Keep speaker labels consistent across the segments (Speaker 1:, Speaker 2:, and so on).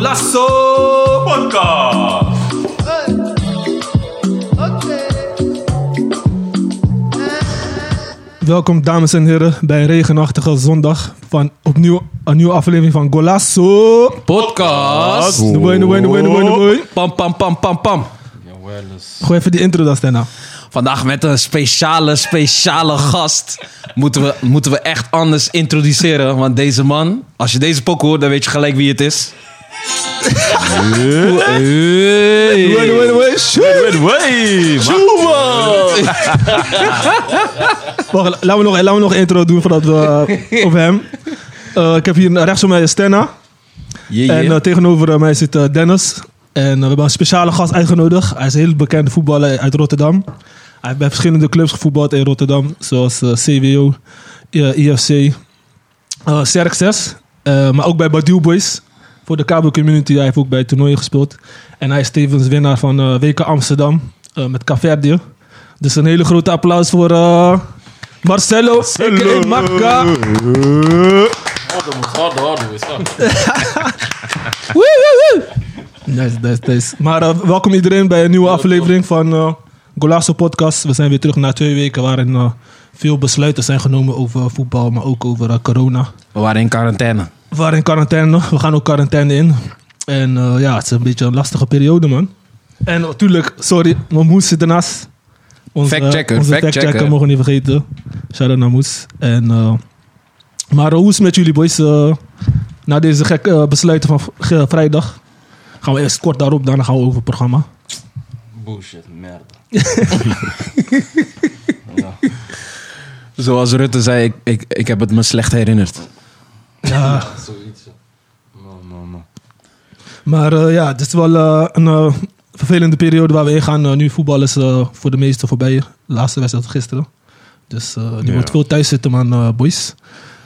Speaker 1: Lazo Podcast.
Speaker 2: Welkom dames en heren bij een regenachtige zondag van opnieuw een nieuwe aflevering van Golasso.
Speaker 3: Podcast.
Speaker 2: Noei, noei, noei, noei, noei.
Speaker 3: Pam, pam, pam, pam, pam.
Speaker 2: Gooi even die intro dan, Stenna.
Speaker 3: Vandaag met een speciale, speciale gast. Moeten we, moeten we echt anders introduceren. Want deze man, als je deze pok hoort, dan weet je gelijk wie het is.
Speaker 2: Noei,
Speaker 3: Hey.
Speaker 2: noei, noei. Sjoe. Wacht, laten we nog, laten we nog een intro doen voordat we eh, op hem. Eh, ik heb hier rechts van mij Stenna.
Speaker 3: Yeah,
Speaker 2: En eh,
Speaker 3: yeah.
Speaker 2: tegenover eh, mij zit eh, Dennis. En eh, we hebben een speciale gast uitgenodigd. Hij is een heel bekende voetballer uit Rotterdam. Hij heeft bij verschillende clubs gevoetbald in Rotterdam. Zoals eh, CWO, eh, IFC, eh Cerk 6. eh, maar ook bij Badiou Boys. Voor de Cabo Community. Hij heeft ook bij toernooien gespeeld. En hij is tevens winnaar van eh, WK Amsterdam. eh, met Caverdië. Dus een hele grote applaus voor eh, Marcelo. a.k.a. Marca. Woe, woe, woe. Nice, nice, nice. Maar eh, welkom iedereen bij een nieuwe aflevering van eh Golasso Podcast. We zijn weer terug na twee weken waarin eh, veel besluiten zijn genomen over voetbal, maar ook over eh, corona.
Speaker 3: We waren in quarantaine.
Speaker 2: We waren in quarantaine, we gaan ook quarantaine in. En eh, ja, het is een beetje een lastige periode, man. En natuurlijk, sorry, mijn moes zit ernaast. Onze,
Speaker 3: Fact-checker,
Speaker 2: eh, Onze
Speaker 3: fact-checker.
Speaker 2: fact-checker mogen we niet vergeten. Shout-out naar Moes. En, eh, maar eh, hoe is het met jullie, boys? Eh, na deze gekke eh, besluiten van v- ge- vrijdag gaan we eerst kort daarop, daarna gaan we over het programma.
Speaker 4: Bullshit, merda.
Speaker 3: Zoals Rutte zei, ik, ik, ik heb het me slecht herinnerd.
Speaker 2: Ja,
Speaker 4: Zoiets. Man, man, man.
Speaker 2: maar eh, ja, het is wel eh, een eh, vervelende periode waar we in gaan. Eh, nu voetbal is eh, voor de meesten voorbij. De laatste wedstrijd gisteren. Dus eh die moet veel thuis zitten, man, eh, boys.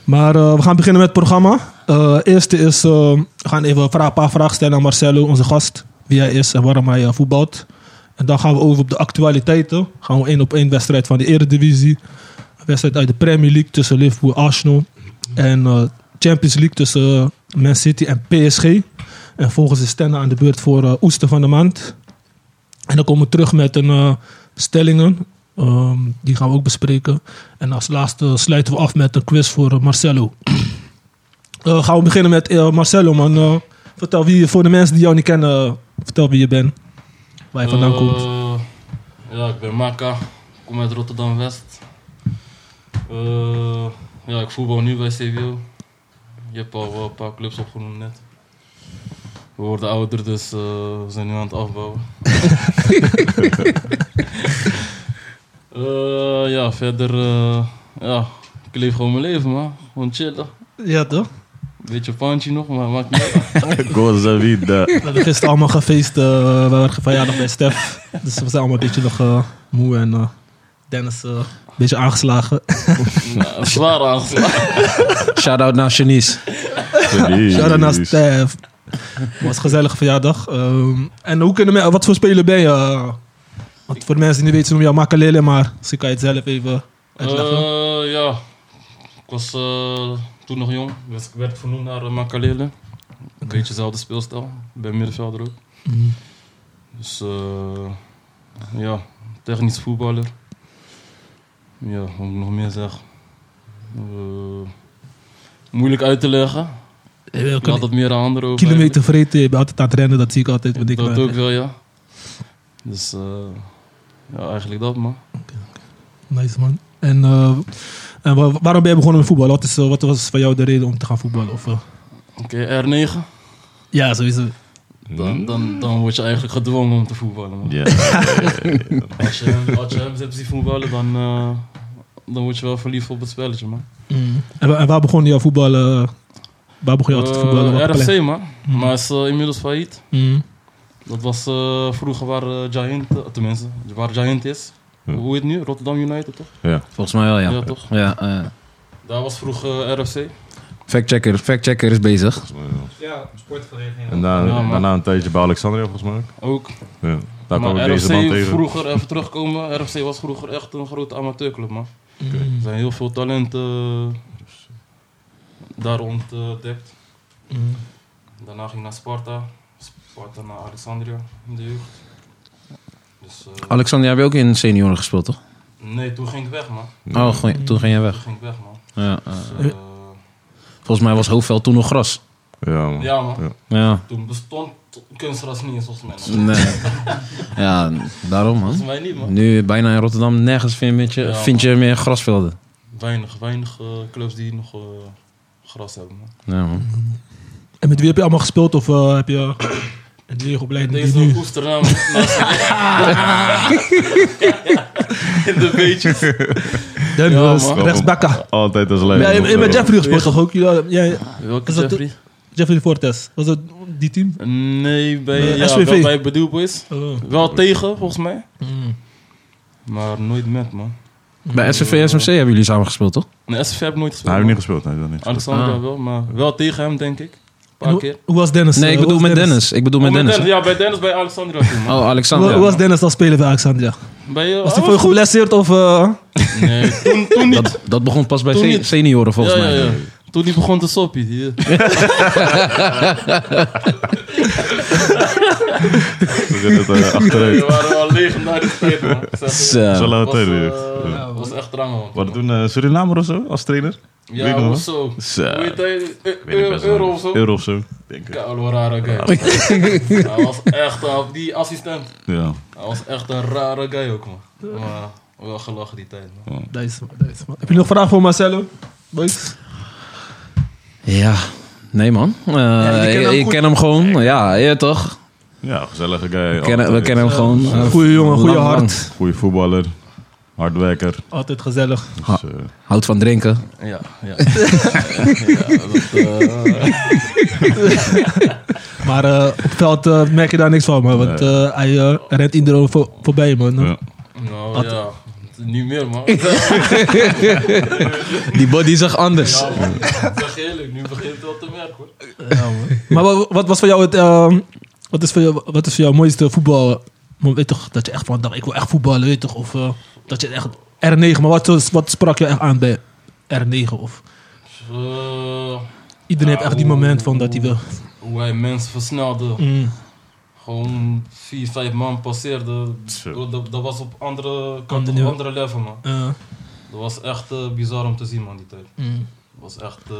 Speaker 2: Maar eh, we gaan beginnen met het programma. Eh eerste is, eh, we gaan even vra- een paar vragen stellen aan Marcelo, onze gast. Wie hij is en waarom hij eh, voetbalt. En dan gaan we over op de actualiteiten. Gaan we één op één wedstrijd van de Eredivisie. Een wedstrijd uit de Premier League tussen Liverpool en Arsenal. En eh, Champions League tussen eh, Man City en PSG. En volgens is Stenna aan de beurt voor eh, Oester van de Maand. En dan komen we terug met een eh, stellingen. Ehm, die gaan we ook bespreken. En als laatste sluiten we af met een quiz voor eh, Marcelo. Eh, gaan we beginnen met eh, Marcelo, man. Eh, vertel wie je, voor de mensen die jou niet kennen, eh, vertel wie je bent. Waar je vandaan komt.
Speaker 4: Eh, Ja, ik ben Maka. Kom uit Rotterdam-West. Eh, ja, ik voetbal nu bij CWO. Je hebt al wel een paar clubs opgenoemd net. We worden ouder, dus eh, we zijn nu aan het afbouwen. Eh, ja, verder... eh, ja, ik leef gewoon mijn leven, man. Gewoon chillen.
Speaker 2: Ja, toch?
Speaker 4: Beetje pandje nog, maar maakt niet uit.
Speaker 5: Coisa vida.
Speaker 2: We hebben gisteren allemaal gefeest. eh, we waren verjaardag bij Stef. Dus we zijn allemaal een beetje nog eh, moe. En eh, Dennis eh, een beetje aangeslagen.
Speaker 4: Nou, Zwaar aangeslagen.
Speaker 3: Shout-out naar Janice.
Speaker 2: Shout-out naar Stef. was een gezellige verjaardag. Ehm, en hoe kunnen men- wat voor speler ben je? eh? want voor de mensen die niet weten, ze noemen jou Makalele. Maar misschien kan je het zelf even uitleggen.
Speaker 4: Eh, ja, ik was eh, toen nog jong, dus ik werd vernoemd naar uh, Makalele. Een beetje dezelfde speelstijl, ik ben middenvelder ook. Dus eh, ja, technisch voetballer. Ja, wat moet ik nog meer zeggen? Eh, moeilijk uit te leggen.
Speaker 2: Je wil
Speaker 4: Ik laat Eh, dat meer aan anderen over.
Speaker 2: kilometer vreten. Je bent altijd aan het rennen. Dat zie ik altijd. Wat ik
Speaker 4: eigenlijk.
Speaker 2: ben.
Speaker 4: Dat ook wel, ja. Dus eh, ja, eigenlijk dat man.
Speaker 2: Nice man. En, eh, en wa- waarom ben je begonnen met voetbal? Wat, is, eh, wat was voor jou de reden om te gaan voetballen? Of, eh?
Speaker 4: Oké, R9.
Speaker 2: Ja, sowieso.
Speaker 4: Dan, dan, dan word je eigenlijk gedwongen om te voetballen man. Als je hem, als je hem zit zien voetballen, dan, eh, dan word je wel verliefd op het spelletje, man.
Speaker 2: En, wa- en waar begon je voetballen? eh, Waar begon je altijd te voetballen?
Speaker 4: Eh,
Speaker 2: Welke plek?
Speaker 4: RFC, man. Maar is eh, inmiddels failliet.
Speaker 2: Mm.
Speaker 4: Dat was eh, vroeger waar eh, Giant, eh, tenminste, waar Giant is.
Speaker 5: Ja.
Speaker 4: Hoe heet het nu? Rotterdam United, toch?
Speaker 3: Volgens mij wel, ja.
Speaker 4: Ja, toch?
Speaker 3: Ja, eh,
Speaker 4: Daar was vroeger eh, RFC.
Speaker 3: Factchecker, factchecker is bezig.
Speaker 5: En daarna,
Speaker 4: Ja, man.
Speaker 5: daarna een tijdje bij Alexandria volgens mij. ook.
Speaker 4: Ook.
Speaker 5: Ja. Daar kwam ik
Speaker 4: maar
Speaker 5: deze man
Speaker 4: RFC,
Speaker 5: tegen.
Speaker 4: vroeger, even terugkomen, RFC was vroeger echt een grote amateurclub, man. Er zijn heel veel talenten daar ontdekt.
Speaker 2: Mm.
Speaker 4: Daarna ging ik naar Sparta. Sparta naar Alexandria in de jeugd. Dus, eh,
Speaker 3: Alexander, heb je ook in senioren gespeeld, toch?
Speaker 4: nee, toen ging ik weg, man.
Speaker 3: Oh, goeie, toen ging jij
Speaker 4: Toen
Speaker 3: weg.
Speaker 4: ging ik weg, man.
Speaker 3: Ja, eh,
Speaker 4: Dus, eh,
Speaker 3: volgens mij was Hoofdveld toen nog gras.
Speaker 5: Ja, man.
Speaker 4: ja, man.
Speaker 5: Ja.
Speaker 3: Ja.
Speaker 4: Toen bestond kunstras niet eens, volgens mij. man.
Speaker 3: Nee. Ja, daarom, man.
Speaker 4: Volgens mij niet, man.
Speaker 3: Nu bijna in Rotterdam nergens vind je,
Speaker 4: Ja,
Speaker 3: vind je meer grasvelden.
Speaker 4: Weinig, weinig eh, clubs die nog eh, gras hebben, man.
Speaker 3: Ja, man.
Speaker 2: En met wie heb je allemaal gespeeld? Of eh, heb je een leeropleiding die
Speaker 4: Deze
Speaker 2: nu...
Speaker 4: oester naam In de beetjes.
Speaker 2: Dan
Speaker 4: Ja,
Speaker 2: was
Speaker 4: man.
Speaker 2: rechtsbakka.
Speaker 5: Altijd als eh,
Speaker 2: Ja,
Speaker 5: leider.
Speaker 2: je, je bent Jeffrey gespeeld toch ook? Ja, jij-
Speaker 4: Welke
Speaker 2: Is dat de-
Speaker 4: Jeffrey?
Speaker 2: Jeffrey Fortes. Was dat die team?
Speaker 4: Nee, bij,
Speaker 2: Eh,
Speaker 4: ja,
Speaker 2: SVV.
Speaker 4: wel bij Bedoel Boys.
Speaker 2: Oh.
Speaker 4: Wel tegen, volgens mij.
Speaker 2: Mm.
Speaker 4: Maar nooit met, man.
Speaker 3: Bij SCV SMC hebben jullie samen gespeeld, toch?
Speaker 4: En SVV heb ik nooit
Speaker 5: Hij
Speaker 4: gespeeld.
Speaker 5: heeft niet
Speaker 4: man.
Speaker 5: gespeeld. Hij heeft dat niet gespeeld.
Speaker 4: Alexander
Speaker 3: Ah.
Speaker 4: wel, maar wel tegen hem, denk ik. Een
Speaker 2: En
Speaker 4: paar
Speaker 2: hoe-
Speaker 4: keer.
Speaker 2: Hoe was Dennis?
Speaker 3: Nee,
Speaker 2: eh,
Speaker 3: ik
Speaker 2: hoe
Speaker 3: bedoel
Speaker 2: was
Speaker 3: met Dennis. Ik bedoel
Speaker 4: Oh,
Speaker 3: met Dennis.
Speaker 4: Ja, bij Dennis, bij Alexandra toen, man.
Speaker 3: Oh,
Speaker 2: Hoe,
Speaker 3: Alexander.
Speaker 2: hoe was Dennis als speler bij Alexandria?
Speaker 4: Bij, eh,
Speaker 2: Was
Speaker 4: hij
Speaker 2: hij veel geblesseerd of... eh,
Speaker 4: Nee, toen, toen niet.
Speaker 3: Dat, dat begon pas bij
Speaker 4: Toen
Speaker 3: se-
Speaker 4: niet.
Speaker 3: senioren, volgens
Speaker 4: ja,
Speaker 3: mij.
Speaker 4: Ja, ja. Toen die begon te soppie. hier.
Speaker 5: We zitten het, eh, achteruit.
Speaker 4: Die waren wel legendarisch tijd, man. Ik zeg je.
Speaker 3: Zo.
Speaker 5: Dat is
Speaker 4: Dat
Speaker 5: wel lang
Speaker 4: was,
Speaker 5: tijd
Speaker 4: eh,
Speaker 5: weer.
Speaker 4: ja, was echt lang, man.
Speaker 5: Waren toen eh, Surinamer of zo als trainer? weet
Speaker 4: Ja,
Speaker 5: nog wel.
Speaker 4: hoezo?
Speaker 5: Zo.
Speaker 4: Hoe heet hij? Eu-
Speaker 5: Weet ik best wel.
Speaker 4: Euro of zo?
Speaker 5: Euro Ah, of zo, denk ik.
Speaker 4: Koude rare guy. Hij was echt, eh, die assistent,
Speaker 5: Ja.
Speaker 4: hij was echt een rare guy ook, man. Maar wel gelachen die tijd, man.
Speaker 2: Nice, man, nice, man. Heb je nog vragen voor Marcelo? Boys?
Speaker 3: Ja. Nee, man. Eh,
Speaker 2: jullie
Speaker 3: ik-
Speaker 2: kennen hem
Speaker 3: ik
Speaker 2: goed.
Speaker 3: ken hem gewoon. Ja, ja toch?
Speaker 5: Ja, gezellige guy.
Speaker 3: We kennen, we
Speaker 5: altijd.
Speaker 3: kennen hem gewoon. Eh,
Speaker 2: Goeie jongen, goeie
Speaker 3: lang,
Speaker 2: hart.
Speaker 3: lang.
Speaker 5: Goeie voetballer. Hardwerker.
Speaker 2: Altijd gezellig.
Speaker 5: Dus, eh,
Speaker 3: Houdt van drinken.
Speaker 4: Ja, ja. ja dat, eh,
Speaker 2: Maar eh, op het veld eh, merk je daar niks van, man. Want eh, hij eh, rent iedereen voor, voorbij, man.
Speaker 5: ja.
Speaker 4: nou ja, niet meer, man.
Speaker 3: Die body zag anders.
Speaker 4: Ja, man. Ik zeg eerlijk, nu begint het wel te merken, hoor.
Speaker 2: Maar wat, wat was voor jou het... eh, wat, is voor jou, wat is voor jou het mooiste voetbal? Man, weet toch, dat je echt van dacht, ik wil echt voetballen, weet toch? Of eh, dat je echt... R9, maar wat, wat sprak je echt aan bij R9? Of,
Speaker 4: Dus, Eh,
Speaker 2: iedereen
Speaker 4: Ja,
Speaker 2: heeft echt
Speaker 3: Nou,
Speaker 2: die
Speaker 4: hoe-
Speaker 2: moment van dat hij wil...
Speaker 4: hoe hij mensen versnelde.
Speaker 2: Mm.
Speaker 4: Gewoon vier, vijf man passeerde.
Speaker 5: Zo.
Speaker 4: Dat, dat was op andere kant, op
Speaker 2: Andere-
Speaker 4: andere level, man.
Speaker 2: eh,
Speaker 4: Dat was echt eh, bizar om te zien, man, die tijd.
Speaker 2: mm,
Speaker 4: Dat was echt... eh,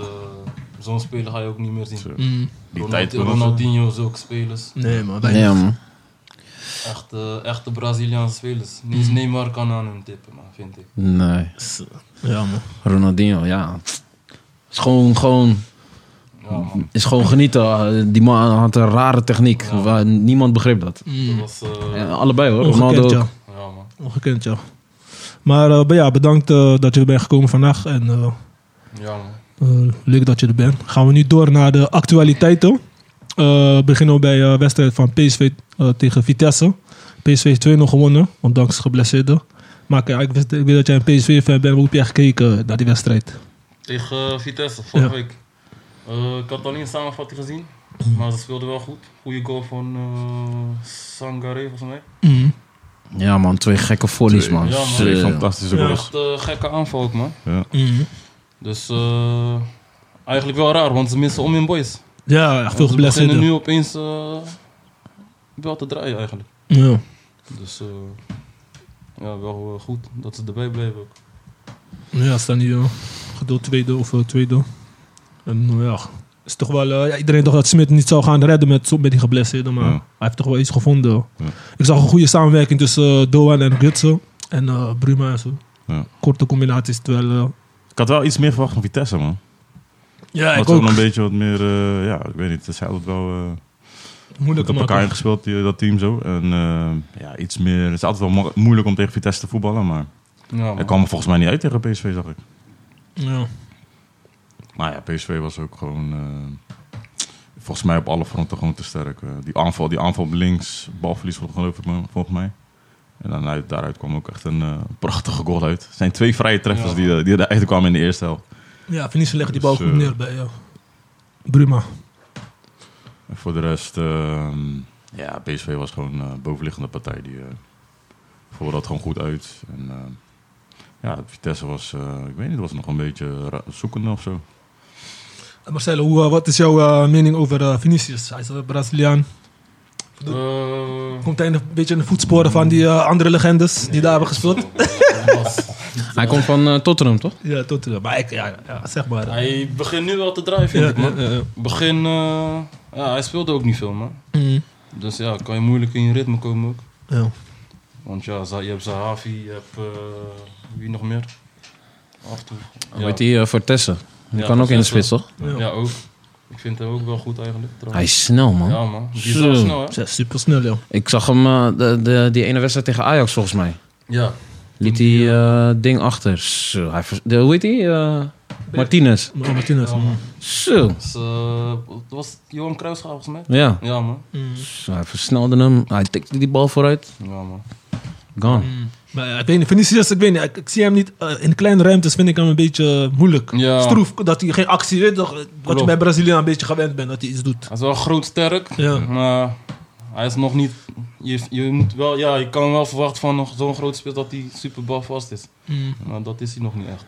Speaker 4: Zo'n speler ga je ook niet meer zien.
Speaker 5: Zo.
Speaker 2: mm.
Speaker 5: Die
Speaker 4: Ronald-
Speaker 5: tijd kon het.
Speaker 4: Ronaldinho, zulke spelers.
Speaker 2: Nee, man. wij-
Speaker 3: Ja, man.
Speaker 4: Echte, echte Braziliaanse spelers. Niet eens Neymar kan aan hem tippen, man, vind ik.
Speaker 3: Nee.
Speaker 2: Ja, man.
Speaker 3: Ronaldinho, ja. Is gewoon, gewoon,
Speaker 4: Ja, man.
Speaker 3: is gewoon genieten. Eh, Die man had een rare techniek.
Speaker 4: Ja.
Speaker 3: Waar niemand begreep dat.
Speaker 4: Dat
Speaker 2: Mm.
Speaker 4: was... eh,
Speaker 3: Ja, allebei hoor. Ronaldo
Speaker 2: Ongekend,
Speaker 3: ook.
Speaker 2: ja.
Speaker 4: ja, man.
Speaker 2: Ongekend, ja. Maar eh, ja, bedankt eh, dat je er bent gekomen vandaag. En eh,
Speaker 4: Ja, man.
Speaker 2: eh, leuk dat je er bent. Gaan we nu door naar de actualiteiten. Eh beginnen we bij de wedstrijd van PSV eh, tegen Vitesse. PSV heeft 2-0 gewonnen, ondanks geblesseerden. Maar kijk, ik, wist, ik weet dat jij een PSV-fan bent. Hoe heb jij gekeken naar die wedstrijd?
Speaker 4: Tegen eh, Vitesse, vorige
Speaker 2: Ja.
Speaker 4: week. Eh, ik had alleen een samenvatting gezien. Maar ze speelden wel goed. Goede goal van eh Sangare, volgens mij.
Speaker 2: Mhm,
Speaker 3: Ja, man. Twee gekke volleys,
Speaker 5: Twee-
Speaker 3: man. Eh,
Speaker 4: Ja, man.
Speaker 5: Twee
Speaker 3: Zo.
Speaker 5: fantastische
Speaker 2: Ja.
Speaker 5: goals.
Speaker 4: Echt eh, gekke aanval ook, man.
Speaker 2: Mhm.
Speaker 4: Dus eh, eigenlijk wel raar, want ze missen om in boys.
Speaker 2: Ja, echt veel
Speaker 4: Want ze beginnen
Speaker 2: geblesseerden.
Speaker 4: nu opeens eh, wel te draaien, eigenlijk.
Speaker 2: Ja.
Speaker 4: Dus eh, ja, wel eh, goed dat ze erbij blijven ook.
Speaker 2: Ja, staan hier eh, gedeeld tweede of eh, tweede. En nou ja, is toch wel, eh, ja, iedereen dacht dat Smit niet zou gaan redden met, zo- met die geblesseerde, maar
Speaker 5: Ja.
Speaker 2: hij heeft toch wel iets gevonden.
Speaker 5: Ja.
Speaker 2: Ik zag een goede samenwerking tussen eh, Doan en Gutsen en eh Bruma en zo.
Speaker 5: Ja.
Speaker 2: Korte combinaties, terwijl... eh,
Speaker 5: Ik had wel iets meer verwacht van Vitesse, man.
Speaker 2: ja,
Speaker 5: Had
Speaker 2: ik
Speaker 5: ze wel
Speaker 2: ook.
Speaker 5: een beetje wat meer... eh, ja, ik weet niet. Ze hadden het wel... eh,
Speaker 2: Moeilijk
Speaker 5: goed op
Speaker 2: maken.
Speaker 5: elkaar ingespeeld, die, dat team zo. En eh, ja, iets meer... Het is altijd wel mo- moeilijk om tegen Vitesse te voetballen, maar...
Speaker 4: Ja,
Speaker 5: Hij
Speaker 4: man.
Speaker 5: kwam er volgens mij niet uit tegen PSV, zag ik.
Speaker 2: Ja.
Speaker 5: Maar ja, PSV was ook gewoon... eh, volgens mij op alle fronten gewoon te sterk. Eh, die, aanval, die aanval op links, balverlies geloof ik, man, volgens mij. En dan uit, daaruit kwam ook echt een eh, prachtige goal uit. Het zijn twee vrije treffers
Speaker 4: Ja.
Speaker 5: die, eh, die eruit kwamen in de eerste helft.
Speaker 2: ja, Vinicius legt die bal
Speaker 5: Dus,
Speaker 2: goed
Speaker 5: eh,
Speaker 2: neer bij ja. Bruma.
Speaker 5: En voor de rest, ehm, ja, PSV was gewoon een bovenliggende partij. Die eh voelde dat gewoon goed uit. En, ehm, ja, Vitesse was, eh, ik weet niet, was nog een beetje ra- zoekende of zo.
Speaker 2: Marcelo, hoe, eh, wat is jouw eh, mening over eh, Vinicius? Hij is een Braziliaan.
Speaker 4: Eh,
Speaker 2: Komt hij in de- een beetje in de voetsporen van die eh, andere legendes die daar hebben gespeeld?
Speaker 3: Hij komt van eh, Tottenham, toch?
Speaker 2: Ja, tot eh, Maar ik, ja, ja, zeg maar. eh.
Speaker 4: Hij begint nu wel te draaien, vind
Speaker 2: Ja,
Speaker 4: ik, man.
Speaker 2: ja, ja.
Speaker 4: Begin, eh, ja, hij speelde ook niet veel, man.
Speaker 2: Mm,
Speaker 4: Dus ja, kan je moeilijk in je ritme komen ook.
Speaker 2: ja.
Speaker 4: Want ja, za- je hebt Zahavi, je hebt eh, wie nog meer? Af en toe.
Speaker 3: Hoe heet die? eh, Fortesse. Die
Speaker 4: Ja,
Speaker 3: kan ook in de
Speaker 4: Fortesse.
Speaker 3: spits, toch?
Speaker 4: Ja, ja, ook. Ik vind hem ook wel goed eigenlijk.
Speaker 3: Hij
Speaker 4: trouwens.
Speaker 3: is snel, man.
Speaker 4: Ja, man. Die is
Speaker 3: Zo.
Speaker 4: wel snel, hè?
Speaker 2: Ja, super snel, joh.
Speaker 3: Ik zag hem eh, de, de, die ene wedstrijd tegen Ajax, volgens mij.
Speaker 4: Ja.
Speaker 3: Liet hij eh, ding achter. Zo, hij vers- de, hoe heet die? Eh, Martinez.
Speaker 2: Maar Martinez,
Speaker 4: Ja,
Speaker 2: man.
Speaker 4: man.
Speaker 3: Zo.
Speaker 4: Dus, eh, het was Johan Cruijff volgens mij?
Speaker 3: Ja.
Speaker 4: Ja, man.
Speaker 2: Mm.
Speaker 3: Zo, hij versnelde hem. Hij tikte die bal vooruit.
Speaker 4: Ja, man.
Speaker 3: Gone.
Speaker 2: Maar ja, ik weet niet, Vinicius, ik weet niet, ik, ik zie hem niet, eh, in kleine ruimtes vind ik hem een beetje eh, moeilijk.
Speaker 4: Ja.
Speaker 2: Stroef, dat hij geen actie, weet toch, eh, wat
Speaker 4: Klopt.
Speaker 2: je bij Brazilië een beetje gewend bent, dat hij iets doet.
Speaker 4: Hij is wel groot sterk,
Speaker 2: Ja.
Speaker 4: maar hij is nog niet... Je, je, moet wel, ja, je kan wel verwachten van nog zo'n groot spits dat hij super bal vast is.
Speaker 2: Mm.
Speaker 4: Maar dat is hij nog niet echt.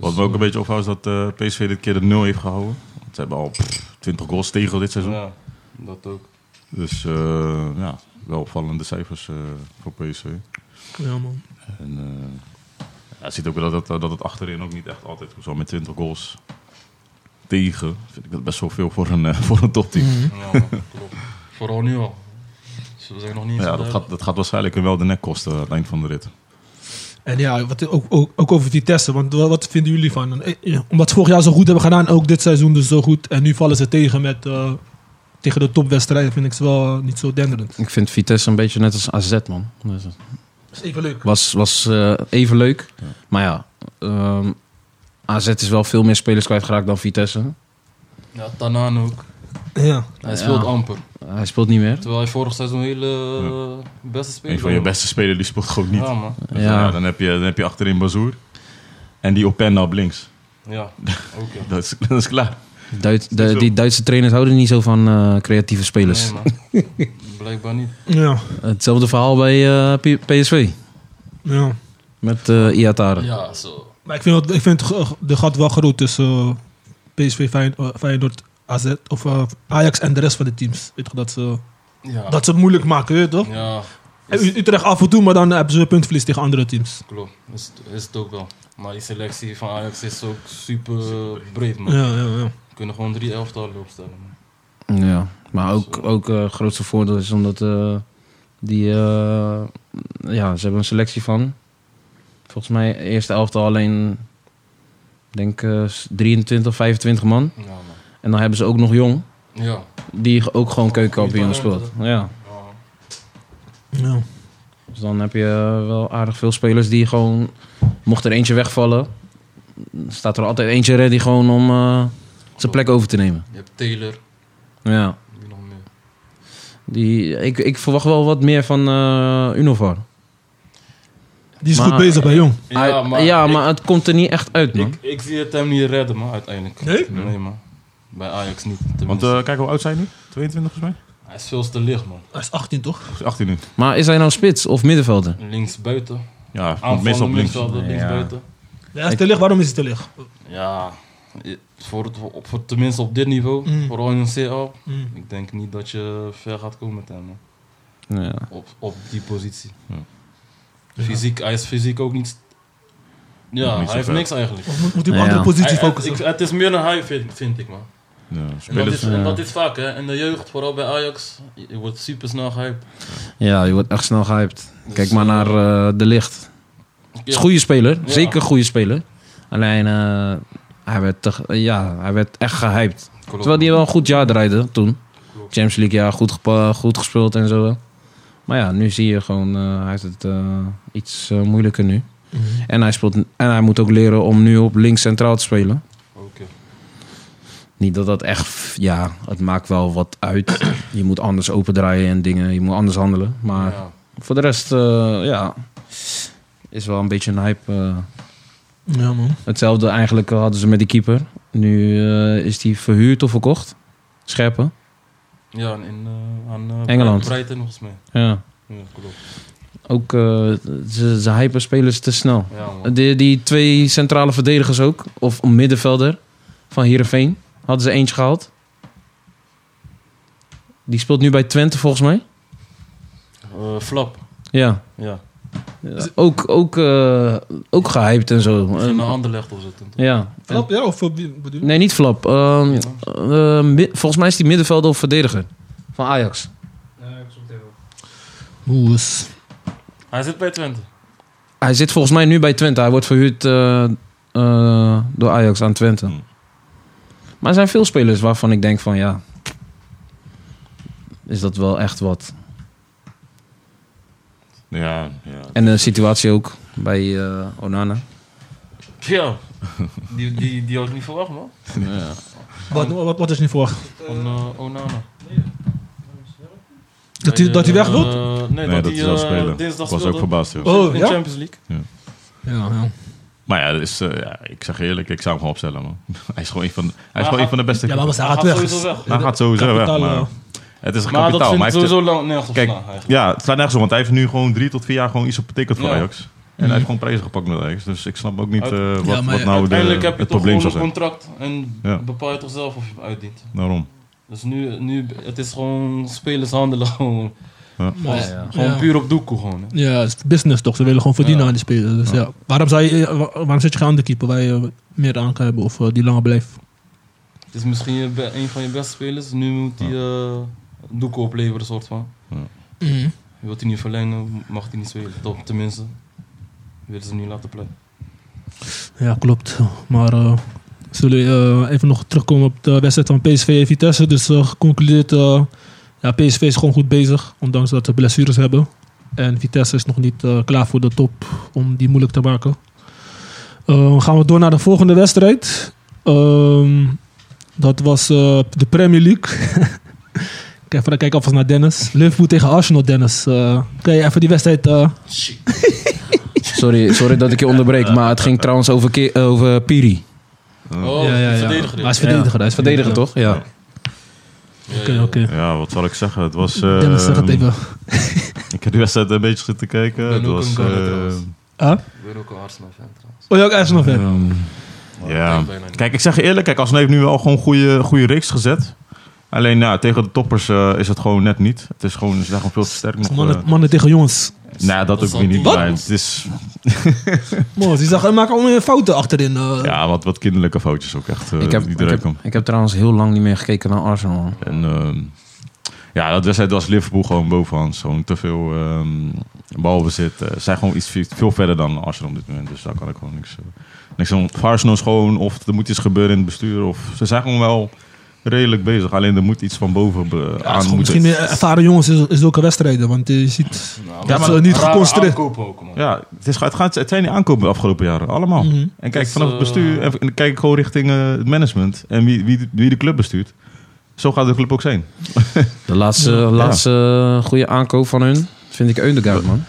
Speaker 5: Wat me ook een beetje opvalt is dat eh, PSV dit keer de nul heeft gehouden. Want ze hebben al pff, 20 goals tegen dit seizoen.
Speaker 4: Ja, dat ook.
Speaker 5: Dus eh, ja, wel opvallende cijfers eh, voor PSV.
Speaker 2: Ja, man.
Speaker 5: En eh, ja, je ziet ook wel dat, het- dat het achterin ook niet echt altijd goed is. Al Met 20 goals tegen vind ik dat best wel veel voor een, eh, voor een topteam.
Speaker 4: Ja, man, klopt. Vooral nu al. Dus we zijn nog niet eens
Speaker 5: Ja, dat
Speaker 4: daar.
Speaker 5: gaat, dat gaat waarschijnlijk hem wel de nek kosten aan het eind van de rit.
Speaker 2: En ja, wat, ook, ook, ook over die testen, want wa- wat vinden jullie van? En, eh, eh, Omdat ze vorig jaar zo goed hebben gedaan, ook dit seizoen dus zo goed. En nu vallen ze tegen met, eh, tegen de topwedstrijden, vind ik ze wel eh, niet zo denderend.
Speaker 3: Ik vind Vitesse een beetje net als AZ, man. Dus het
Speaker 2: Dat is even leuk.
Speaker 3: Was, was eh, even leuk. Maar ja, ehm, AZ is wel veel meer spelers kwijtgeraakt dan Vitesse.
Speaker 4: Ja, Tanaan ook.
Speaker 2: Ja.
Speaker 4: Hij speelt amper.
Speaker 3: Hij speelt niet meer.
Speaker 4: Terwijl hij vorig seizoen hele eh, beste speler
Speaker 5: Een van je
Speaker 4: was.
Speaker 5: beste spelers die speelt gewoon niet.
Speaker 4: Ja, man.
Speaker 5: Dus
Speaker 3: Ja.
Speaker 5: dan, ja, dan, heb je, dan heb je achterin Bazoer. En die Openda op links.
Speaker 4: Ja, ook ja.
Speaker 5: Dat is, dat is klaar.
Speaker 3: Duit, de, die Duitse trainers houden niet zo van eh, creatieve spelers.
Speaker 4: Nee, man. Blijkbaar niet.
Speaker 2: Ja.
Speaker 3: Hetzelfde verhaal bij eh, P- PSV.
Speaker 2: ja.
Speaker 3: Met eh Iataren.
Speaker 4: Ja, zo.
Speaker 2: Maar ik vind, het- ik vind het ge- de gat wel groot tussen eh, PSV, Fijn- eh, Feyenoord, AZ of eh, Ajax en de rest van de teams. Weet je, dat, ze,
Speaker 4: Ja.
Speaker 2: dat ze het moeilijk maken, weet je toch?
Speaker 4: Ja,
Speaker 2: En U- Utrecht af en toe, maar dan hebben ze puntverlies tegen andere teams.
Speaker 4: klopt. Is, het- is het ook wel. Maar die selectie van Ajax is ook super eh, breed, man.
Speaker 2: Ja, ja, ja.
Speaker 4: We kunnen gewoon drie elftallen opstellen, man.
Speaker 3: Ja, maar ook, ook eh, grootste voordeel is omdat eh, die, eh, ja, ze hebben een selectie van. Volgens mij eerste elftal alleen, denk eh, 23, 25 man.
Speaker 4: Ja, man.
Speaker 3: En dan hebben ze ook nog jong,
Speaker 4: Ja.
Speaker 3: die ook gewoon keukenkampioen speelt. Ja,
Speaker 4: ja.
Speaker 2: ja.
Speaker 3: dus dan heb je eh, wel aardig veel spelers die gewoon, mocht er eentje wegvallen, staat er altijd eentje ready gewoon om eh, zijn plek over te nemen.
Speaker 4: Je hebt Taylor,
Speaker 3: Ja,
Speaker 4: wie nog meer.
Speaker 3: die, ik, ik verwacht wel wat meer van eh Unovar.
Speaker 2: Die is
Speaker 3: Maar-
Speaker 2: goed bezig bij Jong.
Speaker 3: Uit- Ja, maar, het komt er niet echt uit,
Speaker 4: ik,
Speaker 3: man.
Speaker 4: ik, ik zie het hem niet redden, man, uiteindelijk.
Speaker 2: Nee?
Speaker 4: Nee, man. Bij Ajax niet.
Speaker 5: Want
Speaker 4: tenminste.
Speaker 5: eh, kijk hoe oud zijn nu? 22 volgens mij?
Speaker 4: Hij is veel te licht, man.
Speaker 2: Hij is 18 toch?
Speaker 5: Of 18 nu.
Speaker 3: Maar is hij nou spits of middenvelder?
Speaker 4: Links buiten.
Speaker 5: Ja, want
Speaker 4: Aanvallende
Speaker 5: meestal op links.
Speaker 4: middenvelder, links
Speaker 3: Ja.
Speaker 4: buiten.
Speaker 2: Ja, hij is te licht. Waarom is hij te licht?
Speaker 4: Ja, i- voor, het- voor, voor- tenminste op dit niveau,
Speaker 2: Mm.
Speaker 4: vooral in een CL.
Speaker 2: Mm.
Speaker 4: Ik denk niet dat je ver gaat komen met hem, man.
Speaker 3: Ja.
Speaker 4: Op, op die positie.
Speaker 5: Ja.
Speaker 4: Fysiek, hij is fysiek ook niet... Ja,
Speaker 5: Nog niet zo
Speaker 4: hij heeft
Speaker 5: ver.
Speaker 4: niks eigenlijk.
Speaker 2: Of moet, moet hij op
Speaker 3: Ja.
Speaker 2: andere positie
Speaker 4: Hij- hij-
Speaker 2: focussen?
Speaker 4: ik- het is meer een hij, vind, vind ik, man.
Speaker 5: Ja,
Speaker 4: En dat,
Speaker 5: spelers. eh,
Speaker 4: is, en
Speaker 3: Ja.
Speaker 4: dat is vaak, hè. In de jeugd, vooral bij Ajax, je je wordt super snel gehyped.
Speaker 3: ja, je wordt echt snel gehyped.
Speaker 4: Dus,
Speaker 3: Kijk maar
Speaker 4: eh,
Speaker 3: naar eh, De Licht. Het is
Speaker 4: ja.
Speaker 3: een goede speler,
Speaker 4: Ja.
Speaker 3: zeker een goede speler. Alleen, eh, hij, werd te- ja, hij werd echt gehyped.
Speaker 4: Klopt.
Speaker 3: Terwijl hij wel een goed jaar draaide toen.
Speaker 4: Klopt.
Speaker 3: Champions League jaar, goed, gepa- goed gespeeld en zo. Maar ja, nu zie je gewoon, eh, hij heeft het eh, iets eh, moeilijker nu.
Speaker 2: Mm.
Speaker 3: En, hij speelt, en hij moet ook leren om nu op links centraal te spelen.
Speaker 4: Oké.
Speaker 3: Niet dat dat echt, ja, het maakt wel wat uit. Je moet anders opendraaien en dingen, je moet anders handelen. Maar
Speaker 4: Ja.
Speaker 3: voor de rest, eh, ja, is wel een beetje een hype. eh.
Speaker 2: Ja man.
Speaker 3: Hetzelfde eigenlijk hadden ze met die keeper. Nu eh, is die verhuurd of verkocht. Scherpen.
Speaker 4: Ja, en in, eh, aan eh,
Speaker 3: Engeland.
Speaker 4: Brighton volgens mij.
Speaker 3: Ja.
Speaker 4: Ja, klopt.
Speaker 3: Ook, eh, ze, ze hypen spelers te snel.
Speaker 4: Ja, man.
Speaker 3: Die, die twee centrale verdedigers ook, of middenvelder van Heerenveen. Hadden ze eentje gehaald. Die speelt nu bij Twente volgens mij.
Speaker 4: Eh, flap,
Speaker 3: Ja.
Speaker 4: ja.
Speaker 2: Eh,
Speaker 3: Ja, Ook, ook, eh, ook gehyped en zo.
Speaker 4: Misschien naar
Speaker 3: Eh,
Speaker 4: Anderlecht of zo. toen.
Speaker 3: Ja.
Speaker 2: Flap, ja? Of eh, wie bedoel je?
Speaker 3: Nee, niet Flap. Ehm,
Speaker 4: Ja.
Speaker 3: eh, mi- volgens mij is die middenvelder of verdediger. Van Ajax.
Speaker 2: Moes.
Speaker 4: Hij zit bij Twente.
Speaker 3: Hij zit volgens mij nu bij Twente. Hij wordt verhuurd eh, eh, door Ajax aan Twente.
Speaker 5: Hmm.
Speaker 3: Maar er zijn veel spelers waarvan ik denk van ja... Is dat wel echt wat?
Speaker 5: Ja, ja.
Speaker 3: En de situatie ook bij eh, Onana.
Speaker 4: Ja, die, die, die had ik niet verwacht, man.
Speaker 5: ja.
Speaker 2: Wat, wat, wat is nu voor?
Speaker 4: Van eh, Onana.
Speaker 2: Dat hij, dat hij weg wil?
Speaker 4: Eh,
Speaker 5: Nee,
Speaker 4: nee,
Speaker 5: dat,
Speaker 4: dat
Speaker 5: is
Speaker 4: hij
Speaker 5: wel
Speaker 4: eh,
Speaker 5: spelen. Ik
Speaker 4: dinsdag
Speaker 5: was ook
Speaker 4: speelde
Speaker 5: verbaasd, joh.
Speaker 2: Oh,
Speaker 4: in
Speaker 2: ja?
Speaker 4: Champions League.
Speaker 2: Ja, ja.
Speaker 5: Maar ja, dat is, eh, ja, ik zeg je eerlijk, ik zou hem gewoon opstellen, man. hij is gewoon een van, hij is
Speaker 4: Maar
Speaker 5: gewoon een
Speaker 4: gaat-
Speaker 5: van de beste.
Speaker 2: Ja, maar was hij
Speaker 4: Hij
Speaker 2: gaat
Speaker 4: gaat
Speaker 2: weg.
Speaker 4: sowieso weg.
Speaker 5: hij gaat sowieso
Speaker 2: Kapitaal,
Speaker 5: weg, maar...
Speaker 2: eh,
Speaker 5: Het is een
Speaker 4: Maar dat
Speaker 5: kapitaal,
Speaker 4: vind
Speaker 5: maar
Speaker 4: ik
Speaker 5: hij heeft-
Speaker 4: sowieso lang nergens op
Speaker 5: Kijk,
Speaker 4: slaan, eigenlijk.
Speaker 5: Ja, het slaat nergens op, want hij heeft nu gewoon drie tot vier jaar gewoon iets op betekend voor
Speaker 4: Ja. Mhm.
Speaker 5: Ajax. En hij heeft gewoon prijzen gepakt met Ajax. Dus ik snap ook niet eh, wat,
Speaker 2: Ja, maar
Speaker 5: wat nou de,
Speaker 4: Uiteindelijk heb je
Speaker 5: het
Speaker 4: toch
Speaker 5: probleem
Speaker 4: gewoon
Speaker 5: zou
Speaker 4: een
Speaker 5: zijn.
Speaker 4: contract en
Speaker 5: Ja.
Speaker 4: bepaal je toch zelf of je hem uitdient.
Speaker 5: Daarom.
Speaker 4: Dus nu, nu het is gewoon spelers handelen gewoon,
Speaker 2: maar-
Speaker 3: Ja, ja.
Speaker 4: gewoon
Speaker 2: ja.
Speaker 4: puur op doekoe gewoon. hè.
Speaker 2: Ja, het is business toch. Ze willen gewoon verdienen aan die spelers. Dus ja. Waarom, zou je, eh, wa- waarom zet je geen andere keeper waar je eh, meer aan kan hebben of eh, die langer blijft?
Speaker 4: Het is misschien je be- een van je beste spelers. Nu moet hij eh doekoe opleveren soort van.
Speaker 2: Mhm.
Speaker 4: Je wilt hij niet verlengen, mag hij niet spelen. Toch, tenminste. Willen ze hem niet laten pleiten.
Speaker 2: Ja, klopt. Maar eh, zullen we eh, even nog terugkomen op de wedstrijd van PSV en Vitesse. Dus eh, geconcludeerd, eh, ja, PSV is gewoon goed bezig, ondanks dat ze blessures hebben. En Vitesse is nog niet eh, klaar voor de top om die moeilijk te maken. Eh, gaan we door naar de volgende wedstrijd. Ehm, dat was eh, de Premier League. Kijk, even kijken alvast naar Dennis. Liverpool tegen Arsenal, Dennis. Eh, kan je even die wedstrijd... eh,
Speaker 3: Sorry, sorry dat ik je onderbreek, maar het ging trouwens over, Ke- eh, over Piri.
Speaker 4: Oh,
Speaker 2: ja, ja, ja.
Speaker 4: verdediger.
Speaker 2: Hij is verdediger. Hij is
Speaker 3: Verdediger toch? Ja.
Speaker 4: Ja,
Speaker 2: Oké,
Speaker 4: ja, ja.
Speaker 2: oké.
Speaker 5: Ja, wat zal ik zeggen? Het was... eh,
Speaker 2: Dennis, zeg het even.
Speaker 5: Ik heb die wedstrijd een beetje zitten kijken.
Speaker 4: ben
Speaker 5: Het
Speaker 4: ook
Speaker 5: was...
Speaker 4: een Ghana
Speaker 5: eh,
Speaker 4: trouwens.
Speaker 2: Huh?
Speaker 4: Ik ben ook een Arsenal fan trouwens.
Speaker 2: Oh, ja, ook Arsenal fan.
Speaker 4: Maar
Speaker 5: Ja.
Speaker 4: ik ben bijna niet.
Speaker 5: Kijk, ik zeg je eerlijk, kijk, Arsenal heeft nu wel gewoon goede, goede reeks gezet. Alleen nou, tegen de toppers eh, is het gewoon net niet. Het is gewoon, ze zijn gewoon veel te sterk nog.
Speaker 2: Mannen,
Speaker 5: eh.
Speaker 2: mannen tegen jongens.
Speaker 5: nou, dat
Speaker 4: dat
Speaker 5: ook weer
Speaker 4: zal
Speaker 5: niet.
Speaker 4: niet-
Speaker 5: maar
Speaker 4: Wat?
Speaker 5: Het is,
Speaker 2: Moos, die zag, hij maakt allemaal fouten achterin. eh.
Speaker 5: ja, wat, wat kinderlijke foutjes ook echt. eh,
Speaker 3: Ik heb,
Speaker 5: die
Speaker 3: ik,
Speaker 5: eruit
Speaker 3: heb,
Speaker 5: komen.
Speaker 3: ik heb trouwens heel lang niet meer gekeken naar Arsenal. man.
Speaker 5: En ehm, ja, dat wedstrijd was Liverpool gewoon bovenaan. Zo'n te veel ehm balbezit. Eh, Ze zijn gewoon iets veel- veel verder dan Arsenal op dit moment. Dus daar kan ik gewoon niks, eh, niks aan. Of Arsenal is gewoon, of er moet iets gebeuren in het bestuur. Of ze zijn gewoon wel redelijk bezig. Alleen er moet iets van boven eh,
Speaker 2: Ja, het is
Speaker 5: aan
Speaker 2: gewoon
Speaker 5: moeten.
Speaker 2: misschien meer ervaren jongens is, is ook een wedstrijden, want eh, je ziet...
Speaker 4: Nou,
Speaker 2: Ja,
Speaker 4: maar
Speaker 2: maar niet
Speaker 4: rare
Speaker 2: geconcentreerd.
Speaker 4: aankopen ook, man.
Speaker 5: Ja, het, is, het, gaat, het zijn die aankopen de afgelopen jaren, allemaal.
Speaker 2: Mhm.
Speaker 5: En kijk
Speaker 4: Dus,
Speaker 5: vanaf het
Speaker 4: eh,
Speaker 5: bestuur en, en kijk gewoon richting eh, het management en wie, wie, wie de club bestuurt. Zo gaat de club ook zijn.
Speaker 3: De laatste, laatste eh, goede aankoop van hun vind ik Eundegaard, man.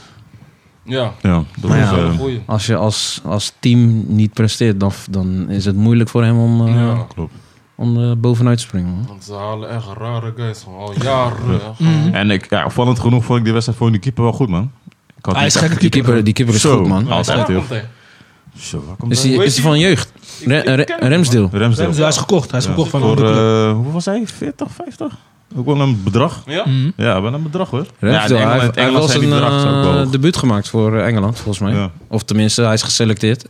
Speaker 4: Ja,
Speaker 5: Ja, dat
Speaker 3: Maar
Speaker 5: is,
Speaker 3: ja.
Speaker 5: eh,
Speaker 4: een goeie.
Speaker 3: Als je als, als team niet presteert, dan, dan is het moeilijk voor hem om, eh,
Speaker 4: Ja.
Speaker 5: klopt.
Speaker 3: om er bovenuit te springen. Man.
Speaker 4: Want ze halen echt rare guys van al jaren. hè, gewoon.
Speaker 5: En ik, ja, opvallend genoeg vond ik die wedstrijd voor de keeper wel goed, man. Ik had
Speaker 2: Hij
Speaker 5: niet
Speaker 2: is
Speaker 5: echt-
Speaker 2: gekke
Speaker 3: Die keeper,
Speaker 2: keeper.
Speaker 3: die keeper is
Speaker 5: Zo.
Speaker 3: goed, man.
Speaker 5: Ja. Altijd
Speaker 4: Waar
Speaker 5: heel-
Speaker 4: komt hij?
Speaker 5: Zo, waar komt
Speaker 3: Is,
Speaker 5: hij?
Speaker 3: die, is die van jeugd?
Speaker 4: Ik-
Speaker 3: Re,
Speaker 4: ik
Speaker 3: Re-
Speaker 4: ken hem, man.
Speaker 3: Remsdeel.
Speaker 5: Ramsdale.
Speaker 2: Rem, Dus hij is gekocht, hij is
Speaker 5: Ja.
Speaker 2: gekocht van een
Speaker 5: Voor,
Speaker 2: andere club.
Speaker 5: eh, hoeveel was hij? 40, 50? Ook wel een bedrag.
Speaker 4: Ja?
Speaker 2: Mhm.
Speaker 5: Ja, wel een bedrag hoor. ja, in
Speaker 3: Ramsdeel,
Speaker 5: Engeland-
Speaker 3: hij,
Speaker 5: in
Speaker 3: hij
Speaker 5: Engeland
Speaker 3: was
Speaker 5: zijn
Speaker 3: een
Speaker 5: die bedragen ook wel
Speaker 3: eh,
Speaker 5: hoog.
Speaker 3: debuut gemaakt voor eh, Engeland, volgens mij.
Speaker 5: Ja.
Speaker 3: Of tenminste, hij is geselecteerd.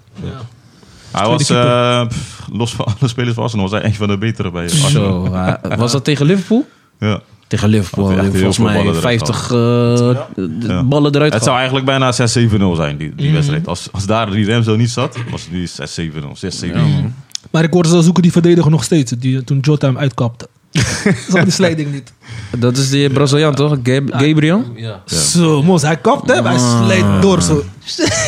Speaker 5: Hij was,
Speaker 2: Tweede
Speaker 5: eh, pff, los van alle spelers van Arsenal, was hij een van de betere bij Arsenal.
Speaker 3: Zo, hij- was dat tegen Liverpool?
Speaker 5: Ja.
Speaker 3: Tegen Liverpool.
Speaker 5: Had hij echt heel
Speaker 3: volgens
Speaker 5: veel ballen
Speaker 3: mij
Speaker 5: eruit
Speaker 3: 50 eh, d-
Speaker 5: Ja.
Speaker 3: ballen eruit gehad.
Speaker 5: Het zou eigenlijk bijna 6-7-0 zijn, die, die
Speaker 3: Mhm.
Speaker 5: wedstrijd. Als, als daar die Remzo niet zat, was het nu 6-7-0, 6-7-0.
Speaker 2: Maar ik hoorde ze zoeken die verdediger nog steeds, die, eh, toen Jota hem uitkapte. Zag die slijding niet.
Speaker 3: Dat is die eh, Braziliaan, toch? Gab- Gabriel?
Speaker 4: Ja.
Speaker 5: Ja.
Speaker 2: Zo, Moos, hij kapt hè, maar hij slijt door zo.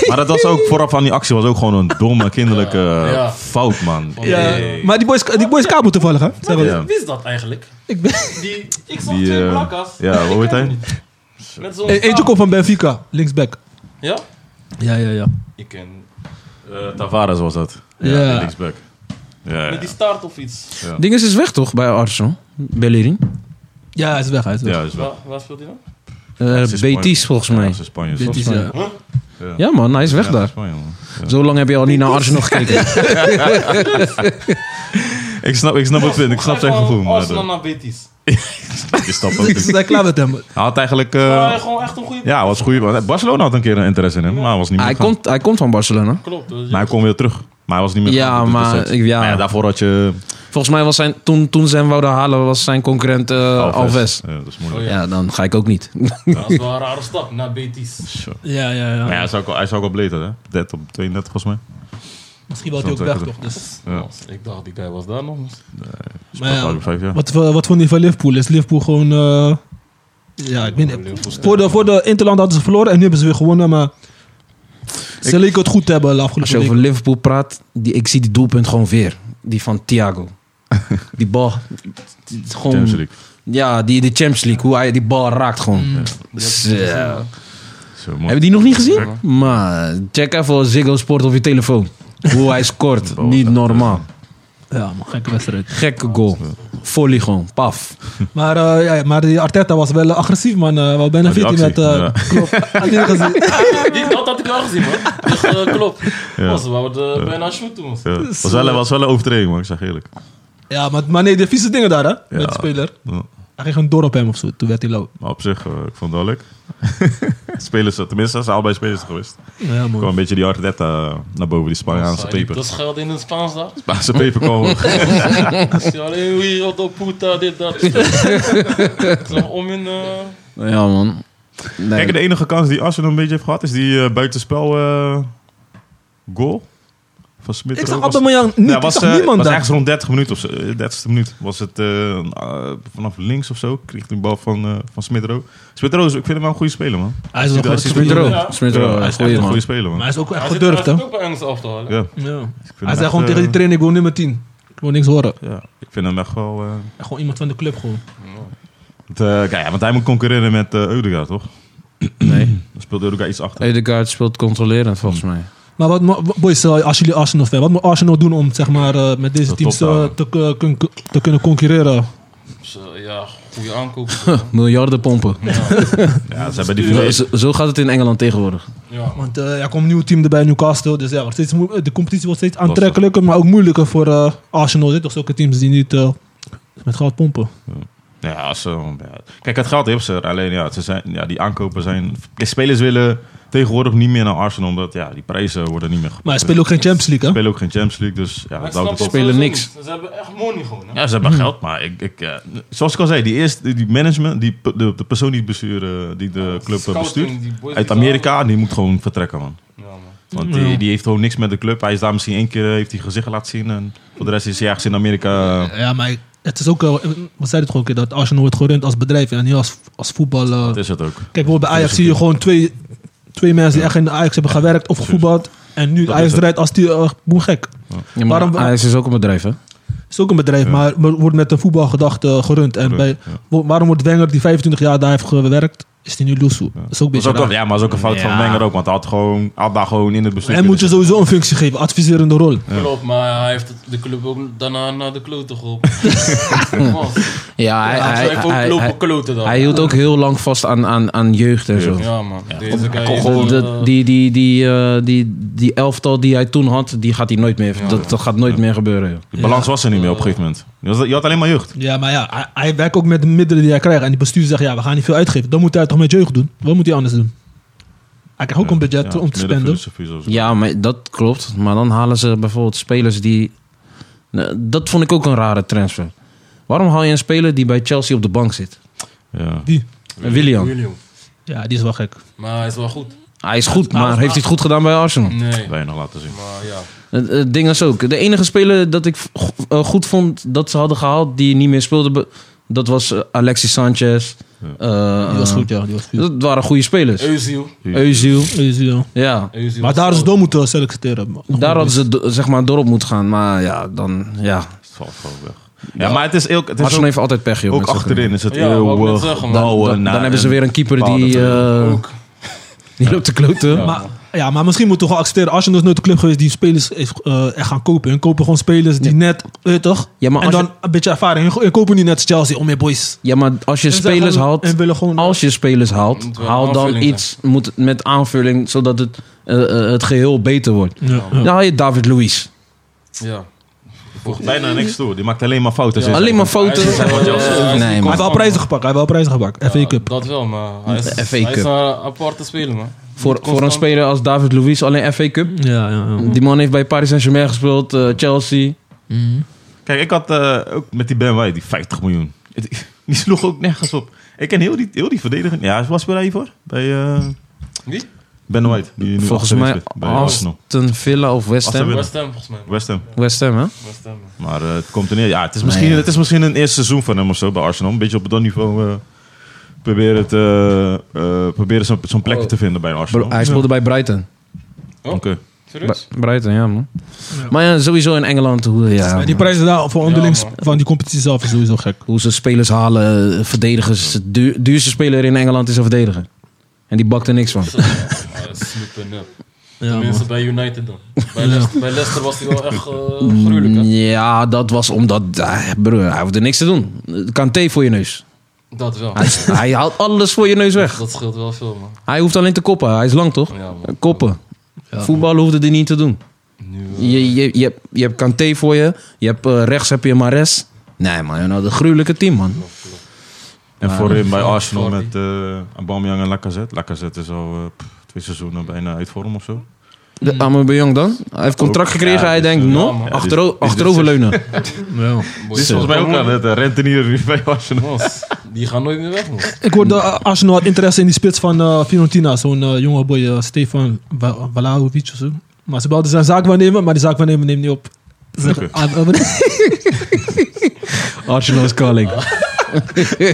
Speaker 5: Maar dat was ook, vooraf aan die actie, was ook gewoon een domme, kinderlijke eh,
Speaker 4: Ja.
Speaker 5: fout, man.
Speaker 2: Ja,
Speaker 4: Hey.
Speaker 2: Maar die boys, die boys kabel toevallig hè? Zeg maar.
Speaker 5: Ja.
Speaker 4: Wie is dat eigenlijk?
Speaker 2: Ik ben,
Speaker 4: Die, ik zag
Speaker 5: Die,
Speaker 4: twee
Speaker 5: eh,
Speaker 4: blakkas.
Speaker 5: ja, hoe heet hij?
Speaker 4: Met zo'n
Speaker 2: E- eentje
Speaker 4: staaf.
Speaker 2: komt van Benfica, linksback.
Speaker 4: Ja?
Speaker 2: Ja, ja, ja.
Speaker 4: Ik ken.
Speaker 5: Eh, Tavares was dat.
Speaker 2: Ja.
Speaker 5: die linksback. Ja, ja.
Speaker 4: Met die staart of iets.
Speaker 3: Dinges is weg, toch? Bij Arsenal. Bellerin.
Speaker 2: Ja, hij is weg, hij is weg.
Speaker 5: ja, is wel.
Speaker 4: Waar, waar speelt hij dan?
Speaker 3: Eh,
Speaker 5: Ja, ze is
Speaker 3: Betis,
Speaker 5: Spanje.
Speaker 3: volgens
Speaker 5: Ja,
Speaker 3: mij.
Speaker 5: ze is Spanje.
Speaker 2: Dit is,
Speaker 3: mij.
Speaker 2: eh,
Speaker 3: Ja, man, hij is weg
Speaker 5: Ja,
Speaker 3: daar.
Speaker 5: Spanje, man. Ja.
Speaker 3: Zo lang heb je al niet naar Arsenal gekeken.
Speaker 5: ik snap, ik snap het punt, ik snap zijn gevoel. Maar,
Speaker 4: Arsenal
Speaker 5: eh,
Speaker 4: naar Betis.
Speaker 5: ik snap het
Speaker 2: Ze
Speaker 5: niet.
Speaker 2: zijn klaar met hem.
Speaker 5: Hij had eigenlijk... eh,
Speaker 4: Maar hij is gewoon echt een goede...
Speaker 5: ja, was goed. Barcelona had een keer een interesse in hem, maar hij was niet meer
Speaker 3: Hij
Speaker 5: gegaan.
Speaker 3: komt, hij komt van Barcelona.
Speaker 4: Klopt. dus
Speaker 5: Maar hij kwam weer terug. Maar hij was niet meer
Speaker 3: Ja,
Speaker 5: gegaan tot
Speaker 3: maar
Speaker 5: destijds.
Speaker 3: ik- ja.
Speaker 5: Maar daarvoor had je...
Speaker 3: Volgens mij was zijn, toen, toen ze hem wouden halen, was zijn concurrent eh,
Speaker 5: Alves.
Speaker 3: Alves.
Speaker 5: Ja, dat is moeilijk.
Speaker 4: Oh,
Speaker 3: Ja, dan ga ik ook niet.
Speaker 4: Dat is wel een rare stap, naar Betis.
Speaker 5: Zo.
Speaker 2: Ja, ja,
Speaker 5: Maar ja,
Speaker 2: ja.
Speaker 5: hij is ook, al- hij is ook al bleter, hè? 30 op 32 volgens mij.
Speaker 2: Misschien wil hij ook
Speaker 5: Zo'n
Speaker 2: weg,
Speaker 5: trekker.
Speaker 2: toch? Dus.
Speaker 5: Ja.
Speaker 4: Ik dacht, die guy was daar nog.
Speaker 2: Maar ja,
Speaker 5: Speelt ook vijf jaar.
Speaker 2: wat, voor- wat vond je van Liverpool? Is Liverpool gewoon... eh, ja, ik weet niet.
Speaker 4: Liverpool
Speaker 2: Voor de, voor de Interland hadden ze verloren en nu hebben ze weer gewonnen, maar... Ze leken het goed te hebben de
Speaker 3: Als je
Speaker 2: afgelopen
Speaker 3: over
Speaker 2: week.
Speaker 3: Liverpool praat, die, ik zie die doelpunt gewoon weer. Die van Thiago. Die bal. die- Gewoon,
Speaker 5: Champions League. Mm.
Speaker 3: Ja, die, die Champions League. Hoe hij die bal raakt gewoon. Zo.
Speaker 5: Zo mooi.
Speaker 3: Heb je die nog niet gezien? Maar check even Ziggo Sport op je telefoon. Hoe hij scoort. niet normaal.
Speaker 2: Ja, man, gekke wedstrijd.
Speaker 3: Gekke goal. Volley gewoon. Paf.
Speaker 2: Maar, eh, ja, maar die Arteta was wel agressief, man. eh wel bijna
Speaker 5: Maar die
Speaker 2: 14 met... eh
Speaker 5: actie,
Speaker 2: Klopt. Had je niet gezien?
Speaker 4: Die, dat had ik wel gezien, man. Dus, eh, klopt. Was wel de, bijna shoot toen.
Speaker 5: Ja, was, wel, was wel een overtreding, man. Ik zeg eerlijk.
Speaker 2: Ja, maar, maar nee, de vieze dingen daar, hè? Met
Speaker 5: Ja.
Speaker 2: de speler.
Speaker 5: Ja.
Speaker 2: Hij ging gewoon door op hem of zo. Toen werd hij lauw.
Speaker 5: Maar op zich, eh, ik vond het wel leuk. spelers, eh, tenminste, ze zijn allebei spelers geweest.
Speaker 2: Ja,
Speaker 5: Er kwam
Speaker 2: man.
Speaker 5: een beetje die Arteta eh, naar boven, die Spaanse
Speaker 4: Dat
Speaker 5: peper.
Speaker 4: schuilt in het Spaans daar.
Speaker 5: Spaanse peper kwam.
Speaker 4: Ik zie alleen hoe je op puta, dit, dat. Zo om in... eh,
Speaker 3: Ja, man. Nee.
Speaker 5: Kijk, de enige kans die Arsenal een beetje heeft gehad, is die eh, buitenspel eh, goal. Van Smith.
Speaker 2: Ik zag
Speaker 5: Was-
Speaker 2: Aubameyang niet.
Speaker 5: Ja,
Speaker 2: Ik
Speaker 5: was,
Speaker 2: zag
Speaker 5: eh,
Speaker 2: niemand
Speaker 5: was
Speaker 2: daar.
Speaker 5: ergens rond 30 minuten of zo. eh, 30ste minuut was het eh, eh, vanaf links of zo. Kreeg die bal van, eh van Smith-Rowe. Smith-Rowe, is- ik vind hem wel een goede speler, man.
Speaker 2: Hij is wel
Speaker 5: Hij
Speaker 2: goed.
Speaker 5: is een
Speaker 3: Smith Rowe.
Speaker 4: Ja.
Speaker 3: Smith
Speaker 5: Ja,
Speaker 3: Rowe,
Speaker 5: hij is echt
Speaker 3: goeie
Speaker 5: een
Speaker 3: man.
Speaker 5: goede speler,
Speaker 2: Maar
Speaker 5: man.
Speaker 2: hij is ook echt
Speaker 4: Hij zit
Speaker 2: gedurfd, hè?
Speaker 4: eigenlijk ook bij Engels af te halen.
Speaker 5: Ja,
Speaker 2: Ja.
Speaker 5: ik vind
Speaker 2: Hij
Speaker 5: hem
Speaker 2: zei
Speaker 5: echt,
Speaker 2: gewoon tegen
Speaker 5: eh,
Speaker 2: die trainer, ik wil nummer 10. Ik wil niks horen.
Speaker 5: Ja, ik vind hem echt wel... eh,
Speaker 2: Echt gewoon iemand van de club, gewoon.
Speaker 5: want, eh, kijk, ja, want hij moet concurreren met eh Eudegaard, toch?
Speaker 3: Nee.
Speaker 5: Dan speelt Eudegaard iets achter.
Speaker 3: Edegaard speelt controlerend volgens mij.
Speaker 2: Maar wat, mo- boys, eh, als jullie Arsenal fan, wat moet Arsenal doen om zeg maar, eh, met deze
Speaker 5: Dat
Speaker 2: teams
Speaker 5: top
Speaker 2: eh,
Speaker 5: houden.
Speaker 2: te, eh, kun- te kunnen concurreren?
Speaker 4: Dus, eh, ja, goede aankoop.
Speaker 3: Miljarden pompen.
Speaker 5: Ja, ze hebben die...
Speaker 3: Zo, zo- zo gaat het in Engeland tegenwoordig.
Speaker 4: Ja.
Speaker 2: Want eh, er komt een nieuw team erbij, Newcastle. Dus ja, wordt steeds moe- de competitie wordt steeds aantrekkelijker, maar ook moeilijker voor eh, Arsenal. Dit toch zulke teams die niet eh, met goud pompen.
Speaker 5: Ja, zo, ja. Kijk, het geld heeft ze er. Alleen, ja, ze zijn, ja, die aankopen zijn... De spelers willen tegenwoordig niet meer naar Arsenal, omdat ja, die prijzen worden niet meer...
Speaker 2: Maar ze spelen ook geen Champions League, hè?
Speaker 5: spelen ook geen Champions League, dus
Speaker 4: Maar
Speaker 5: ja, dat
Speaker 4: ik snap
Speaker 5: houdt
Speaker 4: het
Speaker 5: het op.
Speaker 3: spelen
Speaker 4: sowieso
Speaker 3: niks.
Speaker 4: niet. Ze hebben echt money gewoon. Hè?
Speaker 5: Ja, ze hebben geld, maar ik, ik, eh, zoals ik al zei, die, eerste, die- die management, die, pe- de, de persoon die, het bestuur, eh, die de club eh,
Speaker 4: Scouting,
Speaker 5: bestuurt,
Speaker 4: die boys
Speaker 5: uit
Speaker 4: die
Speaker 5: Amerika, die moet gewoon vertrekken, man.
Speaker 4: daar- Ja, man.
Speaker 5: Want die, die heeft gewoon niks met de club. Hij is daar misschien één keer eh, heeft hij gezicht laten zien. En voor de rest is hij ergens in Amerika. eh,
Speaker 2: Ja, maar het is ook, eh, we zeiden het gewoon een keer, dat Arsenal wordt gerund als bedrijf en niet als, als voetbal. eh.
Speaker 5: Dat is het ook.
Speaker 2: Kijk, bijvoorbeeld bij Ajax zie je gewoon twee, twee mensen die echt in de Ajax hebben gewerkt of gevoetbald. En nu
Speaker 5: Dat is
Speaker 2: Ajax
Speaker 5: het.
Speaker 2: draait als die eh, boem gek.
Speaker 3: Ja, maar
Speaker 2: Waarom-
Speaker 3: Ajax is dus ook een bedrijf, hè?
Speaker 2: is ook een bedrijf, maar maar wordt met een voetbalgedachte eh, gerund. En bij, wa- waarom wordt Wenger, die 25 jaar daar heeft gewerkt, is die nu Lusso? Dat is ook een
Speaker 5: Dat is
Speaker 2: beetje
Speaker 5: ook wel-
Speaker 2: raar.
Speaker 5: ja, maar dat is ook een fout van
Speaker 3: Ja.
Speaker 5: Wenger ook. Want hij had, gewoon, hij had daar gewoon in het bestuur.
Speaker 2: Hij moet je
Speaker 5: kunnen
Speaker 2: sowieso een functie geven, adviserende rol.
Speaker 4: Klopt, maar hij heeft het- de club ook daarna naar de kloten geholpen. Man,
Speaker 3: Ja, hij,
Speaker 4: hij
Speaker 3: hij,
Speaker 4: heeft ook
Speaker 3: hij, hij-
Speaker 4: lopen kloten dan.
Speaker 3: hij hield ook heel lang vast aan, aan, aan jeugd en zo.
Speaker 4: Ja, man. Deze guy is
Speaker 3: Gewoon
Speaker 4: een,
Speaker 3: dat-
Speaker 4: eh,
Speaker 3: die, die, die, eh, die, die elftal die hij toen had, die gaat hij nooit meer. Dat, dat gaat nooit meer gebeuren. joh.
Speaker 5: zitten. De balans was er niet meer op een gegeven moment. Je had- Je had alleen maar jeugd.
Speaker 2: Ja, maar ja, hij, hij werkt ook met de middelen die hij krijgt. En die bestuur zegt, ja, we gaan niet veel uitgeven. Dan moet hij toch met jeugd doen. Wat moet hij anders doen? Hij krijgt ook een budget
Speaker 5: Ja,
Speaker 2: om te
Speaker 5: midden
Speaker 2: spenden.
Speaker 5: filosofie, zoals-
Speaker 3: Ja, maar dat klopt. Maar dan halen ze bijvoorbeeld spelers die. Nou, Dat vond ik ook een rare transfer. Waarom haal je een speler die bij Chelsea op de bank zit? Eh,
Speaker 5: Ja.
Speaker 2: Die.
Speaker 3: William.
Speaker 2: Ja, die is wel gek.
Speaker 4: Maar hij is wel goed.
Speaker 3: Hij is goed, maar heeft hij het goed gedaan bij Arsenal?
Speaker 4: Nee.
Speaker 5: Weinig laten zien.
Speaker 4: Maar ja.
Speaker 3: Het, het ding is ook. De enige speler dat ik go- eh, goed vond dat ze hadden gehaald die niet meer speelde, be- dat was eh, Alexis Sanchez. Eh,
Speaker 2: Die was goed, ja. Die was goed.
Speaker 3: Dat waren goede spelers.
Speaker 4: Eusiel.
Speaker 3: Eusiel.
Speaker 2: Dus, ja.
Speaker 3: Ja.
Speaker 2: Maar
Speaker 4: Eusiel was
Speaker 2: daar is
Speaker 4: goed.
Speaker 2: door moeten selecteren. man.
Speaker 3: Daar hadden ze do- zeg maar door op moeten gaan. Maar ja, dan. Ja.
Speaker 5: Het valt gewoon weg. Ja, maar het is, ook, het is
Speaker 3: Arsenal
Speaker 5: ook,
Speaker 3: heeft altijd pech, joh.
Speaker 5: ook
Speaker 3: met zulke-
Speaker 5: achterin. Is het
Speaker 4: Ja, wou ik net
Speaker 5: eeuwig
Speaker 4: zeggen, man.
Speaker 3: Dan,
Speaker 5: douwen
Speaker 3: dan,
Speaker 5: naar
Speaker 3: dan hebben ze
Speaker 5: een
Speaker 3: weer Oh, eh, een keeper die,
Speaker 5: nou, bepaalde-
Speaker 3: eh,
Speaker 4: Ook.
Speaker 3: die loopt te kloten.
Speaker 2: Maar, ja, maar misschien moeten we gewoon accepteren. Arsenal is nooit een club geweest die spelers heeft, eh, echt gaan kopen. En kopen gewoon spelers die net, weet je toch?
Speaker 3: Ja, maar
Speaker 2: en
Speaker 3: als
Speaker 2: dan een beetje ervaring. En kopen niet net Chelsea om meer boys.
Speaker 3: Ja, maar als je
Speaker 2: En ze
Speaker 3: spelers
Speaker 2: gaan-
Speaker 3: haalt,
Speaker 2: en willen gewoon-
Speaker 3: als je spelers haalt,
Speaker 4: Moet wel
Speaker 3: haal dan
Speaker 4: aanvulling
Speaker 3: iets moet het met aanvulling, zodat het, eh, eh, het geheel beter wordt.
Speaker 2: Ja,
Speaker 3: Dan haal je David Luiz.
Speaker 4: Ja.
Speaker 5: Die voegt bijna niks toe. Die maakt alleen maar fouten.
Speaker 4: Ja.
Speaker 5: sinds-
Speaker 3: Alleen maar fouten.
Speaker 4: Hij is- hij is-
Speaker 3: Eh,
Speaker 4: hij is-
Speaker 3: nee,
Speaker 4: hij
Speaker 2: Hij
Speaker 3: maar
Speaker 2: heeft wel prijzen gepakt. Hij heeft wel prijzen gepakt. FA Cup.
Speaker 4: Dat wel, maar hij is,
Speaker 3: De FA
Speaker 4: hij is
Speaker 3: Cup.
Speaker 4: een aparte speler, man.
Speaker 3: voor, voor een speler als David Luiz alleen FA Cup.
Speaker 2: Ja, ja, ja.
Speaker 3: Die man heeft bij Paris Saint-Germain gespeeld, eh, Chelsea.
Speaker 2: Mhm.
Speaker 5: Kijk, ik had eh, ook met die Ben White, die 50 miljoen. Het- Die sloeg ook nergens op. Ik ken heel die, heel die verdediging. Ja, was bij hiervoor? Bij eh,
Speaker 4: Wie?
Speaker 5: Ben White. Die nu
Speaker 3: Volgens
Speaker 5: achterin
Speaker 3: mij
Speaker 5: speelt, bij Arsenal.
Speaker 3: Aston Villa of West
Speaker 5: Aston
Speaker 3: Ham.
Speaker 5: Villa.
Speaker 4: West Ham, volgens mij.
Speaker 5: West Ham.
Speaker 3: West Ham, hè?
Speaker 4: West Ham. man.
Speaker 5: Maar eh, het komt er neer. Ja, het is, misschien,
Speaker 3: Nee.
Speaker 5: het is misschien een eerste seizoen van hem of zo bij Arsenal. Een beetje op dat niveau eh, proberen, het, eh, eh, proberen zo'n zo'n plekje
Speaker 3: Oh.
Speaker 5: te vinden bij Arsenal.
Speaker 3: Bro- hij speelde bij Brighton.
Speaker 5: Oké.
Speaker 4: Oh, Serieus?
Speaker 3: Bij- Brighton, ja, man.
Speaker 2: Ja.
Speaker 3: Maar ja, sowieso in Engeland, hoe, ja,
Speaker 2: Ja, die
Speaker 3: man.
Speaker 2: prijzen daar voor onderlings
Speaker 4: man.
Speaker 2: van die competitie zelf is sowieso gek.
Speaker 3: hoe ze spelers halen, eh, verdedigers. De duur- duurste speler in Engeland is een verdediger. En die bakt er niks van.
Speaker 4: Ja, super nep.
Speaker 2: Ja,
Speaker 4: Tenminste, bij United dan. Bij, Leicester, bij Leicester was hij wel echt eh gruwelijk,
Speaker 3: Mm.
Speaker 4: hè?
Speaker 3: Ja, dat was omdat... eh, broer, hij hoefde niks te doen. Kanté voor je neus.
Speaker 4: Dat wel.
Speaker 3: Hij, hij haalt alles voor je neus weg.
Speaker 4: Dat scheelt wel veel, man.
Speaker 3: Hij hoeft alleen te koppen. Hij is lang, toch?
Speaker 4: Ja, man.
Speaker 3: Koppen. Voetballen hoefde hij niet te doen.
Speaker 4: Nu, eh,
Speaker 3: Je, je, je, hebt- je hebt Kanté voor je. je hebt, eh, rechts heb je Mares. Nee, man. Nou, de gruwelijke team, man. Ah.
Speaker 5: En voorin bij Arsenal
Speaker 4: Vardy.
Speaker 5: met eh Aubameyang en Lacazette. Lacazette is al eh, pff, twee seizoenen bijna uit vorm of zo.
Speaker 3: De Aubameyang dan? Hij heeft contract
Speaker 5: Ook,
Speaker 3: gekregen.
Speaker 5: ja,
Speaker 3: hij
Speaker 5: dus,
Speaker 3: denkt,
Speaker 5: eh,
Speaker 3: no,
Speaker 4: ja, man.
Speaker 3: achtero-
Speaker 5: Dus- dus-
Speaker 3: achteroverleunen.
Speaker 2: ja.
Speaker 4: boy,
Speaker 5: Dit is volgens mij ook aan het eh, rentenier nu bij Arsenal.
Speaker 4: Mos, die gaan nooit meer weg, mos.
Speaker 2: Ik hoorde eh, Arsenal had interesse in die spits van eh, Fiorentina. Zo'n eh, jonge boy, eh, Stefan Wa- Vlahovic of zo. Maar ze belden zijn zaak waarnemen, maar die zaak waarnemen neemt niet op. Ze zeggen, ah, eh, wanneer-
Speaker 3: Arsenal is calling.
Speaker 2: hij,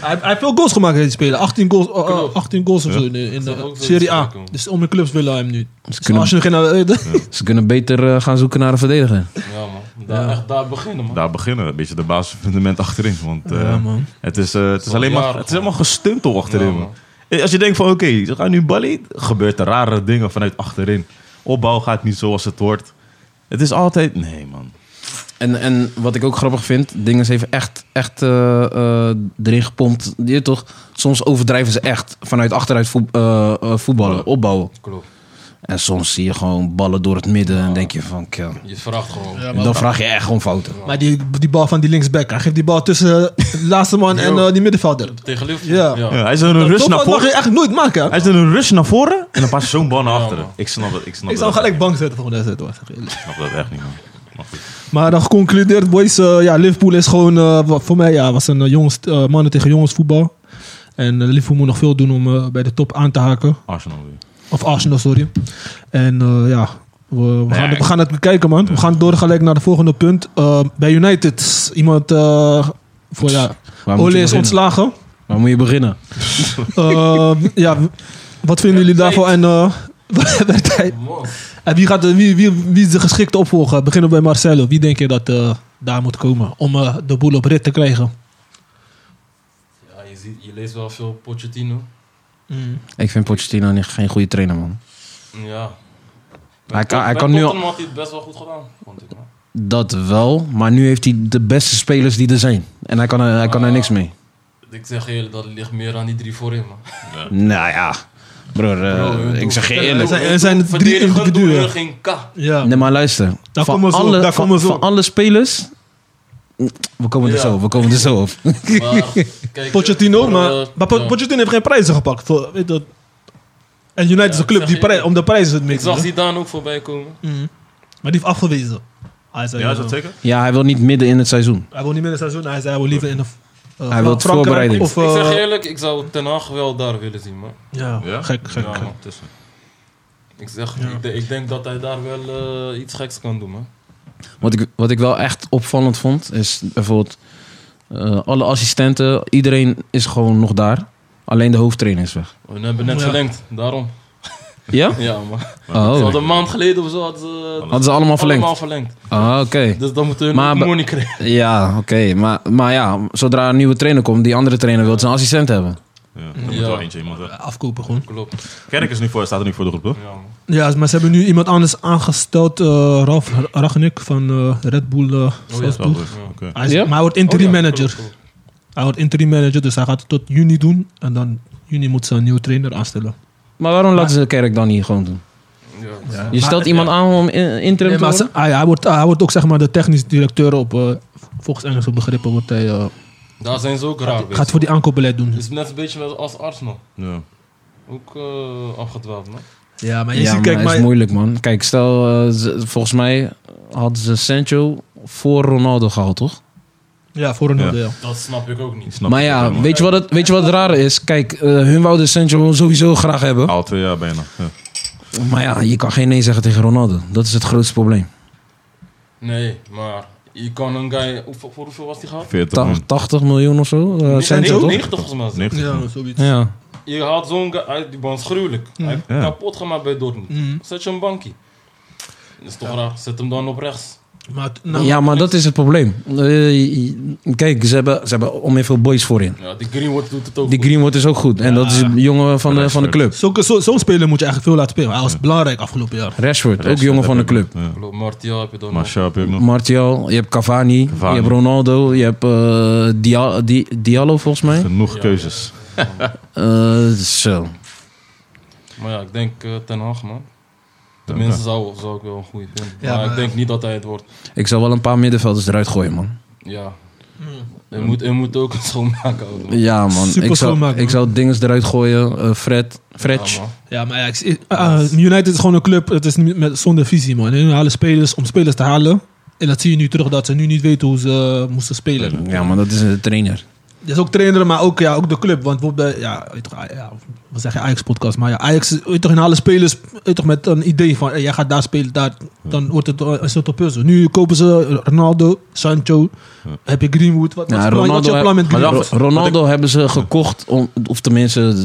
Speaker 2: hij heeft veel goals gemaakt in die spelen. 18 goals, eh, eh, 18 goals of zo in, in
Speaker 4: Zou
Speaker 2: de
Speaker 4: ook zoiets
Speaker 2: Serie A.
Speaker 4: maken, man.
Speaker 2: Dus om de clubs willen hem nu.
Speaker 3: Ze
Speaker 2: Dus
Speaker 3: kunnen,
Speaker 2: als je geen... eh, de-
Speaker 3: ze kunnen beter eh, gaan zoeken naar een verdediger.
Speaker 4: Ja, man. Daar, Echt daar beginnen, man.
Speaker 5: Daar beginnen we. Een beetje de basisfundament achterin. Want eh,
Speaker 2: Ja, man.
Speaker 5: het is, eh, het is, alleen maar,
Speaker 4: jaren,
Speaker 5: het is helemaal gestuntel achterin.
Speaker 4: Ja,
Speaker 5: man.
Speaker 4: man.
Speaker 5: Eh, Als je denkt van oké, ze gaan nu ballen. Gebeurt er rare dingen vanuit achterin. Opbouw gaat niet zoals het hoort. Het is altijd... Nee man.
Speaker 3: En, en wat ik ook grappig vind, Dingens heeft echt, echt eh, eh, erin gepompt. Je weet toch, soms overdrijven ze echt vanuit achteruit voet- eh, eh, voetballen, opbouwen.
Speaker 4: Klopt.
Speaker 3: En soms zie je gewoon ballen door het midden en denk je van, kill.
Speaker 4: Je vraagt gewoon.
Speaker 3: Dan vraag je echt gewoon fouten.
Speaker 2: Maar die, die bal van die linksback. Hij geeft die bal tussen eh, de laatste man en eh, die middenvelder.
Speaker 4: Tegen Liverpool?
Speaker 2: Ja.
Speaker 5: Ja, hij is een rush
Speaker 2: Zo'n fout
Speaker 5: naar
Speaker 2: mag
Speaker 5: voren.
Speaker 2: je eigenlijk nooit maken. hè?
Speaker 5: Hij is een rush naar voren en dan past zo'n bal naar
Speaker 4: Ja,
Speaker 5: achteren.
Speaker 4: man.
Speaker 5: ik snap het. Ik snap,
Speaker 2: Ik zou
Speaker 5: dat,
Speaker 2: gelijk bang zetten volgende wedstrijd. hoor, zeg je eerlijk.
Speaker 5: ik snap dat echt niet man. Maar goed.
Speaker 2: Maar dan geconcludeerd, boys. eh, ja, Liverpool is gewoon, eh, wat voor mij, ja, was een eh, jongens, eh, mannen tegen jongens voetbal. En eh, Liverpool moet nog veel doen om eh, bij de top aan te haken.
Speaker 5: Arsenal weer.
Speaker 2: Of Arsenal, sorry. En eh, ja, we, we gaan, het- we gaan het bekijken, man. We gaan door gelijk naar het volgende punt. Eh, bij United, iemand eh, voor, ja,
Speaker 3: Waar moet, je
Speaker 2: Ole is
Speaker 3: beginnen?
Speaker 2: ontslagen.
Speaker 3: Waar moet je beginnen?
Speaker 2: Eh, ja, wat vinden jullie daarvan? En eh, werd hij-
Speaker 4: Mos.
Speaker 2: en wie, gaat, de- wie, wie, wie is de geschikte opvolger? Beginnen we bij Marcelo. Wie denk je dat eh, daar moet komen om eh, de boel op rit te krijgen?
Speaker 4: Ja, je, ziet, je leest wel veel Pochettino. Mm.
Speaker 3: Ik vind Pochettino niet- geen goede trainer, man.
Speaker 4: Ja.
Speaker 3: Hij kan-
Speaker 4: Bij
Speaker 3: hij kan nu al-
Speaker 4: Tottenham had hij het best wel goed gedaan, vond ik, man.
Speaker 3: Dat wel, maar nu heeft hij de beste spelers die er zijn. En hij kan er, hij
Speaker 4: Ah.
Speaker 3: kan er niks mee.
Speaker 4: Ik zeg je eerlijk, dat ligt meer aan die drie voorin, man.
Speaker 3: Nou ja, broer, eh,
Speaker 4: Bro, hun
Speaker 3: ik zeg je
Speaker 4: doen-
Speaker 3: eerlijk.
Speaker 2: zijn- er zijn
Speaker 4: hun doen-
Speaker 2: drie
Speaker 4: verdedigend doen
Speaker 2: individuen.
Speaker 4: hun Geen K.
Speaker 2: Ja.
Speaker 3: Nee, maar luister.
Speaker 2: Oh. Daar
Speaker 3: van,
Speaker 2: komen we zo op,
Speaker 3: alle,
Speaker 2: daar
Speaker 3: van,
Speaker 2: komen we zo
Speaker 3: van
Speaker 2: op.
Speaker 3: alle spelers. We komen er
Speaker 4: Ja.
Speaker 3: zo op, we komen er zo op.
Speaker 4: Maar, kijk,
Speaker 2: Pochettino,
Speaker 4: voor,
Speaker 2: maar,
Speaker 4: eh,
Speaker 2: maar Po-
Speaker 4: ja.
Speaker 2: Pochettino heeft geen prijzen gepakt. Voor, weet dat. En United is
Speaker 4: Ja,
Speaker 2: een
Speaker 4: ik
Speaker 2: club
Speaker 4: zeg
Speaker 2: die
Speaker 4: je-
Speaker 2: prij- om de prijzen het
Speaker 4: Ik
Speaker 2: meest.
Speaker 4: zag Zidane ook voorbij komen.
Speaker 2: Mm. Maar die heeft afgewezen. Hij zei,
Speaker 5: Ja, is
Speaker 2: eh,
Speaker 5: dat zeker?
Speaker 3: Ja, hij wil niet midden in het seizoen.
Speaker 2: hij wil niet meer in het seizoen. Hij zei, hij wil liever in de... eh,
Speaker 3: Hij wil
Speaker 2: Frankrijk
Speaker 3: voorbereiding.
Speaker 2: Of, eh,
Speaker 4: ik zeg je eerlijk, ik zou Ten Hag wel daar willen zien, man.
Speaker 2: ja,
Speaker 5: Ja?
Speaker 2: gek, gek.
Speaker 4: Ja,
Speaker 2: gek.
Speaker 4: man. Ik, zeg, ik, de- ik denk dat hij daar wel eh, iets geks kan doen, man.
Speaker 3: Wat ik, wat ik wel echt opvallend vond, is bijvoorbeeld... eh, alle assistenten, iedereen is gewoon nog daar. Alleen de hoofdtrainer is weg.
Speaker 4: We hebben net
Speaker 2: Ja.
Speaker 4: verlengd, daarom.
Speaker 3: Ja?
Speaker 4: Ja, man. Ze
Speaker 3: Oh,
Speaker 4: hadden een maand geleden of zo hadden ze het
Speaker 3: hadden ze allemaal verlengd?
Speaker 4: allemaal verlengd.
Speaker 3: Ah, oké.
Speaker 4: Dus dan moeten we
Speaker 3: Maar
Speaker 4: een
Speaker 3: be-
Speaker 4: money krijgen.
Speaker 3: Ja, oké. Maar, maar ja, zodra een nieuwe trainer komt, die andere trainer wil zijn assistent hebben.
Speaker 5: Ja, er moet wel eentje iemand weg.
Speaker 2: Afkopen gewoon.
Speaker 4: Klopt.
Speaker 5: Kerk is nu voor, staat er nu voor de groep hoor.
Speaker 4: Ja, man.
Speaker 2: Ja, maar ze hebben nu iemand anders aangesteld. eh Ralf Ragnik van eh, Red Bull eh, Salzburg.
Speaker 5: Salzburg, dus, oké.
Speaker 2: Hij, is-
Speaker 3: Ja?
Speaker 2: maar hij wordt interim
Speaker 4: Oh, ja,
Speaker 2: manager.
Speaker 4: klopt, klopt.
Speaker 2: Hij wordt interim manager, dus hij gaat het tot juni doen. En dan juni moet ze een nieuwe trainer aanstellen.
Speaker 3: Maar waarom laten ze Kerk dan niet gewoon doen?
Speaker 4: Ja,
Speaker 3: Je
Speaker 2: Maar-
Speaker 3: stelt iemand aan om in- interim
Speaker 2: Nee,
Speaker 3: te
Speaker 2: maar
Speaker 3: worden?
Speaker 2: ze- hij, hij wordt, hij wordt ook zeg maar de technisch directeur op, eh, volgens Engelse begrippen, wordt hij, eh,
Speaker 4: Daar zijn ze ook raar
Speaker 2: gaat
Speaker 4: bezig.
Speaker 2: voor die aankoopbeleid doen.
Speaker 4: Het is net een beetje als arts, man.
Speaker 5: Ja.
Speaker 4: Ook eh afgedwaald, man.
Speaker 2: Ja, maar je
Speaker 3: Ja,
Speaker 2: ziet,
Speaker 3: maar
Speaker 2: kijk,
Speaker 3: het
Speaker 2: maar,
Speaker 3: is moeilijk, man. Kijk, stel, eh, ze- volgens mij hadden ze Sancho voor Ronaldo gehaald, toch?
Speaker 2: ja, voor een
Speaker 5: Ja.
Speaker 2: ja. ja.
Speaker 4: Dat snap ik ook niet.
Speaker 5: Snap
Speaker 3: maar
Speaker 5: ik
Speaker 3: ja,
Speaker 5: wel, man.
Speaker 3: weet je, wat het, weet je wat het rare is? Kijk, eh, hun wouden Sancho sowieso graag hebben.
Speaker 5: Al twee jaar bijna. Ja.
Speaker 3: Maar ja, je kan geen nee zeggen tegen Ronaldo. Dat is het grootste probleem.
Speaker 4: Nee, maar je kan een guy... hoe- Voor, voor hoeveel was die gehaald?
Speaker 5: 40
Speaker 3: Ta-
Speaker 5: man.
Speaker 3: 80 miljoen of zo. eh,
Speaker 4: Nee,
Speaker 3: Sancho, toch?
Speaker 4: 90 volgens mij.
Speaker 5: 90 man.
Speaker 2: zoiets.
Speaker 3: Ja.
Speaker 4: Je haalt zo'n guy uit, die man is gruwelijk.
Speaker 3: Mm.
Speaker 4: Hij heeft
Speaker 5: Ja.
Speaker 4: kapot gemaakt bij Dortmund.
Speaker 2: Mm.
Speaker 4: Zet je een bankie. Dat is toch raar. Zet hem dan op rechts.
Speaker 2: Maar, het- nou,
Speaker 3: ja, maar dat is het probleem. Eh, kijk, ze hebben, ze hebben ongeveer veel boys voorin.
Speaker 4: Ja, die Greenwood doet het ook.
Speaker 3: Die
Speaker 4: goed.
Speaker 3: Greenwood is ook goed. En dat is een jongen van de, van de club.
Speaker 2: Zulke- zo- Zo'n speler moet je eigenlijk veel laten spelen. Hij was belangrijk afgelopen jaar.
Speaker 3: Rashford, ook jongen van de club.
Speaker 5: Ja.
Speaker 4: Geloof, Martial heb je dan nog.
Speaker 5: Martial heb je ook nog.
Speaker 3: Martial, je hebt Cavani,
Speaker 5: Cavani.
Speaker 3: je hebt Ronaldo, je hebt eh, Dia- Di- Diallo volgens mij.
Speaker 5: Genoeg keuzes.
Speaker 3: Eh, zo.
Speaker 4: Maar ja, ik denk eh, Ten Hag, man. Tenminste, zou, zou ik wel een goede vinden.
Speaker 2: Ja,
Speaker 4: maar
Speaker 2: maar-
Speaker 4: ik denk niet dat hij het wordt.
Speaker 3: Ik zal wel een paar middenvelders eruit gooien, man.
Speaker 4: Ja.
Speaker 2: Mm.
Speaker 4: Je, moet, je moet ook een schoonmaken houden. man.
Speaker 3: Ja, man.
Speaker 2: Super
Speaker 3: ik, zou,
Speaker 2: schoonmaak, man.
Speaker 3: ik zou dingen eruit gooien. eh, Fred, Fred.
Speaker 4: Ja, man.
Speaker 2: Ja, maar ja, ik- ik- eh, United is gewoon een club het is niet met, zonder visie, man. En hun halen spelers om spelers te halen. En dat zie je nu terug, dat ze nu niet weten hoe ze eh, moesten spelen.
Speaker 3: ja, maar dat is een trainer.
Speaker 2: Dat is ook trainer, maar ook, ja, ook de club. Want bijvoorbeeld, bij- ja, weet toch, Aj- ja, we zeggen Ajax-podcast, maar ja, Ajax weet toch, hun halen spelers weet toch, met een idee van, eh, jij gaat daar spelen, daar, dan wordt het, eh, is het op puzzel. Nu kopen ze Ronaldo, Sancho, heb je Greenwood. Wat, wat,
Speaker 3: Ja,
Speaker 2: is je plan- wat is
Speaker 3: Ronaldo,
Speaker 2: je plan met
Speaker 3: heb-
Speaker 2: Greenwood?
Speaker 3: Ro- Ronaldo hebben ze gekocht, om, of tenminste,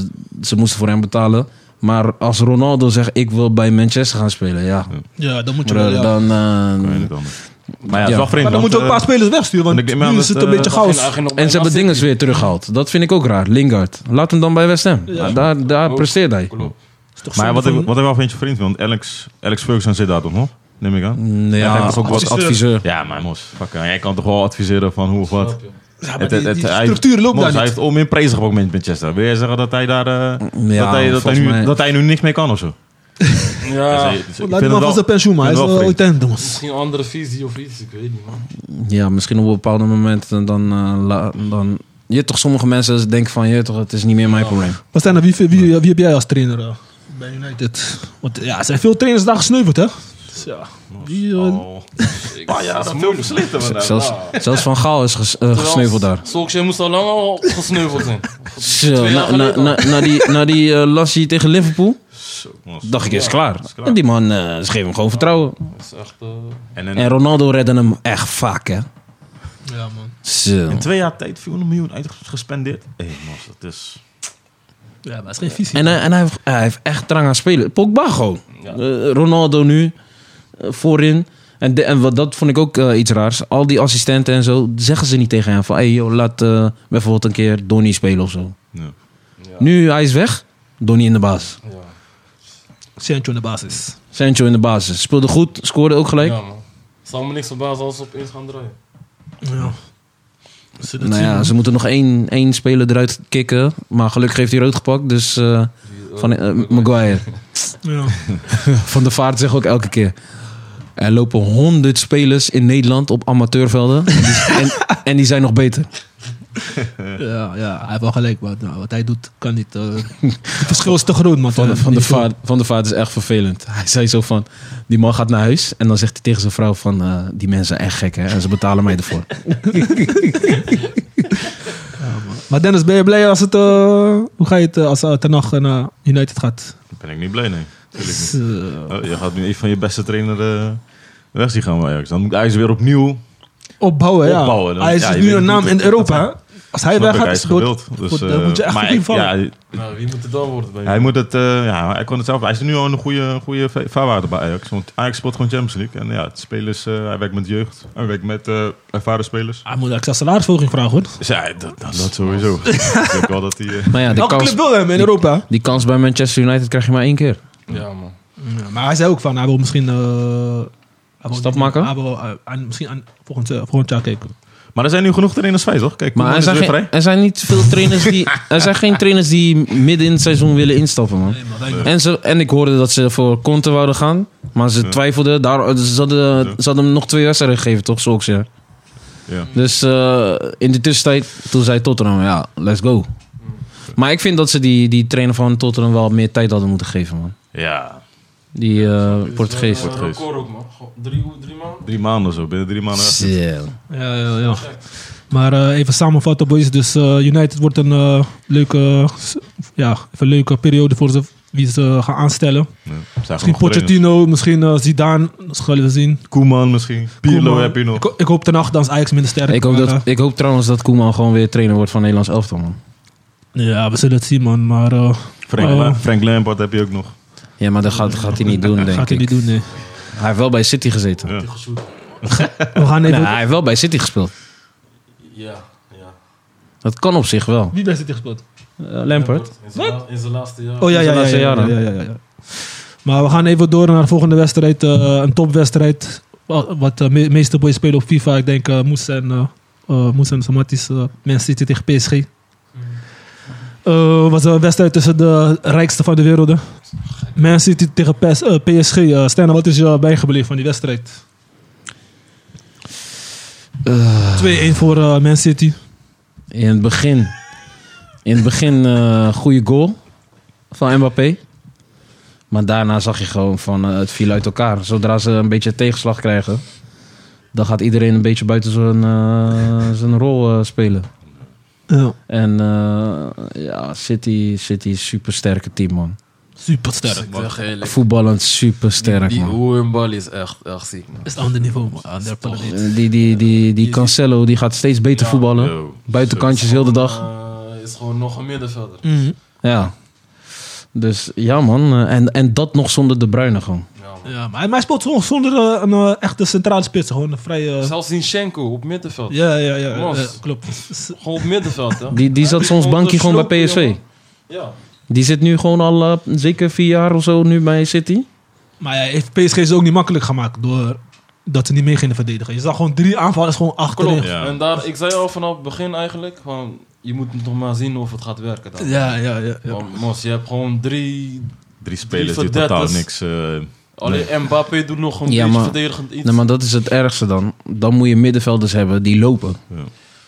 Speaker 3: ze moesten voor hem betalen. Maar als Ronaldo zegt, ik wil bij Manchester gaan spelen, ja.
Speaker 2: Ja, dan moet je wel,
Speaker 3: Bro,
Speaker 2: ja.
Speaker 3: Dan, eh,
Speaker 5: Ik weet het anders. Maar ja, het is
Speaker 3: Ja.
Speaker 5: wel vreemd.
Speaker 2: Maar dan
Speaker 5: want,
Speaker 2: moet je ook
Speaker 5: eh,
Speaker 2: een paar spelers wegsturen,
Speaker 5: en
Speaker 2: want
Speaker 5: ik- maar
Speaker 2: nu
Speaker 5: dat,
Speaker 2: is het een
Speaker 5: eh,
Speaker 2: beetje
Speaker 5: dat
Speaker 4: Hij
Speaker 2: chaos.
Speaker 4: ging- hij ging op
Speaker 3: en ze
Speaker 4: bijna
Speaker 3: hebben dingen
Speaker 4: City.
Speaker 3: weer teruggehaald. Dat vind ik ook raar. Lingard. Laat hem dan bij West Ham. Ah,
Speaker 2: Ja.
Speaker 3: Daar, daar
Speaker 4: Ook.
Speaker 3: presteert hij.
Speaker 4: Klopt.
Speaker 2: Is toch
Speaker 5: Maar ja,
Speaker 2: zonde
Speaker 5: wat ik,
Speaker 2: van-
Speaker 5: wat ik wel vind je vreemd, want Alex, Alex Ferguson zit daar toch nog? Neem ik aan. hij
Speaker 3: Ja,
Speaker 5: was Mm, ook wat
Speaker 3: als adviseur.
Speaker 2: adviseur.
Speaker 5: Ja, maar Mos, fuck, eh, jij kan toch wel adviseren van hoe of wat?
Speaker 4: Snap je?
Speaker 2: Ja, maar
Speaker 5: Het-
Speaker 2: die,
Speaker 5: het-
Speaker 2: die
Speaker 5: het- hij-
Speaker 2: structuur loopt
Speaker 5: Mos,
Speaker 2: daar
Speaker 5: Hij
Speaker 2: niet.
Speaker 5: heeft onminprezen op met Manchester. Wil jij zeggen dat hij daar eh,
Speaker 3: Ja,
Speaker 5: dat, hij, dat, hij
Speaker 3: volgens
Speaker 5: nu,
Speaker 3: mij-
Speaker 5: dat hij nu niks mee kan of zo? Dus hij-
Speaker 4: Ja,
Speaker 5: dus ik
Speaker 2: Laat
Speaker 5: vind
Speaker 2: hem
Speaker 5: het
Speaker 2: maar
Speaker 5: wel-
Speaker 2: van zijn pensioen, maar hij
Speaker 5: ik
Speaker 2: is
Speaker 5: vind
Speaker 2: wel ooit
Speaker 5: het wel
Speaker 2: einde, mos.
Speaker 4: misschien een andere visie of iets, ik weet niet, man.
Speaker 3: Ja, misschien op een bepaald moment eh, dan, eh, la- dan... Je hebt toch sommige mensen denken van, je weet toch, het is niet meer mijn probleem.
Speaker 2: Wat zijn er, wie, wie, wie, wie heb jij als trainer eh, bij United? Want ja, er zijn veel trainers daar gesneuveld, hè? Dus ja, wie, eh,
Speaker 5: Oh,
Speaker 4: Ik-
Speaker 5: Ah ja,
Speaker 4: is
Speaker 5: dat is veel
Speaker 4: moeilijk.
Speaker 5: verslitten vandaag.
Speaker 3: Zelfs, zelfs Van Gaal is ges, eh,
Speaker 4: Terwijl
Speaker 3: gesneuveld daar.
Speaker 4: Solskjaer moest al lang al gesneuveld zijn.
Speaker 3: Zo,
Speaker 4: Twee
Speaker 3: na,
Speaker 4: jaar
Speaker 3: na,
Speaker 4: geleden
Speaker 3: na, na die, na die eh, lassie tegen Liverpool,
Speaker 5: Zo, Mos.
Speaker 3: dacht ik, is klaar.
Speaker 5: is klaar.
Speaker 3: En die man, eh ze geven hem gewoon vertrouwen.
Speaker 4: Dat is echt... eh,
Speaker 5: En in,
Speaker 3: En Ronaldo redde hem echt vaak, hè.
Speaker 2: ja, man.
Speaker 3: Zo.
Speaker 5: in twee jaar tijd 400 miljoen uitgespendeerd. Oh. Hé, hey, Mos, dat is...
Speaker 2: Ja, maar het is geen visie.
Speaker 3: En, hij, en hij, heeft, hij heeft echt drang aan spelen. Pogba gewoon.
Speaker 4: Ja.
Speaker 3: Eh, Ronaldo nu, eh, voorin. En, de- en wat, dat vond ik ook eh, iets raars. Al die assistenten en zo, zeggen ze niet tegen hem van... Hey, joh, laat eh, bijvoorbeeld een keer Donny spelen of zo.
Speaker 5: Ja.
Speaker 4: ja,
Speaker 3: Nu, hij is weg. Donny in de baas.
Speaker 4: Ja,
Speaker 2: Sancho in de basis.
Speaker 3: Sancho in de basis. Speelde goed, scoorde ook gelijk.
Speaker 4: ja man. Zou me niks verbazen als ze opeens gaan draaien.
Speaker 2: Ja. Als ze dat
Speaker 3: nou
Speaker 2: zien,
Speaker 3: ja,
Speaker 2: man.
Speaker 3: ze moeten nog één, één speler eruit kicken. Maar gelukkig heeft hij rood gepakt. Dus eh,
Speaker 4: Die, eh,
Speaker 3: van eh, Maguire.
Speaker 2: Ja.
Speaker 3: Van de Vaart zegt ook elke keer. Er lopen honderd spelers in Nederland op amateurvelden. en, en die zijn nog beter.
Speaker 2: Ja, ja, hij heeft wel gelijk, maar nou, wat hij doet kan niet. eh, het verschil is te groot, man.
Speaker 3: Van,
Speaker 2: Eh,
Speaker 3: van, de
Speaker 2: niet veel.
Speaker 3: vaart, van de Vaart is echt vervelend. Hij zei zo van, die man gaat naar huis. En dan zegt hij tegen zijn vrouw van, eh, die mensen zijn echt gek hè. En ze betalen mij ervoor.
Speaker 2: Maar Dennis, ben je blij als het. eh, hoe ga je het eh, als uh, Ten Hag naar United gaat?
Speaker 5: Daar ben ik niet blij, nee. Tuurlijk niet.
Speaker 2: Eh,
Speaker 5: Oh, je gaat nu een van je beste trainer eh weg zien gaan bij Ajax. Dan moet hij ze weer opnieuw
Speaker 2: opbouwen, ja.
Speaker 5: Opbouwen, dan-
Speaker 2: hij is
Speaker 5: ja,
Speaker 2: dus
Speaker 5: je
Speaker 2: nu
Speaker 5: weet
Speaker 2: een
Speaker 5: niet
Speaker 2: naam
Speaker 5: hoe
Speaker 2: in
Speaker 5: het-
Speaker 2: Europa.
Speaker 5: dat-
Speaker 2: hè? Als hij
Speaker 5: Snap ik,
Speaker 2: weggaat,
Speaker 5: hij is
Speaker 2: wordt-
Speaker 5: gewild. Dus,
Speaker 2: wordt- dan
Speaker 5: eh,
Speaker 2: moet je echt
Speaker 5: maar
Speaker 2: goed
Speaker 5: ik-
Speaker 2: invallen.
Speaker 5: ja,
Speaker 4: Nou, wie moet het dan worden bij
Speaker 5: hij
Speaker 4: jullie?
Speaker 5: moet het, eh, ja, hij kon het zelf. Hij is nu al een goede, goede va- vaarwaarde bij Ajax. Want Ajax speelt gewoon Champions League. En ja, het spelers, eh, hij werkt met jeugd. Hij werkt met eh, ervaren spelers.
Speaker 2: Hij Ah, moet extra salarisverhoging vragen, hoor.
Speaker 5: Dus ja, dat, dat, dat sowieso. ik denk wel dat hij... eh,
Speaker 3: Maar ja, die
Speaker 2: Welke
Speaker 3: kans,
Speaker 2: club wil hem in Europa?
Speaker 3: die kans bij Manchester United krijg je maar één keer.
Speaker 4: Ja, man.
Speaker 2: Ja, maar hij zei ook van, hij wil misschien... eh, hij wil
Speaker 3: Stap
Speaker 2: niet-
Speaker 3: maken?
Speaker 2: Hij wil eh, aan- misschien aan volgend, eh, volgend jaar kijken.
Speaker 5: Maar er zijn nu genoeg trainers vrij, toch? Kijk,
Speaker 3: Maar
Speaker 5: Koeman
Speaker 3: er
Speaker 5: is
Speaker 3: zijn,
Speaker 5: weer
Speaker 3: geen,
Speaker 5: vrij.
Speaker 3: er zijn niet veel trainers die. Er zijn geen trainers die midden in het seizoen willen instappen, man. En, ze, en ik hoorde dat ze voor Conte wouden gaan. Maar ze twijfelden. Daar, ze, hadden, ze hadden hem nog twee wedstrijden gegeven, toch? Zo ook zeggen.
Speaker 5: Ja.
Speaker 3: Dus eh, in de tussentijd, toen zei Tottenham, ja, let's go. Maar ik vind dat ze die, die trainer van Tottenham wel meer tijd hadden moeten geven, man.
Speaker 5: Ja,
Speaker 3: Die eh, Portugees.
Speaker 4: Dat is Dus een
Speaker 5: Portugees.
Speaker 4: record ook, man. Gewoon Drie, drie man.
Speaker 5: drie maanden zo. Binnen drie maanden. echt.
Speaker 3: Ja.
Speaker 2: Ja, ja, ja. Maar eh, even samenvatten, boys. Dus eh, United wordt een eh, leuke, s- ja, even een leuke periode voor ze, wie ze eh, gaan aanstellen.
Speaker 5: Ja, zijn genoeg
Speaker 2: Misschien
Speaker 5: trainers.
Speaker 2: Pochettino, misschien eh, Zidane, dat zullen we zien.
Speaker 5: Koeman misschien. Pirlo
Speaker 2: Koeman.
Speaker 5: heb je nog.
Speaker 2: Ik, ho- ik hoop ten acht, dan is Ajax minder sterk.
Speaker 3: Ik, hoop
Speaker 2: maar,
Speaker 3: dat, ik hoop trouwens dat Koeman gewoon weer trainer wordt van Nederlands elftal, man.
Speaker 2: eh, ja, we zullen het zien, man. Maar eh,
Speaker 5: Frank,
Speaker 2: Oh.
Speaker 5: La- Frank Lampard heb je ook nog.
Speaker 3: Ja, maar dat gaat, gaat hij niet doen, denk
Speaker 2: gaat hij
Speaker 3: ik.
Speaker 2: niet doen, nee.
Speaker 3: Hij heeft wel bij City gezeten.
Speaker 5: Ja.
Speaker 4: Geshoot.
Speaker 2: We gaan even...
Speaker 3: Nee, hij heeft wel bij City gespeeld.
Speaker 4: Ja, ja.
Speaker 3: Dat kan op zich wel.
Speaker 2: Wie bij City gespeeld?
Speaker 3: Eh, Lampert.
Speaker 4: In zijn la- In zijn laatste jaar.
Speaker 2: Oh ja, ja,
Speaker 3: Zijn
Speaker 2: ja,
Speaker 3: laatste
Speaker 2: ja, ja,
Speaker 3: jaren.
Speaker 2: ja, ja, ja, ja. Maar we gaan even door naar de volgende wedstrijd. eh, een topwedstrijd. Wa- Wat de me- meeste boys spelen op FIFA. Ik denk eh Moes en, eh eh, Moes en Samatis. eh Man City tegen PSG. Eh, was een wedstrijd tussen de rijkste van de werelden. Man City tegen PS, eh, PSG. Eh, Stijn, wat is je bijgebleven van die wedstrijd? 2-1 voor eh, Man City.
Speaker 3: In het begin. In het begin eh goede goal van Mbappé. Maar daarna zag je gewoon van eh, het viel uit elkaar. Zodra ze een beetje tegenslag krijgen, dan gaat iedereen een beetje buiten zijn, eh, zijn rol eh, spelen.
Speaker 2: Ja,
Speaker 3: En eh, ja, City, City is supersterke team, man.
Speaker 2: super sterk.
Speaker 4: Dus Ik zeg eerlijk.
Speaker 3: Voetballend supersterk,
Speaker 4: Die
Speaker 3: man.
Speaker 4: hoe een bal is echt, echt ziek, man.
Speaker 2: Is het ander niveau, man.
Speaker 4: Ander
Speaker 2: Ander planeet.
Speaker 3: Eh, Die, die, die, die Cancelo die gaat steeds beter voetballen.
Speaker 5: Yo.
Speaker 3: Buitenkantjes heel de dag.
Speaker 4: Eh, is gewoon nog een middenvelder.
Speaker 2: Mhm.
Speaker 3: Ja. Dus ja, man. eh, En, en dat nog zonder de Bruyne gewoon.
Speaker 4: Ja, man.
Speaker 2: Ja, maar hij, maar hij speelt gewoon zonder eh, een eh, echte centrale spits. Gewoon een vrije...
Speaker 4: Zelfs Zinchenko op middenveld.
Speaker 2: Ja, ja, ja.
Speaker 4: Mos.
Speaker 2: eh, klopt. S-
Speaker 4: Gewoon op middenveld, hè?
Speaker 3: Die, die zat soms bankje gewoon bij PSV.
Speaker 4: Ja.
Speaker 3: Die zit nu gewoon al eh, zeker vier jaar of zo nu bij City.
Speaker 2: Maar ja, heeft PSG ze ook niet makkelijk gemaakt door dat ze niet meer gingen verdedigen. Je zag gewoon drie aanvallers gewoon achterin.
Speaker 4: Klopt.
Speaker 5: Ja.
Speaker 4: En daar, ik zei al vanaf het begin eigenlijk, van, je moet nog maar zien of het gaat werken. Dan.
Speaker 2: Ja, ja, ja. ja.
Speaker 4: Want, Mos, je hebt gewoon drie...
Speaker 5: Drie spelers die
Speaker 4: verdetters.
Speaker 5: totaal niks... eh,
Speaker 4: Alleen Mbappé doet nog een
Speaker 3: Ja,
Speaker 4: beetje
Speaker 3: maar-
Speaker 4: verdedigend iets.
Speaker 3: Nee, maar dat is het ergste dan. Dan moet je middenvelders hebben die lopen.
Speaker 5: Ja.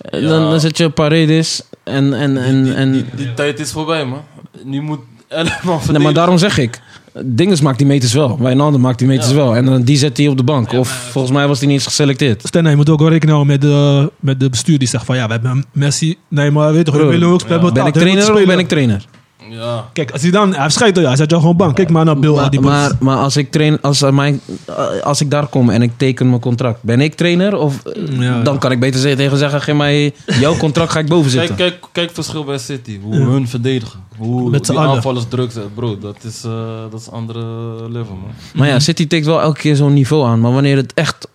Speaker 3: En Dan, dan zet je Paredes en... en, en, en
Speaker 4: Die, die tijd is voorbij, man. Nu moet elf man verdedigen.
Speaker 3: nee, maar daarom zeg ik. Dinges maakt die meters wel. Wijnaldum maakt die meters
Speaker 4: Ja.
Speaker 3: wel. En dan die zet hij op de bank. Of volgens mij was hij niet eens geselecteerd.
Speaker 2: Stenna, je moet ook wel rekening houden met de, met de bestuur die zegt van ja, we hebben Messi. Nee, maar weet toch, we
Speaker 3: Bro,
Speaker 2: willen ook we hebben
Speaker 3: Ben ik
Speaker 2: betaald, we
Speaker 3: trainer
Speaker 2: moeten
Speaker 3: of
Speaker 2: spelen.
Speaker 3: ben ik trainer?
Speaker 4: Ja.
Speaker 2: Kijk, als hij dan... Hij scheidt ja, hij zet jou gewoon bank. Kijk maar naar Bill, al die
Speaker 3: Maar,
Speaker 2: boys.
Speaker 3: maar, maar als, ik train, als, eh, mijn, eh, als ik daar kom en ik teken mijn contract, ben ik trainer? Of, eh,
Speaker 2: Ja,
Speaker 3: dan
Speaker 2: ja.
Speaker 3: kan ik beter ze- tegen zeggen: geef mij jouw contract, ga ik boven
Speaker 4: Kijk,
Speaker 3: zitten.
Speaker 4: kijk, kijk verschil bij City. Hoe hun verdedigen. Hoe
Speaker 2: Met z'n
Speaker 4: die
Speaker 2: allen.
Speaker 4: aanvallers druk zetten. Bro, dat is, eh, dat is andere level, man.
Speaker 3: Maar ja, City tikt wel elke keer zo'n niveau aan. Maar wanneer het echt,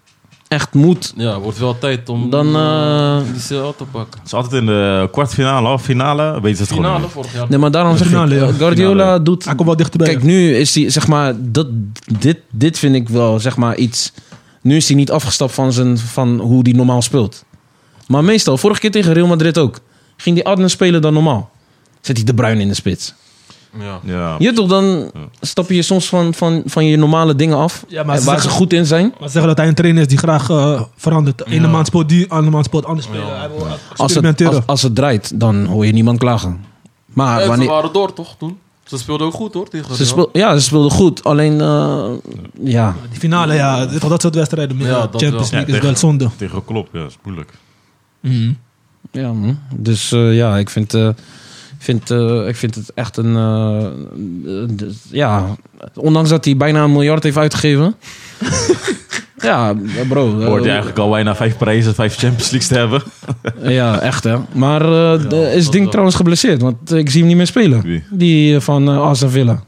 Speaker 3: echt moet,
Speaker 4: Ja, wordt wel tijd om
Speaker 3: dan.
Speaker 4: eh,
Speaker 3: eh,
Speaker 4: die CL te pakken.
Speaker 5: Het is altijd in de kwartfinale, halve finale. Weet je het gewoon
Speaker 4: Finale
Speaker 5: niet.
Speaker 4: vorig jaar.
Speaker 3: nee, maar daarom zeg
Speaker 2: Finale,
Speaker 3: ik:
Speaker 2: ja.
Speaker 3: Guardiola
Speaker 5: Finale.
Speaker 3: doet.
Speaker 2: Hij komt wel dichterbij.
Speaker 3: Kijk, nu is hij, zeg maar, dat, dit, dit vind ik wel, zeg maar, iets. Nu is hij niet afgestapt van, zijn, van hoe hij normaal speelt. Maar meestal, vorige keer tegen Real Madrid ook, ging die Adnan spelen dan normaal. Zet hij de Bruin in de spits.
Speaker 4: Ja.
Speaker 5: Ja.
Speaker 3: Je toch, dan stap je soms van, van, van je normale dingen af.
Speaker 2: Ja, maar
Speaker 3: en
Speaker 2: ze
Speaker 3: waar ze
Speaker 2: zeggen-
Speaker 3: goed in zijn.
Speaker 2: Maar ze zeggen dat hij een trainer is die graag eh, verandert. De ene
Speaker 4: Ja.
Speaker 2: maand speelt die, andere maand speelt anders spelen.
Speaker 4: Ja.
Speaker 2: Hij wil
Speaker 3: Als het,
Speaker 2: experimenteren.
Speaker 3: als, als het draait, dan hoor je niemand klagen. Maar
Speaker 4: Eh, Ze
Speaker 3: Ah, wanneer.
Speaker 4: waren door, toch, toen? Ze speelden ook goed, hoor, tegen
Speaker 3: Ze
Speaker 4: Real.
Speaker 3: speel, ja, ze speelden goed. Alleen, eh, ja.
Speaker 2: Die finale, ja, dit- dat soort wedstrijden. maar
Speaker 4: Ja,
Speaker 2: ja,
Speaker 4: dat
Speaker 2: Champions
Speaker 4: wel.
Speaker 2: League
Speaker 5: Ja,
Speaker 2: is wel zonde.
Speaker 5: Tegen Klopp, ja, is moeilijk.
Speaker 3: Mhm. ja man. dus eh, ja, ik vind, eh, vind, eh, ik vind het echt een. eh, eh, d- ja, ondanks dat hij bijna een miljard heeft uitgegeven. ja, bro. eh,
Speaker 5: Hoort je eigenlijk al bijna vijf prijzen, vijf Champions Leagues te hebben?
Speaker 3: Ja, echt hè. Maar eh, d- is Ding
Speaker 4: wel.
Speaker 3: trouwens geblesseerd? Want eh, ik zie hem niet meer spelen.
Speaker 5: Wie?
Speaker 3: Die eh, van eh, Aston Villa.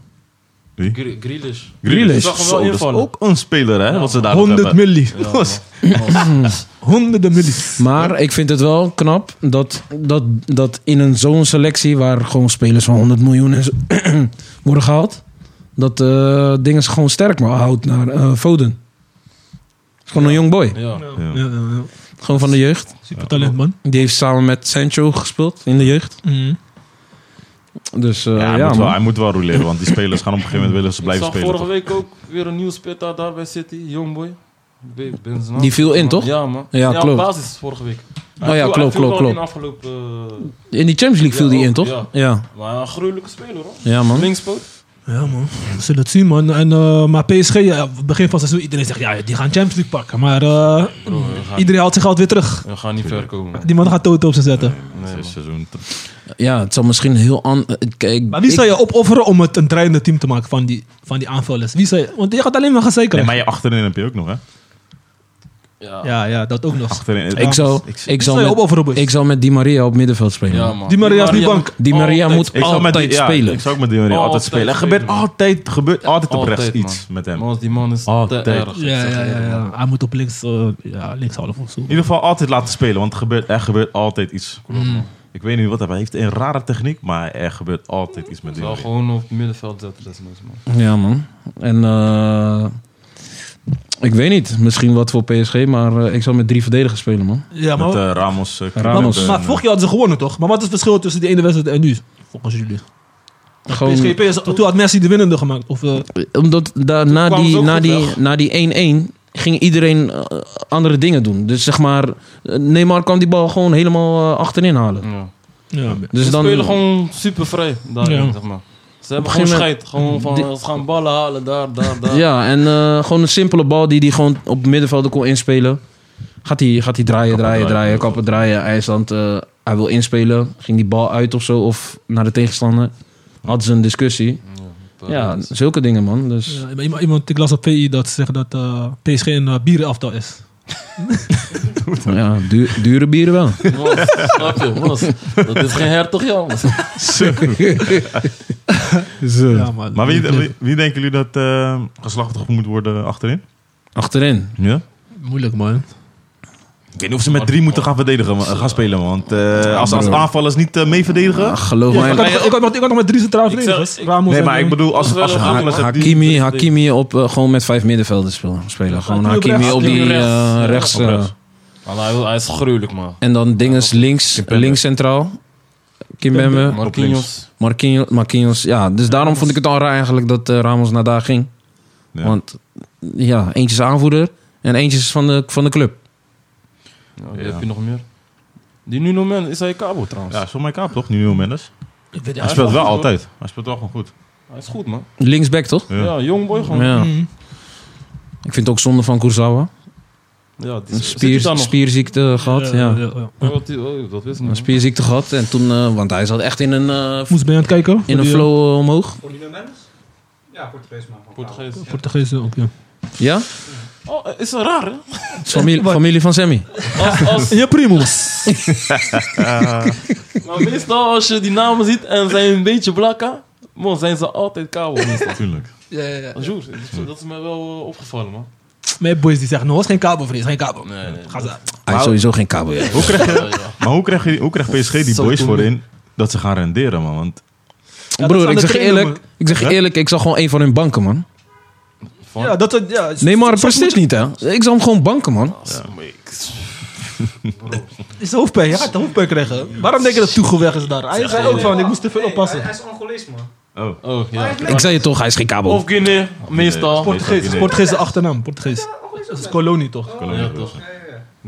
Speaker 4: Gre- Grealish.
Speaker 3: Grealish.
Speaker 4: Ik zag hem wel
Speaker 5: Zo, dat is
Speaker 4: invallen.
Speaker 5: ook een speler, hè? Wat ze daar nog
Speaker 2: 100
Speaker 5: hebben.
Speaker 2: milli.
Speaker 4: Ja, man.
Speaker 2: Honderden milli.
Speaker 3: Maar ik vind het wel knap dat, dat, dat in een zo'n selectie waar gewoon spelers van 100 miljoen en zo worden gehaald, dat eh dingen ze gewoon sterk maar houdt naar eh, Foden. is gewoon een jong boy.
Speaker 4: Ja.
Speaker 5: Ja.
Speaker 2: Ja, ja, ja.
Speaker 3: Gewoon van de jeugd.
Speaker 2: Super talent, man.
Speaker 3: Die heeft samen met Sancho gespeeld in de jeugd.
Speaker 2: Mm.
Speaker 3: Dus eh,
Speaker 5: Ja, hij,
Speaker 3: ja,
Speaker 5: moet
Speaker 3: man.
Speaker 5: wel, hij moet wel roleren, want die spelers gaan op een gegeven moment willen ze
Speaker 4: Ik
Speaker 5: blijven
Speaker 4: zag
Speaker 5: spelen.
Speaker 4: vorige
Speaker 5: toch?
Speaker 4: week ook weer een nieuwe spita daar bij City, Youngboy. Ik weet- ben zijn naam.
Speaker 3: Die viel in, toch?
Speaker 4: Ja, man.
Speaker 3: Ja,
Speaker 4: op
Speaker 3: klopt.
Speaker 4: basis vorige week.
Speaker 3: Oh ja, klopt, klopt,
Speaker 4: In
Speaker 3: klopt.
Speaker 4: afgelopen... eh,
Speaker 3: In die Champions League viel
Speaker 4: Ja,
Speaker 3: die
Speaker 4: ook,
Speaker 3: in, toch?
Speaker 4: ja.
Speaker 3: Ja,
Speaker 4: maar een gruwelijke speler, hoor.
Speaker 3: ja man.
Speaker 4: Linkspoot.
Speaker 2: Ja, man. We zullen het zien, man. En, eh, maar PSG, ja, begin van het seizoen, iedereen zegt, ja, die gaan Champions League pakken. Maar eh,
Speaker 4: Bro, we gaan,
Speaker 2: iedereen haalt zich altijd weer terug.
Speaker 4: we gaan niet ver komen. man.
Speaker 2: Die man gaat Toto op ze zetten.
Speaker 5: Nee, het is seizoen.
Speaker 3: Ja, het zal misschien heel anders... Kijk,
Speaker 2: Maar wie
Speaker 3: ik-
Speaker 2: zou je opofferen om het een draaiende team te maken van die, van die aanvallers? Wie zou je, want je gaat alleen maar gezeik
Speaker 5: Nee,
Speaker 2: krijgen.
Speaker 5: maar je achterin heb je ook nog, hè?
Speaker 4: Ja, ja,
Speaker 2: ja, ja, dat ook nog.
Speaker 5: Achterin,
Speaker 3: ik zou, ik, zou
Speaker 2: Wie zou je
Speaker 3: met,
Speaker 2: opofferen, boys?
Speaker 3: ik zou met Di Maria op middenveld spelen. man.
Speaker 4: man.
Speaker 2: Die Maria is niet bank.
Speaker 3: Di Maria
Speaker 4: Altijd.
Speaker 3: moet
Speaker 5: Ik zou met
Speaker 3: altijd
Speaker 5: die- ja,
Speaker 3: spelen.
Speaker 5: ik zou ook met die manier altijd
Speaker 4: Altijd
Speaker 5: spelen. Er
Speaker 4: spelen,
Speaker 5: gebeurt
Speaker 4: man.
Speaker 5: altijd, gebeurt altijd op rechts
Speaker 4: Altijd,
Speaker 5: iets
Speaker 4: man.
Speaker 5: met hem. In
Speaker 4: Man, die man is
Speaker 5: Altijd.
Speaker 4: te erg. ik
Speaker 2: Ja,
Speaker 4: zeg
Speaker 2: ja, ja,
Speaker 4: je eerlijk, man.
Speaker 2: ja. Hij moet op links, eh ja, links half of zo.
Speaker 5: ieder geval altijd laten spelen, want er gebeurt, er gebeurt altijd iets. Ik weet niet wat hij hij heeft. Een rare techniek, maar er gebeurt altijd iets met die
Speaker 4: Zou
Speaker 5: manier.
Speaker 4: gewoon op het middenveld zetten, desnoods, man.
Speaker 3: Ja, man. En eh, ik weet niet, misschien wat voor PSG, maar eh, ik zou met drie verdedigers spelen, man.
Speaker 2: Ja,
Speaker 5: Met
Speaker 2: maar,
Speaker 5: eh, Ramos. eh,
Speaker 2: maar,
Speaker 3: Ramos.
Speaker 5: Kruijff en,
Speaker 2: maar vorig jaar hadden ze gewonnen, toch? Maar wat is het verschil tussen die ene wedstrijd en nu, volgens
Speaker 3: Hm.
Speaker 2: jullie?
Speaker 3: Gewoon,
Speaker 2: PSG, PSG, toen had Messi de winnende gemaakt. Of, eh,
Speaker 3: Omdat da- na,
Speaker 4: kwamen ze
Speaker 3: die,
Speaker 4: ook
Speaker 3: na,
Speaker 4: goed
Speaker 3: die,
Speaker 4: weg.
Speaker 3: na die 1-1 ging iedereen eh, andere dingen doen. Dus zeg maar, eh, Neymar kan die bal gewoon helemaal eh, achterin halen.
Speaker 4: Ja.
Speaker 2: ja.
Speaker 3: Dus
Speaker 4: ze
Speaker 3: dan,
Speaker 4: spelen gewoon super vrij daarin,
Speaker 2: Ja.
Speaker 4: zeg maar. Ze
Speaker 3: Op een
Speaker 4: hebben
Speaker 3: gegeven
Speaker 4: gewoon
Speaker 3: moment-
Speaker 4: scheid. Gewoon van,
Speaker 3: Die-
Speaker 4: ze gaan ballen halen, daar, daar, daar.
Speaker 3: Ja, en eh, gewoon een simpele bal die hij gewoon op het middenveld kon inspelen. Gaat hij, gaat hij draaien, draaien,
Speaker 5: draaien.
Speaker 3: draaien, kappen draaien. IJsland, eh, hij wil inspelen. Ging die bal uit of zo, of naar de tegenstander. Hadden ze een discussie. Ja, zulke dingen, man. Dus...
Speaker 2: Ja, maar iemand, iemand, ik las op VI dat ze zeggen dat eh, PSG een eh, bierenaftal is.
Speaker 3: Ja, duur- dure bieren wel.
Speaker 4: Mos, snap je, mos. Dat is geen hertog, joh. mos.
Speaker 2: Ja, man.
Speaker 5: Maar wie, wie, wie denken jullie dat eh geslachtig moet worden achterin?
Speaker 3: Achterin.
Speaker 5: Ja?
Speaker 2: Moeilijk, man.
Speaker 5: Ik weet niet of ze met drie moeten gaan verdedigen, maar- gaan spelen. man. Want eh, als, als aanvallers niet eh, mee verdedigen...
Speaker 3: Ach, Ah, geloof
Speaker 2: ik,
Speaker 3: mij.
Speaker 2: had, ik, had nog, ik had nog met drie centrale
Speaker 4: zou-
Speaker 2: verdedigers.
Speaker 4: ik-
Speaker 2: Ramos
Speaker 5: Nee,
Speaker 2: en,
Speaker 5: maar ik
Speaker 2: eh,
Speaker 5: bedoel, als, als,
Speaker 4: Ofwel een
Speaker 5: aanvallers...
Speaker 4: aanvaller.
Speaker 5: hebben die-
Speaker 3: Hakimi, Hakimi op, eh, gewoon met vijf middenvelden spelen. spelen. Gewoon
Speaker 2: Hakimi op
Speaker 3: Hakimi
Speaker 2: rechts,
Speaker 3: op die
Speaker 4: Hakimi op
Speaker 3: eh, rechts.
Speaker 4: rechts.
Speaker 5: Op
Speaker 3: eh,
Speaker 5: rechts.
Speaker 4: Maar hij, hij is gruwelijk, man.
Speaker 3: en dan dinges links,
Speaker 5: ben
Speaker 3: links centraal. Kimbembe,
Speaker 4: Marquinhos.
Speaker 3: Marquinhos, Marquinhos. Ja, dus daarom vond ik het al raar eigenlijk dat eh, Ramos naar daar ging.
Speaker 5: Ja.
Speaker 3: Want ja, eentje is aanvoerder en eentje is van de, van de club.
Speaker 4: Ja, wie heb je nog meer? Die Nuno Men is hij kabel, trouwens.
Speaker 5: Ja, zo mijn kaap toch, Nuno Mendes.
Speaker 2: ik weet-
Speaker 5: Hij
Speaker 2: ja,
Speaker 5: speelt wel
Speaker 4: goed, hoor.
Speaker 5: altijd. Hij speelt wel gewoon goed.
Speaker 4: Hij is goed, man.
Speaker 3: Linksback toch?
Speaker 5: Ja.
Speaker 4: Ja, jong boy gewoon. Ja.
Speaker 3: Ja.
Speaker 2: mm.
Speaker 3: Ik vind het ook zonde van Kurzawa.
Speaker 4: die,
Speaker 3: Een
Speaker 4: zit hij daar
Speaker 3: spier,
Speaker 4: nog?
Speaker 3: spierziekte gehad. Ja,
Speaker 4: Oh, wat die- oh, dat wist ik
Speaker 3: Een
Speaker 4: niet.
Speaker 3: spierziekte gehad. En toen, eh, want hij zat echt in een, eh,
Speaker 2: Moest ben je aan het kijken?
Speaker 3: in een flow eh, omhoog.
Speaker 1: Ja, Portugees man.
Speaker 4: Portugees.
Speaker 2: Portugees ook, ja.
Speaker 3: Ja?
Speaker 4: Oh, is dat raar, hè?
Speaker 3: Familie, familie van Sammy.
Speaker 4: Als, als,
Speaker 2: En je primos.
Speaker 4: maar meestal als je die namen ziet en zijn een beetje blakka, man, zijn ze altijd kabel. meestal.
Speaker 5: Tuurlijk.
Speaker 2: ja, ja, ja.
Speaker 4: Joer, dat is- dat is mij wel eh, opgevallen, man.
Speaker 2: Mijn boys die zeggen, no, is geen kabelvrees, geen kabel.
Speaker 4: Nee, nee.
Speaker 2: Ga ze.
Speaker 3: Hij is sowieso geen kabel. ja.
Speaker 5: Hoe krijg je,
Speaker 4: Ja, ja.
Speaker 5: maar hoe krijg, je, hoe krijgt PSG die
Speaker 4: Zo
Speaker 5: boys
Speaker 4: doen
Speaker 5: voorin dat ze gaan renderen, man? Want
Speaker 2: Ja, dat is
Speaker 3: Broer,
Speaker 2: aan
Speaker 3: ik
Speaker 2: de
Speaker 3: zeg je
Speaker 2: trainer,
Speaker 3: eerlijk, ik zeg je
Speaker 5: Ja?
Speaker 3: eerlijk, ik zag gewoon een van hun banken, man.
Speaker 4: Van-
Speaker 2: Ja, dat soort- ja,
Speaker 3: Nee, maar
Speaker 2: soms
Speaker 3: precies
Speaker 2: moet-
Speaker 3: niet, hè? Ik zag hem gewoon banken, man.
Speaker 2: Is hoofdpijn, je gaat hoofdpijn krijgen. Waarom denk je dat Toegel weg is daar? Hij zei ook van, ik moest te veel oppassen.
Speaker 1: Hij is Angolees man.
Speaker 5: Oh,
Speaker 4: Oh, ja.
Speaker 3: Ik zei je toch, hij is geen kabel.
Speaker 4: Of Guinea, meestal.
Speaker 5: Nee,
Speaker 2: Portugees,
Speaker 5: nee.
Speaker 2: Portugees de achternaam, Portugees. Dat is kolonie toch?
Speaker 4: Ja, toch.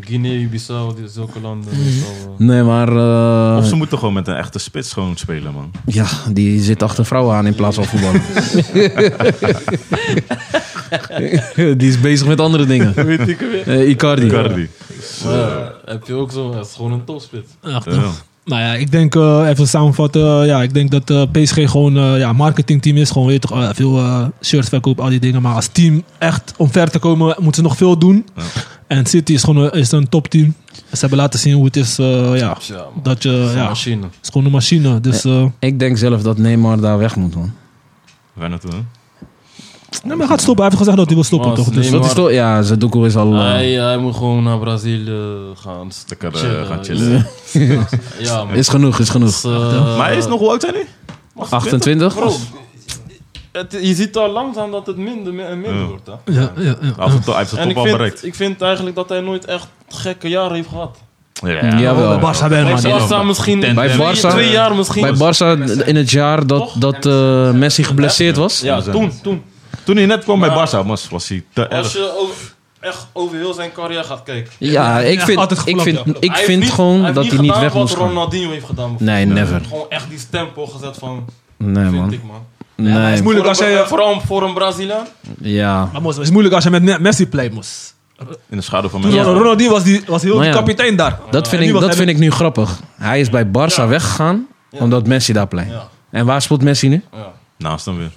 Speaker 4: Guinea, Bissau, die- zulke landen. meestal, eh.
Speaker 3: Nee, maar... eh,
Speaker 5: Of ze moeten gewoon met een echte spits gewoon spelen, man.
Speaker 3: Ja, die zit achter vrouwen aan in plaats van voetballen. die is bezig met andere dingen.
Speaker 4: Weet ik weer.
Speaker 3: Eh, Icardi.
Speaker 5: Cardi.
Speaker 4: Ja, heb je ook zo, het is gewoon een topspit.
Speaker 5: Ja.
Speaker 2: Nou ja, ik denk, eh, even samenvatten, eh, ja, ik denk dat eh, PSG gewoon eh ja, marketingteam is. Gewoon weet je toch, eh, veel eh, shirts verkopen, al die dingen. Maar als team echt om ver te komen, moeten ze nog veel doen.
Speaker 5: Ja.
Speaker 2: En City is gewoon een- is een topteam. Ze hebben laten zien hoe het is, eh, ja,
Speaker 4: Ja, man.
Speaker 2: dat je,
Speaker 4: Zo'n
Speaker 2: ja, het
Speaker 4: machine.
Speaker 2: is gewoon een machine. Dus, eh
Speaker 3: Ik denk zelf dat Neymar daar weg moet, man.
Speaker 5: Waar naartoe, hè?
Speaker 2: nee, maar hij gaat stoppen. Hij heeft gezegd dat hij wil stoppen,
Speaker 4: Maar
Speaker 2: toch?
Speaker 4: als
Speaker 2: Dus,
Speaker 4: Neymar-
Speaker 3: Dat is toch... Ja, Zadoeko is al... eh,
Speaker 4: Hij, hij moet gewoon naar Brazilië gaan. s-
Speaker 5: Lekker eh, gaan chillen.
Speaker 4: Ja, man.
Speaker 3: is genoeg, is genoeg.
Speaker 4: Dus, eh,
Speaker 5: Maar hij is nog, hoe oud zijn nu?
Speaker 3: 28?
Speaker 4: Bro, het, je ziet al langzaam dat het minder mi- en minder
Speaker 5: Ja.
Speaker 4: wordt. Hè?
Speaker 2: Ja, ja, ja.
Speaker 5: Hij heeft het- hij heeft het
Speaker 4: En
Speaker 5: top
Speaker 4: ik
Speaker 5: al
Speaker 4: vind,
Speaker 5: bereikt.
Speaker 4: ik vind eigenlijk dat hij nooit echt gekke jaren heeft gehad.
Speaker 3: Jawel.
Speaker 2: Barca ben
Speaker 4: Bij
Speaker 2: maar niet.
Speaker 4: Barca misschien,
Speaker 5: Bij
Speaker 4: twee,
Speaker 3: Barca-
Speaker 4: twee jaar misschien.
Speaker 3: Bij Barça in het jaar dat,
Speaker 4: Toch?
Speaker 3: dat eh, Messi geblesseerd was.
Speaker 4: ja, toen, toen.
Speaker 5: Toen hij net kwam bij
Speaker 4: Maar-
Speaker 5: Barça was, was hij te
Speaker 4: Als
Speaker 5: erg.
Speaker 4: je over- echt over heel zijn carrière gaat kijken.
Speaker 3: Ja, ik
Speaker 2: Ja,
Speaker 3: vind,
Speaker 2: altijd
Speaker 3: ik
Speaker 2: geklapt,
Speaker 3: vind,
Speaker 2: ja.
Speaker 3: ik
Speaker 4: Hij heeft
Speaker 3: vind
Speaker 4: niet-
Speaker 3: gewoon dat hij niet weg moest
Speaker 4: Hij heeft niet gedaan wat
Speaker 3: gaan.
Speaker 4: Ronaldinho heeft gedaan. bijvoorbeeld.
Speaker 3: Nee, never.
Speaker 4: Gewoon echt die stempel gezet van,
Speaker 3: Nee,
Speaker 4: vind
Speaker 3: man.
Speaker 4: ik man.
Speaker 3: Nee.
Speaker 2: Moeilijk als
Speaker 4: Voor een-
Speaker 2: jij-
Speaker 4: Vooral voor een Braziliaan.
Speaker 3: Ja.
Speaker 2: Maar moest- het is moeilijk als je met Ne- Messi play moest.
Speaker 5: In de schaduw van
Speaker 2: Toen
Speaker 5: mensen.
Speaker 2: was Ronaldinho was, die, was heel
Speaker 3: Maar
Speaker 2: die
Speaker 3: ja.
Speaker 2: kapitein daar.
Speaker 3: Dat vind
Speaker 2: nu
Speaker 3: ik,
Speaker 2: was
Speaker 3: dat
Speaker 2: hij
Speaker 3: vind ik nu grappig. Hij is bij Barça
Speaker 4: Ja.
Speaker 3: weggegaan
Speaker 4: Ja.
Speaker 3: omdat Messi daar pleit.
Speaker 4: Ja.
Speaker 3: En waar speelt Messi nu?
Speaker 4: Ja.
Speaker 5: Naast hem weer.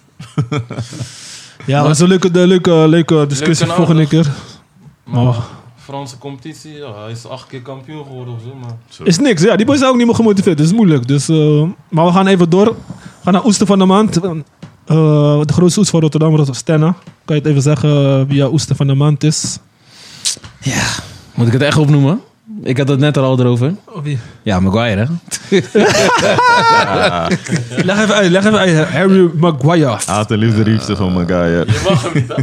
Speaker 2: Ja, maar dat is een leuke, de, leuke, leuke discussie
Speaker 4: Leuke
Speaker 2: volgende keer.
Speaker 4: Maar
Speaker 2: Maar-
Speaker 4: Franse competitie, ja, hij is acht keer kampioen geworden of zo. Maar
Speaker 2: Is niks, ja. Die boys zijn ook niet meer gemotiveerd. Dat is moeilijk. Dus, eh, maar we gaan even door. We gaan naar Oester van de Maand. Eh, de grootste oester van Rotterdam, Rotterdam Stenna. Kan je het even zeggen eh, wie jouw Oester van de Maand is?
Speaker 3: Moet ik het echt opnoemen? Ik had het net er al over.
Speaker 2: wie?
Speaker 3: Ja, Maguire. hè?
Speaker 2: Leg even uit, leg even uit. Harry Maguire.
Speaker 3: Ah,
Speaker 5: Haat en liefde liefde van mijn guy.
Speaker 4: je mag hem niet, hè?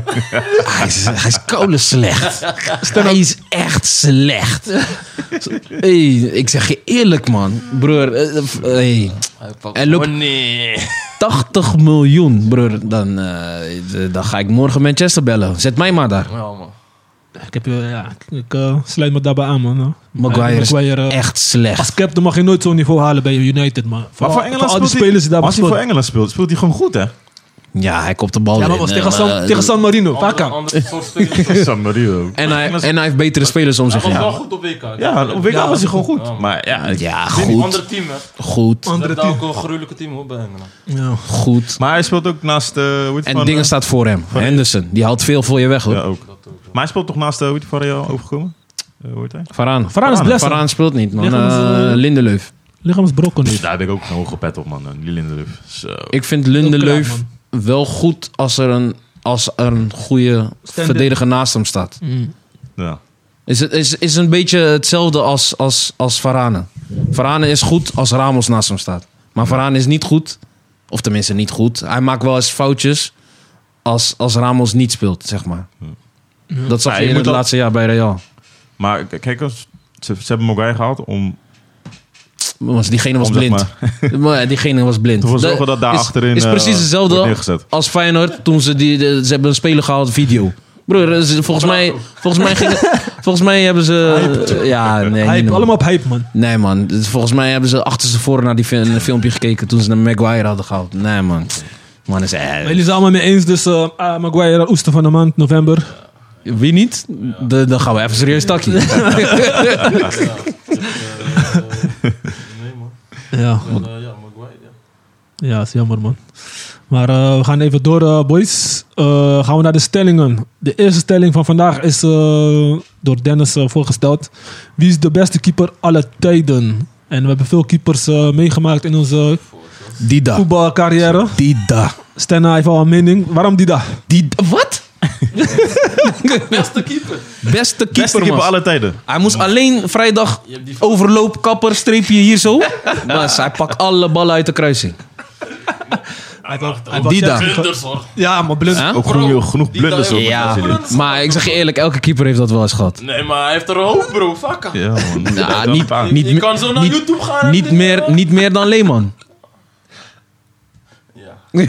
Speaker 3: Hij is, hij is kolen slecht. Hij is echt slecht. Hey, ik zeg je eerlijk, man. Broer, eh, eh, hey. Er loopt-
Speaker 4: Oh nee.
Speaker 3: 80 miljoen, broer. Dan, eh, dan ga ik morgen Manchester bellen. Zet mij maar daar.
Speaker 4: Ja, man.
Speaker 2: Ik, heb, eh, ja, ik eh, sluit me daarbij aan, man.
Speaker 3: Maguire is
Speaker 2: eh,
Speaker 3: echt slecht.
Speaker 2: Als captain mag je nooit zo'n niveau halen bij United, man.
Speaker 5: Maar voor Engeland
Speaker 2: al die
Speaker 5: speelt hij-
Speaker 2: spelers die daar
Speaker 5: Als hij
Speaker 2: bestaan.
Speaker 5: voor Engeland speelt, speelt hij gewoon goed, hè?
Speaker 3: Ja, hij kopt de bal
Speaker 2: Ja, maar
Speaker 3: in,
Speaker 2: was
Speaker 3: eh,
Speaker 2: tegen, San,
Speaker 3: maar-
Speaker 2: tegen San Marino. Vaak
Speaker 4: Ander-
Speaker 2: kan.
Speaker 4: Anders soort spelers.
Speaker 5: San Marino.
Speaker 3: En hij, en hij heeft betere spelers om
Speaker 4: Hij
Speaker 3: zich
Speaker 4: was wel
Speaker 3: heen.
Speaker 4: goed op WK.
Speaker 5: Ja, op WK
Speaker 2: Ja.
Speaker 5: was hij gewoon goed.
Speaker 4: Ja.
Speaker 5: Maar ja, ik-
Speaker 3: Ja,
Speaker 4: Een
Speaker 3: goed.
Speaker 4: ander team, hè.
Speaker 3: Goed.
Speaker 4: Ze
Speaker 2: Andere
Speaker 4: hebben daar ook
Speaker 2: team.
Speaker 4: een gruwelijke team hoor, bij Engeland.
Speaker 2: Ja.
Speaker 3: Goed.
Speaker 5: maar hij speelt ook naast... eh, hoe heet die
Speaker 3: En
Speaker 5: van,
Speaker 3: dingen
Speaker 5: eh,
Speaker 3: staat voor hem. Henderson, die haalt veel voor je weg,
Speaker 5: Ja,
Speaker 3: hoor.
Speaker 5: ook. Maar hij speelt toch naast... eh, hoe heet die van Real overgekomen? Eh, Hoe heet hij?
Speaker 3: Varaan.
Speaker 2: Varaan is blessed.
Speaker 3: Varaan speelt niet, man.
Speaker 2: Lichaams,
Speaker 3: Eh,
Speaker 2: eh,
Speaker 3: Lindelöf.
Speaker 2: Lichaam is brokken nu.
Speaker 5: Daar heb ik ook een hoge pet op, man. eh, Die Lindelöf. Zo.
Speaker 3: Ik vind
Speaker 2: Heel
Speaker 3: Lindelöf
Speaker 2: knap,
Speaker 3: wel goed als er een, als er een goede verdediger naast hem staat.
Speaker 2: Mm.
Speaker 5: Ja.
Speaker 3: Is, het- is, is een beetje hetzelfde als, als, als Varane. Varane is goed als Ramos naast hem staat. Maar Varane is niet goed. Of tenminste niet goed. Hij maakt wel eens foutjes als, als Ramos niet speelt, zeg maar. Dat zag
Speaker 5: Ja,
Speaker 3: je
Speaker 5: je
Speaker 3: in
Speaker 5: moet
Speaker 3: het
Speaker 5: dat-
Speaker 3: laatste jaar bij Real.
Speaker 5: Maar k- kijk eens... Ze, ze hebben Mogai gehaald om
Speaker 3: Want diegene was
Speaker 5: Om, zeg
Speaker 3: blind. Maar ja, diegene was blind.
Speaker 5: ervoor te zorgen
Speaker 3: Da-
Speaker 5: dat daar
Speaker 3: is,
Speaker 5: achterin
Speaker 3: is
Speaker 5: eh,
Speaker 3: precies
Speaker 5: wordt
Speaker 3: hetzelfde
Speaker 5: neergezet.
Speaker 3: als Feyenoord toen ze, die, de- ze hebben een speler gehaald video. Broer, ze- volgens mij, volgens, mij gingen- volgens mij hebben ze... Ja, nee, niet
Speaker 2: Hype,
Speaker 3: normaal.
Speaker 2: allemaal op hype, man.
Speaker 3: Nee man, Dus volgens mij hebben ze achter ze voor naar die fi- filmpje gekeken toen ze naar Maguire hadden gehaald. Nee man. Man is eh,
Speaker 2: Maar Jullie zijn allemaal mee eens, dus eh, ah, Maguire, Oester van de Maand, november.
Speaker 3: Wie niet? De- dan gaan we even serieus takkie.
Speaker 4: Eh, nee, man.
Speaker 2: Ja,
Speaker 4: En, eh, ja, Maguire, ja.
Speaker 2: ja is jammer, man. Maar eh, we gaan even door, eh, boys. Eh, gaan we naar de stellingen. De eerste stelling van vandaag is eh, door Dennis eh, voorgesteld. Wie is de beste keeper aller tijden? En we hebben veel keepers eh, meegemaakt in onze
Speaker 3: Dida.
Speaker 2: voetbalcarrière.
Speaker 3: Dida.
Speaker 2: Stenna heeft al een mening. Waarom die dag?
Speaker 3: Dida. Wat?
Speaker 4: Beste keeper.
Speaker 3: Beste keeper,
Speaker 5: Beste keeper
Speaker 3: man.
Speaker 5: alle tijden.
Speaker 3: Hij moest alleen vrijdag
Speaker 4: Je hebt die van
Speaker 3: overloop, kapper, streepje hier zo. Maar hij pakt alle ballen uit de kruising. Dida.
Speaker 4: Blunders hoor.
Speaker 2: Ja, maar blind.
Speaker 3: Huh?
Speaker 5: Ook genoeg, genoeg
Speaker 4: die
Speaker 5: blunders op. eh,
Speaker 4: daar-
Speaker 3: Ja,
Speaker 5: Brazilië.
Speaker 3: maar ik zeg je eerlijk, elke keeper heeft dat wel eens gehad.
Speaker 4: Nee, maar hij heeft er een hoop, bro. Fuck hem.
Speaker 5: Ja, man.
Speaker 3: Nou,
Speaker 5: Dat-
Speaker 3: niet,
Speaker 5: dat-
Speaker 3: niet,
Speaker 4: Je
Speaker 3: me-
Speaker 4: kan zo naar
Speaker 3: niet-
Speaker 4: YouTube gaan en
Speaker 3: Niet
Speaker 4: dingen,
Speaker 3: meer,
Speaker 4: hoor.
Speaker 3: niet meer dan Leeman.
Speaker 4: Ja.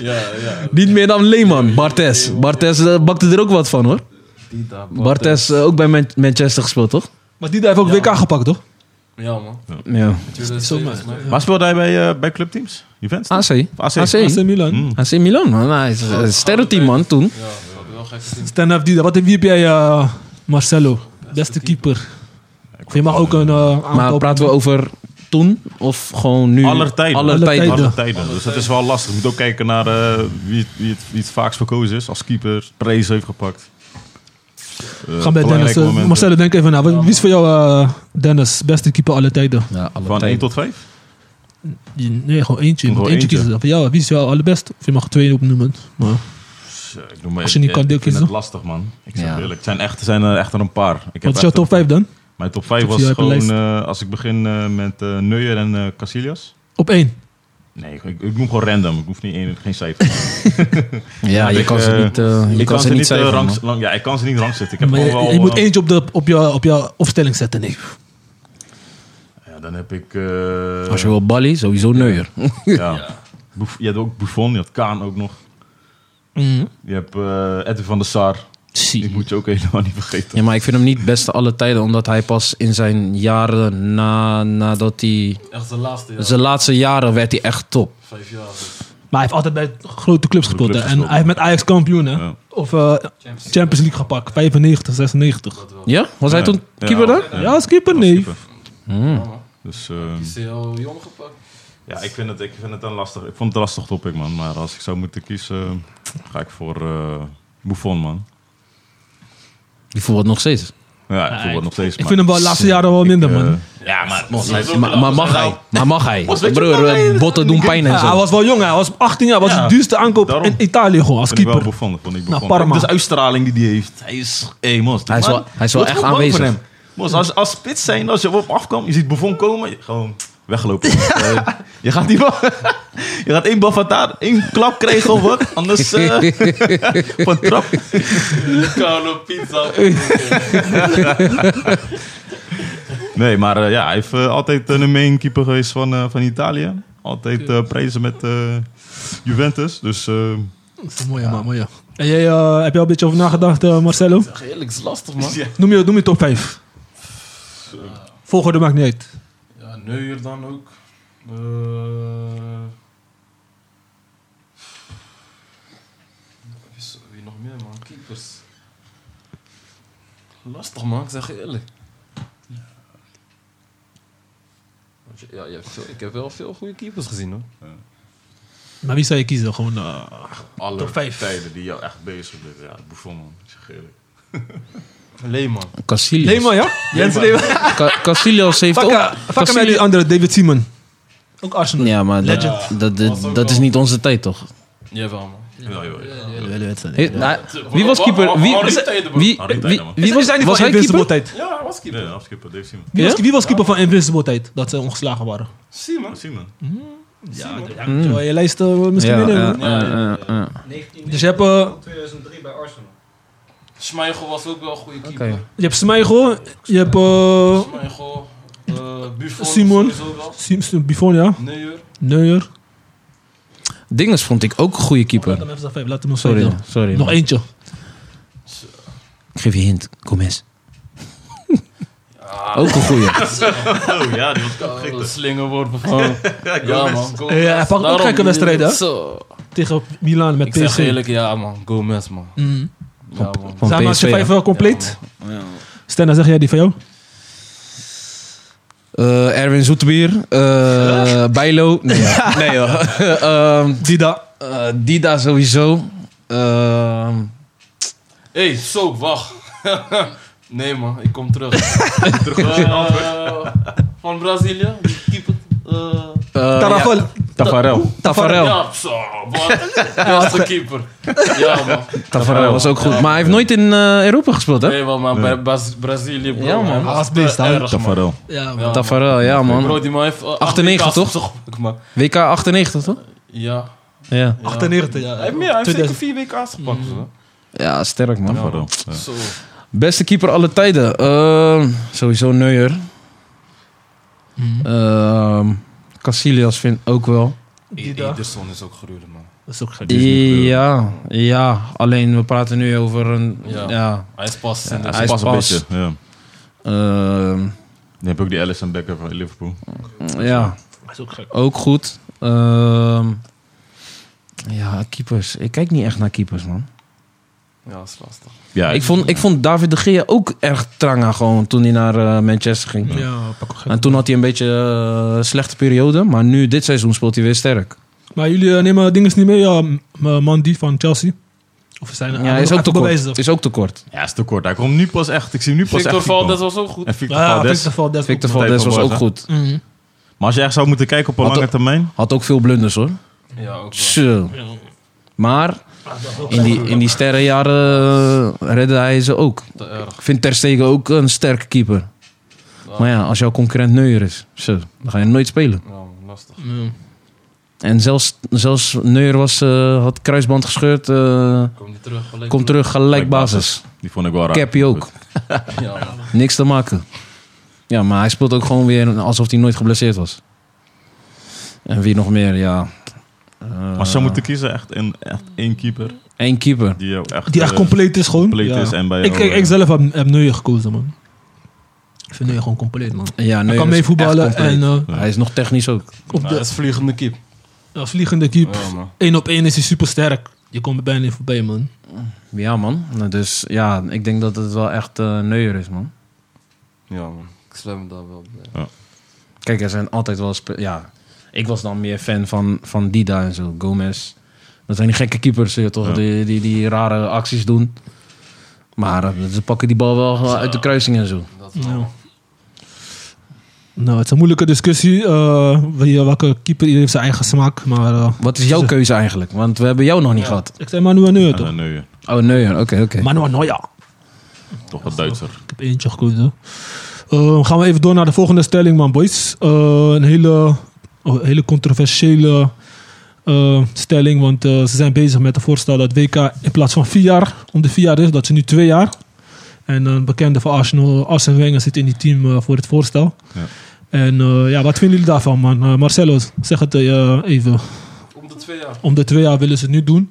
Speaker 4: ja, ja.
Speaker 3: Niet meer dan Leeman. Bartes. Bartes eh, bakte er ook wat van hoor.
Speaker 4: Die daar,
Speaker 3: Bartes eh, ook bij Man- Manchester gespeeld toch?
Speaker 2: Maar die heeft ook WK gepakt, toch?
Speaker 4: Ja, man.
Speaker 3: Ja.
Speaker 4: 2007 is
Speaker 2: zomaar.
Speaker 4: mij.
Speaker 5: Waar speelde hij bij, eh bij clubteams? Juventus?
Speaker 3: AC.
Speaker 5: AC.
Speaker 2: AC
Speaker 3: AC.
Speaker 2: Milan.
Speaker 5: Mm.
Speaker 3: AC Milan man. Nou, Hij is een sterrenteam man toen.
Speaker 4: Ja, we hadden wel gek gezien.
Speaker 2: Stan heeft die daar. Wat wie heb jij, eh, Marcelo? Beste keeper. Of je mag ook een eh, aantal...
Speaker 3: Maar praten we over toen of gewoon nu?
Speaker 5: Aller tijden.
Speaker 3: Aller
Speaker 2: Alle
Speaker 3: tijden.
Speaker 5: Alle tijden. Dus dat is wel lastig. Je moet ook kijken naar eh, wie, het, wie, het, wie het vaakst verkozen is. Als keeper, prijs heeft gepakt. Eh,
Speaker 2: Gaan bij Dennis.
Speaker 5: belangrijke
Speaker 2: eh,
Speaker 5: momenten.
Speaker 2: Marcelo, denk even na. Wat- Wie is voor jou, eh, Dennis, beste keeper alle tijden?
Speaker 3: Ja, alle
Speaker 5: Van 1
Speaker 3: tijden.
Speaker 5: tot 5?
Speaker 2: Je- Nee, gewoon eentje. Je moet
Speaker 5: Gewoon
Speaker 2: eentje,
Speaker 5: eentje.
Speaker 2: kiezen. Dan Van jou, wie is jouw allerbest? Of je mag twee opnoemen. Maar
Speaker 5: Ik noem maar
Speaker 2: Als je niet
Speaker 5: ik-
Speaker 2: kan, deel
Speaker 5: ik vind
Speaker 2: kiezen.
Speaker 5: het lastig, man. Ik zeg
Speaker 3: Ja.
Speaker 5: eerlijk. Het zijn, echt, het zijn er echt er een paar. Ik heb
Speaker 2: wat is jouw
Speaker 5: echt-
Speaker 2: top 5 dan?
Speaker 5: Mijn top 5
Speaker 2: Top
Speaker 5: was
Speaker 2: vier heb je
Speaker 5: gewoon... eh, als ik begin eh, met eh Neuer en eh Casillas.
Speaker 2: Op één.
Speaker 5: Nee, ik, ik noem gewoon random. Ik hoef niet één, geen cijfer.
Speaker 3: Ja,
Speaker 5: Ik,
Speaker 3: je kan ze
Speaker 5: eh,
Speaker 3: niet, eh, je
Speaker 5: ik
Speaker 3: kan ze niet
Speaker 5: eh,
Speaker 3: cijferen.
Speaker 5: rangs-
Speaker 3: man.
Speaker 5: lang- ja, ik kan ze niet rangzetten. Ik heb
Speaker 2: Maar je,
Speaker 5: gewoon wel,
Speaker 2: je moet
Speaker 5: eh,
Speaker 2: eentje op, de, op, je, op je opstelling zetten, nee.
Speaker 5: Ja, dan heb ik... eh,
Speaker 3: Als je wil Bali, sowieso neuer.
Speaker 5: ja. Buff- je hebt ook Buffon, je had Kaan ook nog.
Speaker 2: Mm.
Speaker 5: Je hebt eh Edwin van der Sar.
Speaker 3: Zie.
Speaker 5: Ik moet je ook helemaal niet vergeten.
Speaker 3: Ja, maar ik vind hem niet beste alle tijden, omdat hij pas in zijn jaren na, nadat hij.
Speaker 4: Echt zijn laatste jaar.
Speaker 3: Zijn laatste jaren werd hij echt top.
Speaker 4: Vijf jaar. dus.
Speaker 2: Maar hij heeft altijd bij grote clubs gespeeld.
Speaker 5: clubs
Speaker 2: hè. en
Speaker 5: gespeeld.
Speaker 2: hij heeft met Ajax kampioen, hè?
Speaker 5: Ja.
Speaker 2: Of eh, Champions League gepakt. 95, 96.
Speaker 3: Ja? Was hij
Speaker 5: Ja.
Speaker 3: toen
Speaker 5: Ja,
Speaker 3: keeper dan?
Speaker 5: ja.
Speaker 2: Ja, als keeper, nee.
Speaker 5: Keeper.
Speaker 3: Hmm.
Speaker 5: Dus ehm,
Speaker 4: Die is heel jong gepakt.
Speaker 5: ja, ik vind, het, ik vind het een lastig. Ik vond het een lastig topic, man. Maar als ik zou moeten kiezen, ga ik voor eh, Buffon, man.
Speaker 3: Die voelt het nog steeds.
Speaker 5: Ja, ik voel het nog steeds.
Speaker 2: Ik vind hem wel de laatste jaren wel minder,
Speaker 5: eh,
Speaker 2: man.
Speaker 5: ja, maar
Speaker 3: Maar, maar mag hij? Maar mag hij? Broer, eh, botten doen pijn en
Speaker 2: Ja, hij
Speaker 3: zo.
Speaker 2: was wel jong, hè. hij was 18 jaar. Hij was
Speaker 5: Ja,
Speaker 2: de duurste aankoop
Speaker 5: daarom.
Speaker 2: in Italië gewoon, als
Speaker 5: Vond ik wel
Speaker 2: keeper.
Speaker 5: Buffon. dat Vond ik
Speaker 2: Nou,
Speaker 5: Buffon.
Speaker 2: Parma.
Speaker 5: Ook Dus uitstraling die hij heeft. Hij is... Hey, Mos,
Speaker 3: Hij is
Speaker 5: man,
Speaker 3: wel- hij is wel
Speaker 5: je wordt
Speaker 3: echt
Speaker 5: gewoon bang voor
Speaker 3: aanwezig.
Speaker 5: hem. Mos, als, als spits zijn, als je op hem afkomt, je ziet Buffon komen, je- gewoon weglopen. Eh, je gaat die bal... je gaat één bal van daar, één klap krijgen of wat. Anders eh, van trap.
Speaker 4: Carlo Pizza.
Speaker 5: Nee, maar eh, ja, hij heeft eh, altijd een main keeper geweest van, eh, van Italië. Altijd eh, prijzen met eh, Juventus. Dus eh,
Speaker 2: Mooi, man, mooi. ja. En jij, eh, heb je al een beetje over nagedacht, eh, Marcelo?
Speaker 4: Zeg je eerlijk, is lastig man.
Speaker 2: Noem je, noem je top 5. Volgorde maakt niet uit.
Speaker 4: Ja, Neuer dan ook. Eh, wie is- Wie nog meer man? Keepers. Lastig man, ik zeg je eerlijk. Want je- Ja, je hebt veel- ik heb wel veel goede keepers gezien hoor.
Speaker 2: Maar wie zou je kiezen? Gewoon, eh,
Speaker 5: alle
Speaker 2: Top vijf.
Speaker 5: tijden die jou echt bezig blijven. Ja, Buffon, man. Ik zeg eerlijk.
Speaker 4: Leeman.
Speaker 3: Casillas.
Speaker 2: Leeman, ja? Jens Leeman.
Speaker 3: Ca- Casillas heeft ook.
Speaker 2: Vakken vakken wij die andere, David Simon. Ook Arsenal.
Speaker 3: Ja, maar dat, dat, dat, dat is niet onze tijd, toch?
Speaker 4: Jawel man.
Speaker 5: Ja, joh, joh.
Speaker 3: Hey, nou, wie was keeper? Wie,
Speaker 4: Al die tijden, man.
Speaker 3: wie,
Speaker 5: Al
Speaker 3: wie,
Speaker 5: die tijden, man.
Speaker 3: wie was,
Speaker 2: zijn die
Speaker 3: was
Speaker 2: van
Speaker 3: hij keeper?
Speaker 2: Invincible tijd?
Speaker 4: Ja, hij was keeper.
Speaker 5: Nee, afskippen, Dave Simon.
Speaker 2: Wie, was,
Speaker 3: Ja?
Speaker 2: wie was keeper van Invincible tijd? Dat ze ongeslagen waren.
Speaker 4: Simon.
Speaker 5: Oh, Simon.
Speaker 2: Ja,
Speaker 3: Mm.
Speaker 2: terwijl je lijst eh, misschien
Speaker 3: Ja,
Speaker 2: meenemen.
Speaker 3: ja, ja, ja, ja.
Speaker 1: 19
Speaker 2: Dus je hebt, eh,
Speaker 1: 2003 bij Arsenal.
Speaker 4: Schmeichel was ook wel een goede keeper.
Speaker 3: Oké.
Speaker 2: je hebt Smeichel, je hebt eh,
Speaker 4: Schmeichel. eh, Buffon.
Speaker 2: Simon.
Speaker 4: sowieso wel.
Speaker 2: Simpson, Buffon, ja.
Speaker 4: Neuer.
Speaker 2: Neuer.
Speaker 3: Dinges vond ik ook een goede
Speaker 2: Laat
Speaker 3: keeper.
Speaker 2: hem even zijn vijf, laat hem nog
Speaker 3: Sorry,
Speaker 2: vijf doen.
Speaker 3: sorry.
Speaker 2: Nog
Speaker 3: man.
Speaker 2: eentje.
Speaker 3: Ik geef je hint. Gomez. Ook een goede.
Speaker 5: Oh ja, die was ook
Speaker 4: Oh,
Speaker 5: gek.
Speaker 4: dat slingerwoord van. ja, man. Go
Speaker 2: Ja, hij pakt ook
Speaker 4: Daarom,
Speaker 2: gekke wedstrijden, hè?
Speaker 4: Zo.
Speaker 2: Tegen Milan met
Speaker 4: Ik zeg
Speaker 2: PSG.
Speaker 4: eerlijk, ja, man. Gomez, man.
Speaker 2: Mm.
Speaker 4: Ja, man.
Speaker 3: Van
Speaker 2: Zijn we als
Speaker 3: PSV,
Speaker 2: je vijf
Speaker 3: hè?
Speaker 2: wel compleet? Stenna, zeg jij die van jou?
Speaker 3: Eh, Erwin Zoetebier. eh Bijlo. Nee, ja. nee joh. Ehm,
Speaker 2: Dida.
Speaker 3: eh, Dida sowieso. Ehm,
Speaker 4: Hé, hey, zo, wacht. nee, man. Ik kom terug. terug van Brazilië. Die keeper. eh,
Speaker 3: eh,
Speaker 2: Taraval.
Speaker 3: ja,
Speaker 5: Tafarel.
Speaker 3: Tafarel.
Speaker 4: Ja, zo, man. Beste keeper. Ja, man.
Speaker 3: Tafarel was ook goed. Maar hij heeft nooit in eh, Europa gespeeld, hè?
Speaker 4: Nee, man, maar bij Braz- Brazilië, bro.
Speaker 3: Ja, man.
Speaker 4: hij was
Speaker 2: Als beest,
Speaker 4: te
Speaker 2: hij-
Speaker 4: erg, man.
Speaker 5: Tafarel.
Speaker 2: Ja,
Speaker 4: Ja,
Speaker 3: Tafarel, ja
Speaker 4: man.
Speaker 3: man.
Speaker 4: Bro, die man heeft... eh,
Speaker 3: 98, toch?
Speaker 4: gepakt, man.
Speaker 3: WK 98, toch?
Speaker 4: Ja.
Speaker 3: Ja.
Speaker 4: ja.
Speaker 2: 98, ja.
Speaker 4: Hij heeft meer, hij heeft zeker
Speaker 2: 2000.
Speaker 4: vier weken aangepakt. hoor.
Speaker 3: Ja, sterk man.
Speaker 5: Tafarel. Ja.
Speaker 4: Mhm. Zo.
Speaker 3: Beste keeper alle tijden. Ehm, sowieso Neuer.
Speaker 2: Mhm.
Speaker 3: Ehm Casillas vind ik ook wel.
Speaker 2: Dida.
Speaker 4: Ederson is ook gruwelijk, man.
Speaker 2: Dat is ook gek.
Speaker 3: Ja, ja, alleen we praten nu over een. Ja.
Speaker 4: Ja. Hij is pas in de...
Speaker 3: hij is
Speaker 5: Pas een
Speaker 3: pas.
Speaker 5: beetje. Ja.
Speaker 3: Ehm,
Speaker 5: Dan heb ik ook die Allison Becker van Liverpool.
Speaker 3: ja,
Speaker 2: Dat is ook gek.
Speaker 3: ook goed. Ehm, ja, keepers. Ik kijk niet echt naar keepers, man.
Speaker 4: Ja, dat is lastig.
Speaker 5: Ja,
Speaker 3: Ik vond, ik vond David de Gea ook erg tranga gewoon toen hij naar eh, Manchester ging.
Speaker 2: Ja, pak ook gek.
Speaker 3: En toen had hij een beetje eh, slechte periode. Maar nu, dit seizoen, speelt hij weer sterk.
Speaker 2: Maar jullie eh, nemen dingen niet mee? Ja, m- eh, Mandy van Chelsea. Of zijn
Speaker 3: Ja, hij is ook te
Speaker 2: bewijzen.
Speaker 3: kort. Is ook te kort.
Speaker 5: Ja, is te kort. Hij komt nu pas echt. Ik zie hem nu pas
Speaker 4: Victor
Speaker 5: echt.
Speaker 4: Valdes
Speaker 5: voetballen.
Speaker 4: was ook goed.
Speaker 5: En Victor
Speaker 2: Ja,
Speaker 5: Valdes.
Speaker 2: Victor Valdes.
Speaker 3: Victor
Speaker 5: Van
Speaker 3: Valdes was ook
Speaker 5: Tevenborg,
Speaker 3: goed.
Speaker 2: Mhm.
Speaker 5: Maar als je echt zou moeten kijken op een
Speaker 3: Had
Speaker 5: lange
Speaker 3: ook-
Speaker 5: termijn.
Speaker 3: Had ook veel blunders hoor.
Speaker 4: Ja, ook wel.
Speaker 3: Zo. Maar in die, in die sterrenjaren eh, redde hij ze ook.
Speaker 4: Te erg.
Speaker 3: Ik vind Ter Stegen ook een sterke keeper. Maar ja, als jouw concurrent Neuer is, zo, dan ga je nooit spelen.
Speaker 4: Ja, man, lastig.
Speaker 2: Ja.
Speaker 3: En zelfs, zelfs Neuer was, eh, had kruisband gescheurd. eh,
Speaker 4: Komt niet terug. gelijk
Speaker 3: komt terug, gelijk
Speaker 5: Gelijk
Speaker 3: basis.
Speaker 5: Die vond ik wel raar.
Speaker 3: Cappy ook.
Speaker 4: Ja, man.
Speaker 3: Niks te maken. Ja, maar hij speelt ook gewoon weer alsof hij nooit geblesseerd was. En wie nog meer, ja. Eh,
Speaker 5: Maar ze moeten kiezen echt, een, echt één keeper
Speaker 3: één keeper.
Speaker 5: die jou echt,
Speaker 2: Die echt
Speaker 5: eh,
Speaker 2: dus compleet is gewoon.
Speaker 5: compleet
Speaker 2: Ja.
Speaker 5: is en bij
Speaker 2: Ik,
Speaker 5: jou,
Speaker 2: ik, ik
Speaker 5: eh,
Speaker 2: zelf heb, heb Neuer gekozen, man. Ik vind Neuer gewoon compleet, man.
Speaker 3: Ja,
Speaker 2: Hij
Speaker 3: Neuer
Speaker 2: kan
Speaker 3: is
Speaker 2: mee voetballen
Speaker 3: echt compleet.
Speaker 2: en eh,
Speaker 5: Ja.
Speaker 3: Hij is nog technisch ook.
Speaker 2: op
Speaker 4: Nou,
Speaker 2: de
Speaker 4: dat is vliegende kip.
Speaker 2: ja, vliegende keep.
Speaker 4: Ja, man.
Speaker 2: Eén op één is hij super sterk. Je komt er bijna niet voorbij, man.
Speaker 3: Ja, man. Nou, Dus ja, ik denk dat het wel echt eh Neuer is, man.
Speaker 4: Ja, man. Ik sluit me daar wel bij.
Speaker 3: Kijk, er zijn altijd wel... spe- Ja, ik was dan meer fan van, van Dida en zo. Gomez. Dat zijn die gekke keepers, eh, toch?
Speaker 5: Ja.
Speaker 3: Die, die, die rare acties doen. Maar eh, ze pakken die bal wel uit de kruising en zo.
Speaker 4: Dat wel.
Speaker 2: Nou. Nou, het is een moeilijke discussie. eh, wie- welke keeper, iedereen heeft zijn eigen smaak. Maar eh,
Speaker 3: Wat is jouw keuze eigenlijk? Want we hebben jou nog niet gehad.
Speaker 2: ik zei Manuel Neuer,
Speaker 5: eh,
Speaker 2: toch?
Speaker 5: Neuer.
Speaker 3: Oh, nee. Oké, oké.
Speaker 2: Manuel Neuer.
Speaker 5: Toch wat Duitser.
Speaker 2: Ik heb eentje gekozen. Eh, gaan we even door naar de volgende stelling, man, boys. Eh, een hele, oh, hele controversiële eh, stelling. Want eh, ze zijn bezig met het voorstel dat WK in plaats van vier jaar om de vier jaar is. Dat ze nu twee jaar. En een bekende van Arsenal, Arsene Wenger, zit in die team eh, voor het voorstel.
Speaker 5: Ja.
Speaker 2: En eh, ja, wat vinden jullie daarvan, man? Eh, Marcelo, zeg het eh, even.
Speaker 4: Om de twee jaar.
Speaker 2: Om de twee jaar willen ze het nu doen.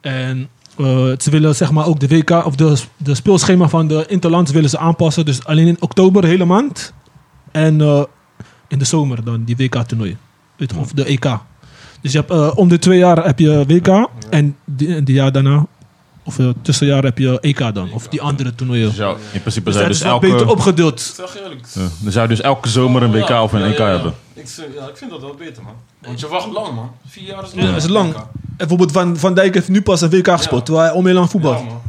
Speaker 2: En eh, ze willen zeg maar ook de WK of de, de speelschema van de Interlands willen ze aanpassen. Dus alleen in oktober, hele maand. En eh, in de zomer dan die WK-toernooi. Of de EK. Dus je hebt, eh, om de twee jaar heb je WK. En die, en die jaar daarna, of eh, tussenjaar heb je EK dan. Of die andere toernooien.
Speaker 5: Dus jou, in principe
Speaker 2: Dus
Speaker 5: zou
Speaker 2: dat
Speaker 5: je
Speaker 2: is wel
Speaker 5: dus elke,
Speaker 2: beter opgedeeld.
Speaker 4: Zeg je eerlijk.
Speaker 5: Ja, dan zou je dus elke zomer een WK of een
Speaker 4: Ja,
Speaker 5: EK
Speaker 4: ja, ja.
Speaker 5: hebben.
Speaker 4: Ik, zeg- ja, ik vind dat wel beter, man. Want je wacht lang, man. Vier jaar is
Speaker 2: Ja,
Speaker 4: lang.
Speaker 2: dat is lang.
Speaker 4: Ja,
Speaker 2: En bijvoorbeeld Van, van Dijk heeft nu pas een WK gespeeld.
Speaker 4: Ja.
Speaker 2: Terwijl hij om heel lang voetbal.
Speaker 4: man.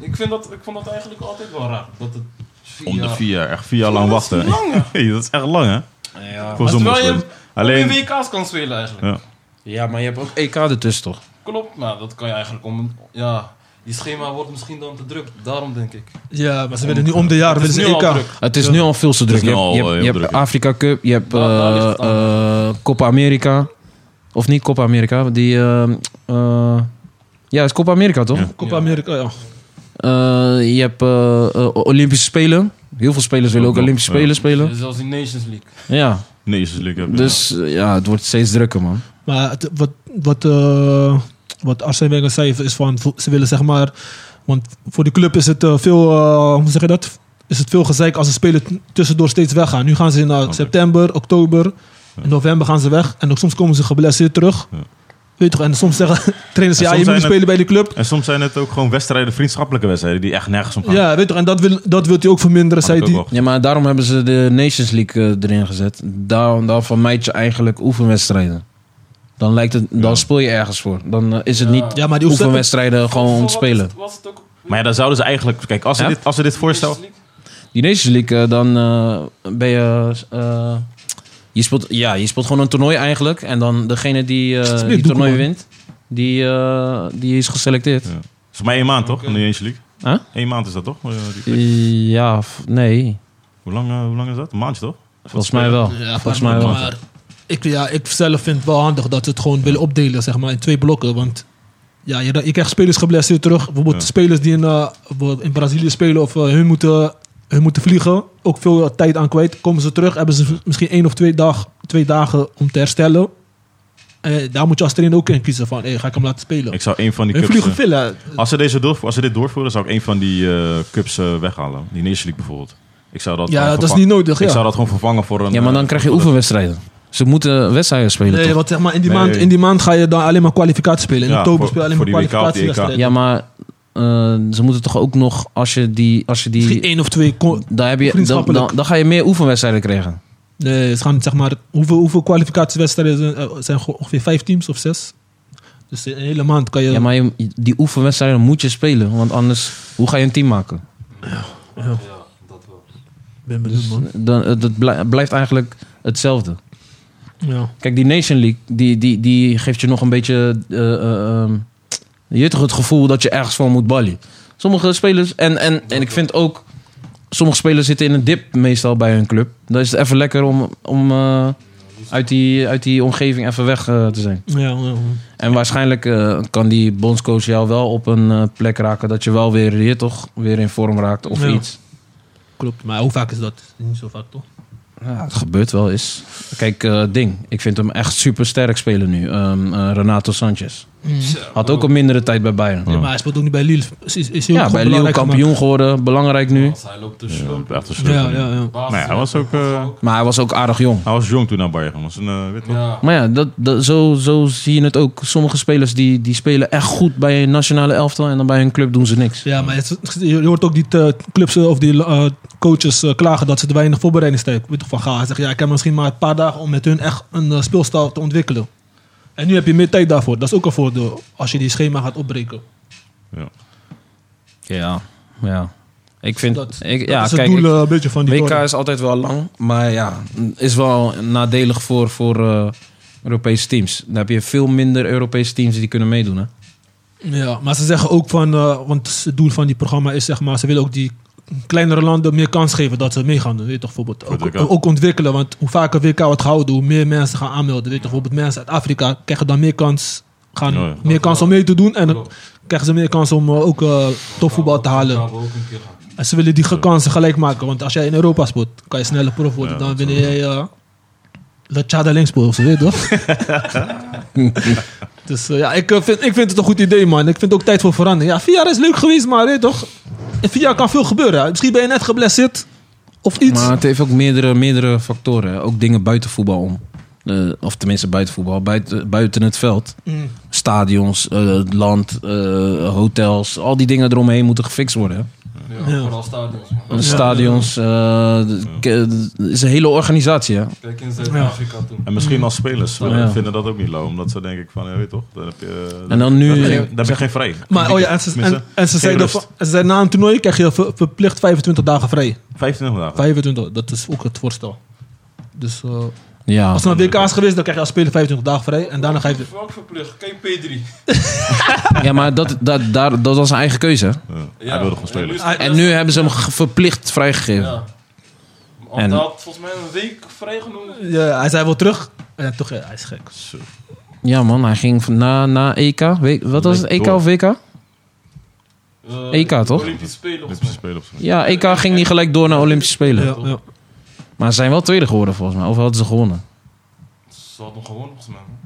Speaker 4: Ik, vind dat, ik vond dat eigenlijk altijd wel raar. Dat het vier
Speaker 5: Om de
Speaker 4: jaar-
Speaker 5: vier jaar. Echt vier jaar lang
Speaker 4: Dat is
Speaker 5: wachten.
Speaker 4: lang, ja.
Speaker 5: Hey, dat is echt lang, hè?
Speaker 3: Ja.
Speaker 5: Voor
Speaker 4: Maar
Speaker 5: zo'n
Speaker 4: terwijl je-
Speaker 5: moslim.
Speaker 4: Alleen
Speaker 5: Alleen...
Speaker 4: WK's kan spelen eigenlijk.
Speaker 5: Ja.
Speaker 3: ja, maar je hebt ook EK E ertussen, toch?
Speaker 4: Klopt, maar dat kan je eigenlijk om... Ja, die schema wordt misschien dan te druk. Daarom denk ik.
Speaker 2: Ja, dus maar ze willen nu om de jaren
Speaker 4: Het
Speaker 2: willen
Speaker 4: is
Speaker 2: ze
Speaker 4: nu al
Speaker 2: EK.
Speaker 4: druk.
Speaker 3: Het is nu al veel te
Speaker 5: Het
Speaker 3: druk.
Speaker 5: is
Speaker 3: Je
Speaker 5: nu
Speaker 3: hebt,
Speaker 5: al,
Speaker 3: je
Speaker 5: eh,
Speaker 3: hebt,
Speaker 5: heel
Speaker 3: je hebt
Speaker 5: druk, ja. Ah,
Speaker 3: Afrika Cup, je hebt
Speaker 4: Daar- daar ligt het
Speaker 3: eh, eh, Copa America. Of niet Copa America, die... eh, eh, ja, het is Copa America, toch?
Speaker 5: Ja.
Speaker 2: Copa Amerika, ja.
Speaker 3: Eh, je hebt eh, eh, Olympische Spelen. Heel veel spelers willen ook
Speaker 5: Ook nog,
Speaker 3: Olympische
Speaker 5: ja.
Speaker 3: Spelen spelen.
Speaker 4: Zelfs in Nations League.
Speaker 3: Ja,
Speaker 5: Nee, is het lukken.
Speaker 3: dus eh, ja, het wordt steeds drukker, man.
Speaker 2: Maar het- wat, wat, eh, wat Arsene Wenger zei is van, vo- ze willen zeg maar, want voor de club is het eh, veel, eh, hoe zeg je dat? Is het veel gezeik als de spelers t- tussendoor steeds weggaan. Nu gaan ze in eh, september, oktober, in november gaan ze weg. En ook soms komen ze geblesseerd terug.
Speaker 5: Ja.
Speaker 2: Weet je toch? En soms zeggen trainers,
Speaker 5: En
Speaker 2: ja,
Speaker 5: soms
Speaker 2: je moet
Speaker 5: zijn
Speaker 2: niet
Speaker 5: het-
Speaker 2: spelen bij de club.
Speaker 5: En soms zijn het ook gewoon wedstrijden, vriendschappelijke wedstrijden, die echt nergens om gaan.
Speaker 2: Ja, weet je toch? En dat wil, dat wil hij ook verminderen,
Speaker 5: Had ik
Speaker 2: zei
Speaker 5: ook
Speaker 2: hij.
Speaker 5: wel.
Speaker 3: Ja, maar daarom hebben ze de Nations League eh, erin gezet. Daar, daarvan meid je eigenlijk oefenwedstrijden. Dan, lijkt het, dan
Speaker 5: Ja.
Speaker 3: speel je ergens voor. Dan eh, is het
Speaker 4: Ja.
Speaker 3: niet
Speaker 2: Ja, maar die hoeft
Speaker 3: oefenwedstrijden gewoon om te spelen.
Speaker 4: Was het ook...
Speaker 5: Maar ja, dan zouden ze eigenlijk... Kijk, als ze,
Speaker 3: Ja?
Speaker 5: dit, als ze dit voorstel...
Speaker 4: Nations League?
Speaker 3: Die Nations League, eh, dan eh, ben je... eh, je speelt, ja, je speelt gewoon een toernooi eigenlijk. En dan degene die eh die
Speaker 2: doeken,
Speaker 3: toernooi
Speaker 2: man.
Speaker 3: wint, die, eh, die is geselecteerd.
Speaker 5: Ja. is maar één maand, toch?
Speaker 4: Oké.
Speaker 5: In de Nations League.
Speaker 3: Huh?
Speaker 5: Eén maand is dat, toch? Eh, die-
Speaker 3: Ja, of- nee.
Speaker 5: Hoe lang, eh, hoe lang is dat? Een maandje, toch?
Speaker 3: Volgens mij wel.
Speaker 5: Oh,
Speaker 2: Ja,
Speaker 3: Volgens
Speaker 2: maar-
Speaker 3: mij wel.
Speaker 2: Maar ik, ja, ik zelf vind het wel handig dat ze het gewoon willen opdelen zeg maar, in twee blokken. Want ja, je, je krijgt spelers geblesseerd terug. Bijvoorbeeld
Speaker 5: Ja.
Speaker 2: spelers die in, eh, bijvoorbeeld in Brazilië spelen of eh, hun, moeten, hun moeten vliegen. Ook veel eh, tijd aan kwijt. Komen ze terug, hebben ze misschien één of twee, dag, twee dagen om te herstellen. Eh, daar moet je als trainer ook in kiezen van, hey, ga ik hem laten spelen.
Speaker 5: Ik zou één van die
Speaker 2: hun
Speaker 5: cups...
Speaker 2: vliegen
Speaker 5: eh,
Speaker 2: veel. hè.
Speaker 5: Als ze, deze doorvo- als ze dit doorvoeren, zou ik één van die eh, cups eh, weghalen. Die Nations League bijvoorbeeld. Ik zou dat
Speaker 2: Ja,
Speaker 5: gewoon
Speaker 2: dat is
Speaker 5: vervang-
Speaker 2: niet nodig.
Speaker 5: Ik zou
Speaker 2: Ja.
Speaker 5: dat gewoon vervangen voor een...
Speaker 3: Ja, maar dan
Speaker 5: eh,
Speaker 3: krijg je
Speaker 5: voor de-
Speaker 3: oefenwedstrijden. Ze moeten wedstrijden spelen,
Speaker 2: Nee,
Speaker 3: toch?
Speaker 2: want zeg maar, in die,
Speaker 5: Nee.
Speaker 2: maand, in die maand ga je dan alleen maar kwalificatie spelen. In
Speaker 5: Ja,
Speaker 2: oktober
Speaker 5: voor-
Speaker 2: speel je alleen
Speaker 5: voor
Speaker 2: maar
Speaker 5: die WK of die EK.
Speaker 2: kwalificatiewedstrijden.
Speaker 3: Ja, maar eh, ze moeten toch ook nog, als je die... Als je
Speaker 2: Misschien
Speaker 3: die
Speaker 2: één of twee kon-
Speaker 3: daar heb je, dan,
Speaker 2: vriendschappelijk.
Speaker 3: dan, dan ga je meer oefenwedstrijden krijgen.
Speaker 2: Nee, ze gaan zeg maar. Hoeveel, hoeveel kwalificatiewedstrijden zijn, eh, zijn gewoon ongeveer vijf teams of zes? Dus in een hele maand kan je.
Speaker 3: Ja, maar je- die oefenwedstrijden moet je spelen. Want anders, hoe ga je een team maken?
Speaker 4: Ja, dat wel.
Speaker 2: Ik ben benieuwd, man.
Speaker 3: Dus, eh, Dan, het, het blij- blijft eigenlijk hetzelfde.
Speaker 2: Ja.
Speaker 3: Kijk, die Nation League, die, die, die geeft je nog een beetje... eh, eh, ehm, je hebt toch het gevoel dat je ergens van moet ballen. Sommige spelers... En, en, en ik vind ook... Sommige spelers zitten in een dip meestal bij hun club. Dan is het even lekker om, om eh,
Speaker 4: Die
Speaker 3: uit die, uit die omgeving even weg eh, te zijn.
Speaker 2: Ja, ja, ja.
Speaker 3: En waarschijnlijk eh, kan die bondscoach jou wel op een eh, plek raken dat je wel weer hier toch weer in vorm raakt of
Speaker 2: Ja.
Speaker 3: iets.
Speaker 2: klopt. Maar hoe vaak is dat? Niet zo vaak, toch?
Speaker 3: Ja, het gebeurt wel eens. Kijk, eh, Ding. Ik vind hem echt super sterk spelen nu. Ehm, eh, Renato Sanchez.
Speaker 2: Mm.
Speaker 3: Had ook een mindere tijd bij Bayern.
Speaker 2: Ja, maar hij speelt ook niet bij Lille. Is, is, is hij ook
Speaker 3: Ja,
Speaker 2: gewoon
Speaker 3: bij Lille
Speaker 2: belangrijk
Speaker 3: kampioen geworden. Belangrijk nu.
Speaker 4: Als hij loopt
Speaker 5: Ja,
Speaker 4: tussen.
Speaker 5: dat is echt een
Speaker 2: gemaakt?
Speaker 5: sleutel.
Speaker 2: Ja, ja, ja.
Speaker 5: Maar ja, hij was ook... eh,
Speaker 3: Maar hij was ook aardig jong.
Speaker 5: hij was jong toen naar Bayern. Was een, eh, weet je wel?
Speaker 4: Ja,
Speaker 3: Maar ja, dat, dat, zo, zo zie je het ook. Sommige spelers die, die spelen echt goed bij een nationale elftal. En dan bij hun club doen ze niks.
Speaker 2: Ja, maar het, je hoort ook die eh, clubs eh, of die eh, coaches eh, klagen dat ze te weinig voorbereidingstijd hebben. Weet toch van Gaal, hij zegt, ja, ik heb misschien maar een paar dagen om met hun echt een eh, speelstijl te ontwikkelen. En nu heb je meer tijd daarvoor. Dat is ook een voordeel als je die schema gaat opbreken.
Speaker 5: Ja.
Speaker 3: Ja. ja. Ik vind...
Speaker 2: Dat-
Speaker 3: ik,
Speaker 2: dat
Speaker 3: ja,
Speaker 2: is het
Speaker 3: kijk, ik-
Speaker 2: doel eh, een beetje van die
Speaker 3: WK
Speaker 2: toren.
Speaker 3: is altijd wel lang, maar ja, is wel nadelig voor, voor eh, Europese teams. Dan heb je veel minder Europese teams die kunnen meedoen. Hè?
Speaker 2: Ja, maar ze zeggen ook van, eh, want het doel van die programma is zeg maar, ze willen ook die kleinere landen meer kans geven dat ze mee gaan doen. Weet je toch, bijvoorbeeld.
Speaker 5: Voor het
Speaker 2: Ook,
Speaker 5: WK.
Speaker 2: ook ontwikkelen, want hoe vaker WK wordt gehouden, hoe meer mensen gaan aanmelden. Weet je toch, bijvoorbeeld mensen uit Afrika krijgen dan meer kans, gaan
Speaker 5: Ja, ja.
Speaker 2: meer kans om mee te doen en dan
Speaker 4: klopt.
Speaker 2: krijgen ze meer kans om eh, ook eh, topvoetbal te halen.
Speaker 4: Gaan we ook een keer gaan.
Speaker 2: En ze willen die ge- kansen gelijk maken, want als jij in Europa speelt, kan je sneller prof worden.
Speaker 5: Ja,
Speaker 2: Dan
Speaker 5: dat
Speaker 2: ben jij eh La Chada links speelt of zo, weet je toch? Dus eh, ja, ik, eh, vind, ik vind het een goed idee, man. Ik vind ook tijd voor verandering. Ja, vier jaar is leuk geweest, maar weet je toch? In vier jaar kan veel gebeuren. hè. Misschien ben je net geblesseerd of iets.
Speaker 3: Maar het heeft ook meerdere, meerdere factoren. hè. Ook dingen buiten voetbal om. Eh, of tenminste buiten voetbal, buiten, buiten het veld.
Speaker 2: Mm.
Speaker 3: Stadions, eh, het land, eh, hotels. Al die dingen eromheen moeten gefixt worden. hè.
Speaker 4: Ja,
Speaker 2: Ja.
Speaker 4: Vooral stadions. man.
Speaker 3: Eh, Stadions, eh, de- k- het is een hele organisatie. Hè?
Speaker 4: Kijk in Zuid-Afrika toen.
Speaker 5: En misschien als spelers
Speaker 3: Ja.
Speaker 5: eh, vinden dat ook niet lauw. Omdat ze denk ik van, ja, weet je toch, dan heb je... eh,
Speaker 3: En dan nu-
Speaker 5: Dan heb je, geen- dan heb je geen vrij.
Speaker 2: Maar oh ja, en ze, en,
Speaker 5: Tenminste,
Speaker 2: en ze,
Speaker 5: geen
Speaker 2: zeiden,
Speaker 5: rust.
Speaker 2: van- ze zeiden na een toernooi krijg je ver- verplicht 25 dagen vrij.
Speaker 5: 25 dagen.
Speaker 2: 25, dat is ook het voorstel. Dus eh,
Speaker 3: Ja.
Speaker 2: als er een WK is geweest, dan krijg je als speler 25 dagen vrij. En daarna ga je...
Speaker 4: Welk verplicht? KP3.
Speaker 3: ja, maar dat, dat, daar, dat was zijn eigen keuze. hè.
Speaker 5: Ja. Hij wilde gewoon spelen.
Speaker 4: is het
Speaker 3: En
Speaker 4: best-
Speaker 3: nu hebben ze hem ge- verplicht vrijgegeven.
Speaker 4: Ja. Want
Speaker 3: En-
Speaker 4: hij had volgens mij een week vrijgenomen.
Speaker 2: Ja, hij zei wel terug. En toch, ja, hij is gek.
Speaker 5: Zo.
Speaker 3: Ja, man, hij ging van- na, na EK. Weet- wat was het? EK of WK?
Speaker 4: Eh,
Speaker 5: E
Speaker 3: EK toch?
Speaker 4: Olympische Spelen volgens
Speaker 5: Olympische
Speaker 4: mij.
Speaker 5: spelen op zo'n
Speaker 3: Ja, EK ging niet gelijk door naar Olympische Spelen.
Speaker 2: Ja, ja.
Speaker 3: Maar ze zijn wel tweede geworden volgens mij. Of hadden ze gewonnen?
Speaker 4: Ze had nog gewonnen volgens mij. man.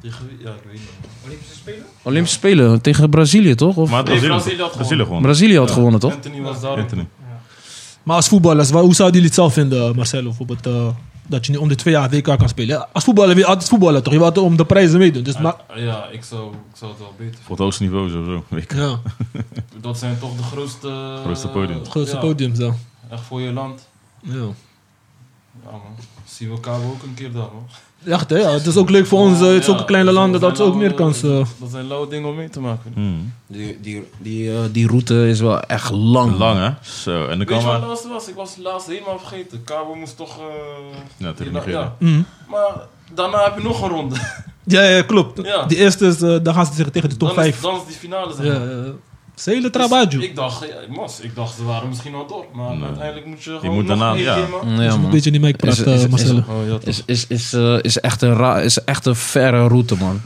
Speaker 4: Tegen wie? Ja, ik weet niet.
Speaker 1: Olympische Spelen?
Speaker 3: Olympische Spelen tegen Brazilië, toch? Of
Speaker 5: Maar het
Speaker 4: Nee,
Speaker 5: Brazilië-
Speaker 4: Brazilië had
Speaker 5: Brazilië gewoon.
Speaker 3: Brazilië had gewonnen, toch?
Speaker 4: Anthony was daar.
Speaker 5: Anthony.
Speaker 2: Maar als voetballers, wa- hoe zouden jullie het zelf vinden, Marcelo? Bijvoorbeeld, eh, dat je nu om de twee jaar WK kan spelen. Ja, Als voetballer wil je altijd voetballen, toch? Je wil altijd om de prijzen meedoen. Dus, maar,
Speaker 4: Ah, Ja, ik zou, ik zou het wel beter
Speaker 5: Voor het hoogste niveau sowieso. Weet ik.
Speaker 2: ja,
Speaker 4: vinden. Dat zijn toch de grootste... eh,
Speaker 5: Grootste podium.
Speaker 2: het grootste
Speaker 4: Ja,
Speaker 2: podium zo.
Speaker 4: Echt voor je land.
Speaker 2: Ja.
Speaker 4: Ja man. Zien we elkaar ook een keer daar man.
Speaker 2: Echt, hè? Ja, het is ook leuk voor ons, eh, het is ook
Speaker 4: Ja,
Speaker 2: kleine
Speaker 4: dat
Speaker 2: landen,
Speaker 4: zijn
Speaker 2: dat ze ook
Speaker 4: lauwe-
Speaker 2: meer eh. kansen...
Speaker 4: Dat zijn lauwe dingen om mee te maken.
Speaker 5: Hmm.
Speaker 3: Die, die, die, eh, die route is wel echt lang.
Speaker 5: Lang hè? Zo. En dan
Speaker 4: Weet
Speaker 5: kan
Speaker 4: je wat het
Speaker 5: maar...
Speaker 4: laatste was? Ik was het laatste helemaal vergeten. Cabo moest toch... eh,
Speaker 5: Ja, tegen
Speaker 4: die-
Speaker 5: Nigeria.
Speaker 2: Mhm.
Speaker 4: Maar daarna heb je nog een ronde.
Speaker 2: Ja, ja, klopt.
Speaker 4: Ja.
Speaker 2: Die eerste, is, eh, dan gaan ze tegen- tegen de top
Speaker 4: dan, is,
Speaker 2: 5.
Speaker 4: dan is die finale zeg
Speaker 2: Ja,
Speaker 4: maar.
Speaker 2: eh, ze hele
Speaker 4: Dus
Speaker 2: trabaju.
Speaker 4: Ik dacht, ja, mas, ik dacht ze waren misschien al door. Maar
Speaker 5: Nee.
Speaker 4: uiteindelijk moet je gewoon
Speaker 5: moet
Speaker 4: nog
Speaker 5: daarna,
Speaker 4: één
Speaker 5: ja.
Speaker 4: keer, man.
Speaker 2: Dus
Speaker 3: Ja,
Speaker 2: je moet een
Speaker 3: man.
Speaker 2: beetje niet mee praten,
Speaker 3: is- is-
Speaker 2: eh, Marcelo.
Speaker 4: Oh, ja, toch.
Speaker 3: Is, is, is, eh, is, echt een ra- is echt een verre route, man.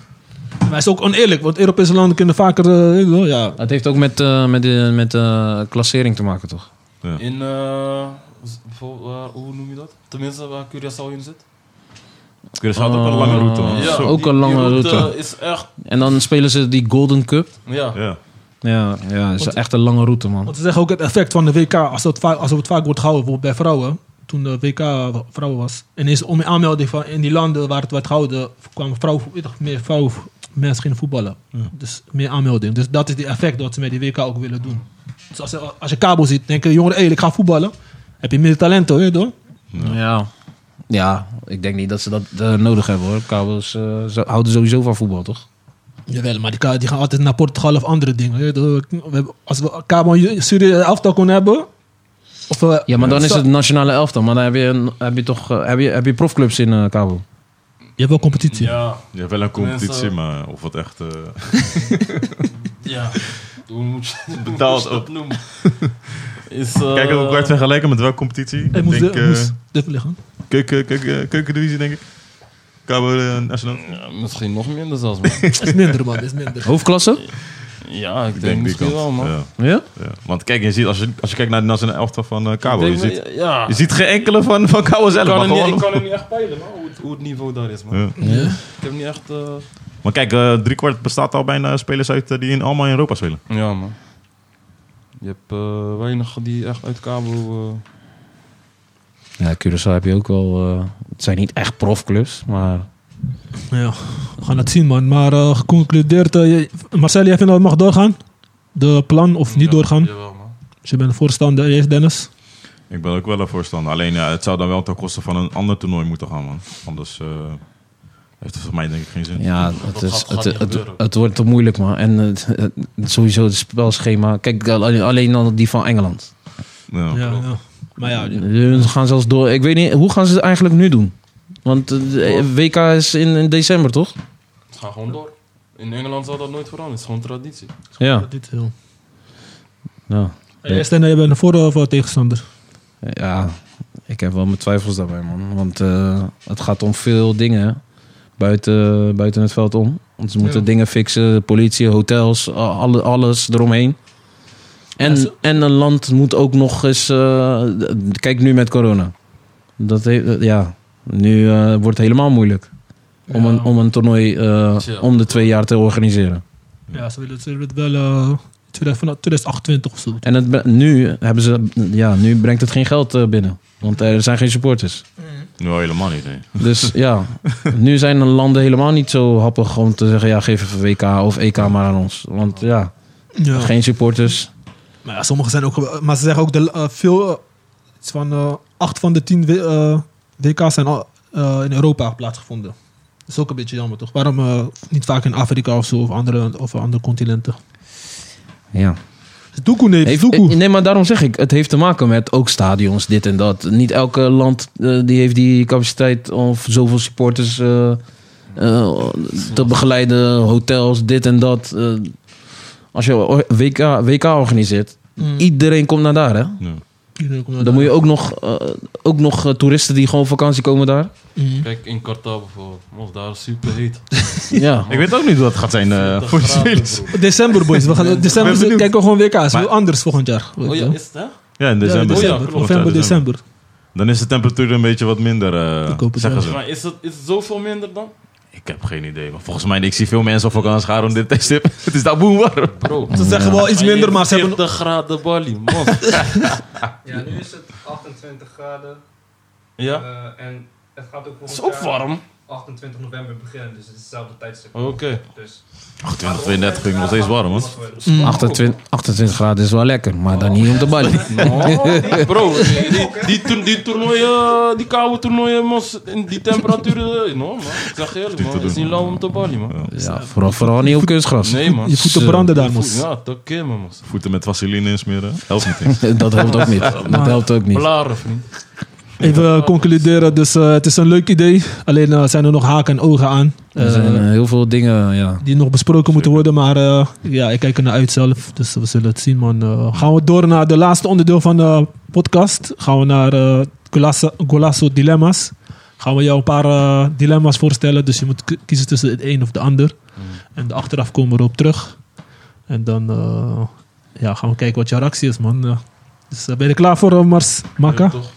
Speaker 2: Maar het is ook oneerlijk, want Europese landen kunnen vaker... eh, weet je wel, ja.
Speaker 3: Dat heeft ook met, eh, met, de met eh, klassering te maken, toch?
Speaker 4: In, eh, z- bijvoorbeeld, eh, hoe noem je dat? Tenminste, waar Curaçao in zit.
Speaker 5: Er is altijd wel een lange route man.
Speaker 3: Ja,
Speaker 5: Ah, Zo.
Speaker 3: ook
Speaker 4: die-
Speaker 3: een lange
Speaker 4: die
Speaker 3: route.
Speaker 4: is echt,
Speaker 3: En dan spelen ze die Golden Cup.
Speaker 4: ja.
Speaker 5: Ja.
Speaker 3: Ja, ja is
Speaker 2: Want-
Speaker 3: echt een lange route, man.
Speaker 2: Want ze zeggen ook het effect van de WK, als het vaak, als het vaak wordt gehouden, bijvoorbeeld bij vrouwen, toen de WK vrouwen was. En is om aanmelding van in die landen waar het werd gehouden, kwamen vrouwen, weet je, meer vrouwen, mensen gingen voetballen. Dus meer aanmelding. Dus dat is die effect dat ze met die WK ook willen doen. Dus als, je- als je kabel ziet, denken jongeren, hey, ik ga voetballen. Heb je meer talenten, weet je toch?
Speaker 3: Ja. Ja, ik denk niet dat ze dat eh, nodig hebben hoor. Kabels eh, zo- houden sowieso van voetbal, toch?
Speaker 2: Jawel, maar die, ka- die gaan altijd naar Portugal of andere dingen. weet je toch? We hebben- Als we kabel Syrië aftal kon hebben, of, eh,
Speaker 3: Ja, maar dan is
Speaker 2: sta-
Speaker 3: het nationale elftal. Maar dan heb je, een- heb je toch eh, heb je, heb je profclubs in eh Kabel.
Speaker 2: Je hebt wel competitie.
Speaker 4: Ja,
Speaker 5: Je hebt wel een competitie,
Speaker 4: Mensen-
Speaker 5: maar of het echt... eh,
Speaker 4: ja. Hoe moet je, hoe moet je
Speaker 5: Betaald
Speaker 4: dat
Speaker 5: ook.
Speaker 4: noemen? Is, eh,
Speaker 5: Kijk, hoe kan je het vergelijken met welke competitie?
Speaker 2: Hey, moest,
Speaker 5: denk,
Speaker 2: de,
Speaker 5: eh,
Speaker 2: moest dit liggen.
Speaker 5: Keuken, keuken, eh, keukendivisie, denk ik. Cabo eh, Nacional.
Speaker 4: Ja, misschien nog minder zelfs, man.
Speaker 2: is minder, man. is minder.
Speaker 3: Hoofdklasse?
Speaker 4: ja, ik,
Speaker 5: Ik
Speaker 4: denk,
Speaker 5: denk die
Speaker 4: misschien
Speaker 5: kant.
Speaker 4: wel, man.
Speaker 5: Ja,
Speaker 3: Ja?
Speaker 5: ja. Want kijk, je ziet, als, je, als je kijkt naar de nationale elftal van eh Cabo,
Speaker 4: Ik
Speaker 5: je
Speaker 4: denk,
Speaker 5: ziet,
Speaker 4: maar- ja,
Speaker 5: je ziet geen enkele van, van Cabo zelf.
Speaker 4: ik, kan
Speaker 5: Maar
Speaker 4: het niet, ik
Speaker 5: gewoon,
Speaker 4: kan het niet echt peilen, man, hoe het, hoe het niveau daar is, man.
Speaker 5: Ja.
Speaker 3: Ja.
Speaker 4: Ik heb niet echt... eh,
Speaker 5: maar kijk, drie driekwart bestaat al bijna spelers uit eh, die in, allemaal in Europa spelen.
Speaker 4: Ja, man. Je hebt eh, weinig die echt uit kabel... eh,
Speaker 3: Ja, Curaçao heb je ook wel... eh, het zijn niet echt profclubs, maar...
Speaker 2: Ja, we gaan het zien, man. Maar eh, geconcludeerd, eh, je- Marcel, jij vindt dat het mag doorgaan? De plan of niet
Speaker 4: ja,
Speaker 2: doorgaan?
Speaker 4: Jawel, man.
Speaker 2: Dus je bent voorstander, eerst Dennis.
Speaker 5: Ik ben ook wel een voorstander. Alleen ja, het zou dan wel ten koste van een ander toernooi moeten gaan, man. Anders eh, heeft het voor mij denk ik geen zin.
Speaker 3: Ja,
Speaker 4: Dat
Speaker 3: het,
Speaker 4: gaat-
Speaker 3: is,
Speaker 4: gaat
Speaker 3: het,
Speaker 4: niet
Speaker 3: het, het,
Speaker 4: gebeuren.
Speaker 3: wordt te moeilijk, man. En het- het- sowieso het spelschema. Kijk, eh, alleen, alleen al die van Engeland.
Speaker 5: Ja.
Speaker 2: Maar Nou ja,
Speaker 3: Ze gaan zelfs door. Ik weet niet, hoe gaan ze het eigenlijk nu doen? Want eh, de WK is in, in december, toch?
Speaker 4: Het gaat gewoon door. In Engeland zal dat nooit veranderen. Het is gewoon traditie.
Speaker 3: Ja.
Speaker 2: dit heel.
Speaker 3: ja.
Speaker 2: Hey, Stijn, jij bent voor of eh, tegenstander?
Speaker 3: Ja, ik heb wel mijn twijfels daarbij, man. Want eh, het gaat om veel dingen buiten, buiten het veld om. Want ze moeten
Speaker 2: Ja.
Speaker 3: dingen fixen, politie, hotels, a- alle, alles eromheen. En,
Speaker 2: Ja, ze-
Speaker 3: en een land moet ook nog eens... eh, d- kijk nu met corona. Dat he- eh, ja, nu eh, wordt het helemaal moeilijk om,
Speaker 2: Ja.
Speaker 3: een, om een toernooi eh,
Speaker 4: Chill.
Speaker 3: om de twee jaar te organiseren.
Speaker 2: Ja, ze willen, ze willen het wel eh, 2000 vanaf 2028 of zo.
Speaker 3: En het, bre- nu, hebben ze, ja, nu brengt het geen geld eh, binnen. Want er zijn geen supporters.
Speaker 5: Nou, helemaal niet. nee.
Speaker 3: Dus ja, nu zijn de landen helemaal niet zo happig om te zeggen... ja, geef even WK of EK maar aan ons. Want ja,
Speaker 2: Ja.
Speaker 3: geen supporters.
Speaker 2: Maar ja, sommigen zijn ook... Maar ze zeggen ook, de, eh, veel... eh, iets van eh, acht van de tien W- eh, WK's zijn al, eh, in Europa plaatsgevonden. Dat is ook een beetje jammer, toch? Waarom eh, niet vaak in Afrika of zo, of andere, of andere continenten?
Speaker 3: Ja.
Speaker 2: Doekoe, nee,
Speaker 3: Heeft, eh,
Speaker 2: Doekoe.
Speaker 3: nee, maar daarom zeg ik, het heeft te maken met ook stadions, dit en dat. Niet elke land eh, die heeft die capaciteit of zoveel supporters eh, eh, te begeleiden. Hotels, dit en dat. Eh, als je o- WK, WK organiseert,
Speaker 2: Mm. Hmm.
Speaker 3: iedereen komt naar daar, hè?
Speaker 5: Ja.
Speaker 3: Dan moet je ook nog, eh, ook nog eh, toeristen die gewoon op vakantie komen daar.
Speaker 2: Mm.
Speaker 4: Kijk, in Qatar bijvoorbeeld. Was daar super heet.
Speaker 3: Ja.
Speaker 5: Ik weet ook niet hoe het gaat zijn eh, voor de spelers.
Speaker 2: December, boys. We gaan, december
Speaker 5: ben benieuwd.
Speaker 2: kijken we gewoon WK's.
Speaker 5: Maar-
Speaker 2: Anders volgend jaar.
Speaker 4: Oh ja, is het hè?
Speaker 5: Ja, in
Speaker 2: Ja,
Speaker 5: december.
Speaker 4: Oh ja,
Speaker 2: december.
Speaker 4: klopt.
Speaker 2: November, december.
Speaker 5: Dan is de temperatuur een beetje wat minder, eh,
Speaker 2: Ik hoop het
Speaker 5: zeggen
Speaker 2: wel.
Speaker 5: ze.
Speaker 4: Maar is het, is het zoveel minder dan?
Speaker 5: Ik heb geen idee. Maar volgens mij, ik zie veel mensen op vakantie gaan om dit tijdstip. Het is daar boem warm.
Speaker 4: Bro.
Speaker 2: Ze zeggen wel iets minder, maar ze hebben...
Speaker 4: 40 graden Bali, man.
Speaker 1: Ja, nu is het 28 graden.
Speaker 4: ja,
Speaker 1: eh, en het gaat ook
Speaker 4: het
Speaker 1: volgend
Speaker 4: is ook
Speaker 1: jaar
Speaker 4: warm. Oh.
Speaker 1: 28 november beginnen, dus het is hetzelfde tijdstip.
Speaker 4: Oké.
Speaker 1: Dus
Speaker 5: 28, 32 vind ik nog steeds warm, man.
Speaker 2: Mm.
Speaker 3: 28, 28 graden is wel lekker, maar dan niet om de balie.
Speaker 4: Oh, bro, die, die, die, toer- die toernooien, die koude toernooien, mos, in die temperaturen. eh, No, man. Ik zeg je eerlijk, man. Het is niet lauw om te Bali, man.
Speaker 3: Ja, vooral, vooral niet op kunstgras.
Speaker 4: Nee, man.
Speaker 2: Je voeten branden daar, mos.
Speaker 4: Ja, dat keer, man, mos.
Speaker 5: Voeten met vaseline insmeren. Helpt niet eens.
Speaker 3: Dat helpt ook niet. Dat helpt ook niet.
Speaker 4: Blaren, vriend.
Speaker 2: Even concluderen. Dus eh, het is een leuk idee. Alleen eh, zijn er nog haken en ogen aan.
Speaker 3: Er
Speaker 2: eh,
Speaker 3: zijn eh, heel veel dingen, ja.
Speaker 2: die nog besproken moeten worden. Maar eh, ja, ik kijk er naar uit zelf. Dus we zullen het zien, man. Eh, gaan we door naar de laatste onderdeel van de podcast. Gaan we naar eh Golasso- Golasso Dilemma's. Gaan we jou een paar eh, dilemma's voorstellen. Dus je moet k- kiezen tussen het een of de ander. En de achteraf komen we erop terug. En dan eh, ja, gaan we kijken wat jouw reactie is, man. Eh, dus eh, ben je er klaar voor, eh, Mars Maka?
Speaker 4: Ja, toch?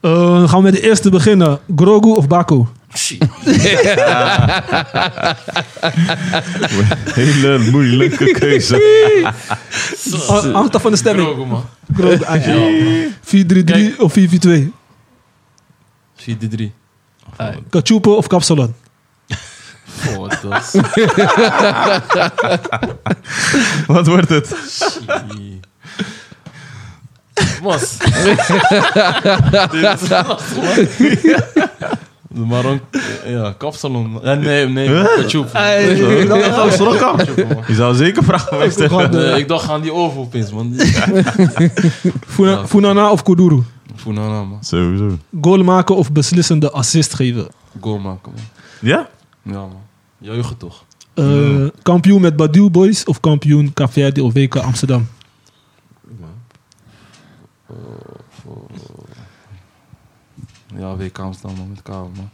Speaker 2: Eh, dan gaan we met de eerste beginnen. Grogu of Baku?
Speaker 5: Hele moeilijke keuze.
Speaker 2: Ah, Hangt af van de stemming.
Speaker 4: Drogen, man.
Speaker 2: Grogu, ah, ja. 4-3-3 of 4-4-2?
Speaker 4: 4-3.
Speaker 2: Kachupo of kapsalon?
Speaker 4: Oh, wat dat
Speaker 5: Wat wordt het?
Speaker 4: is- Mos. Dit is lastig, man. De Maron... Ja, kapsalon. Eh, Nee, nee. Kachoep. Kachoep, man.
Speaker 5: Je zou zeker vragen bij stellen.
Speaker 4: Nee, eh, ik dacht aan die oven opeens, man.
Speaker 2: Funa-
Speaker 4: Ja.
Speaker 2: Funana of Kuduru?
Speaker 4: Funana, nou, man.
Speaker 5: Sowieso.
Speaker 2: Goal maken of beslissende assist geven?
Speaker 4: Goal maken, man.
Speaker 5: Ja?
Speaker 4: Ja, man. Juichen toch?
Speaker 2: Eh, Kampioen met Badiou Boys of kampioen KVD of WK Amsterdam?
Speaker 4: Ja, WK Amsterdam met KM, man.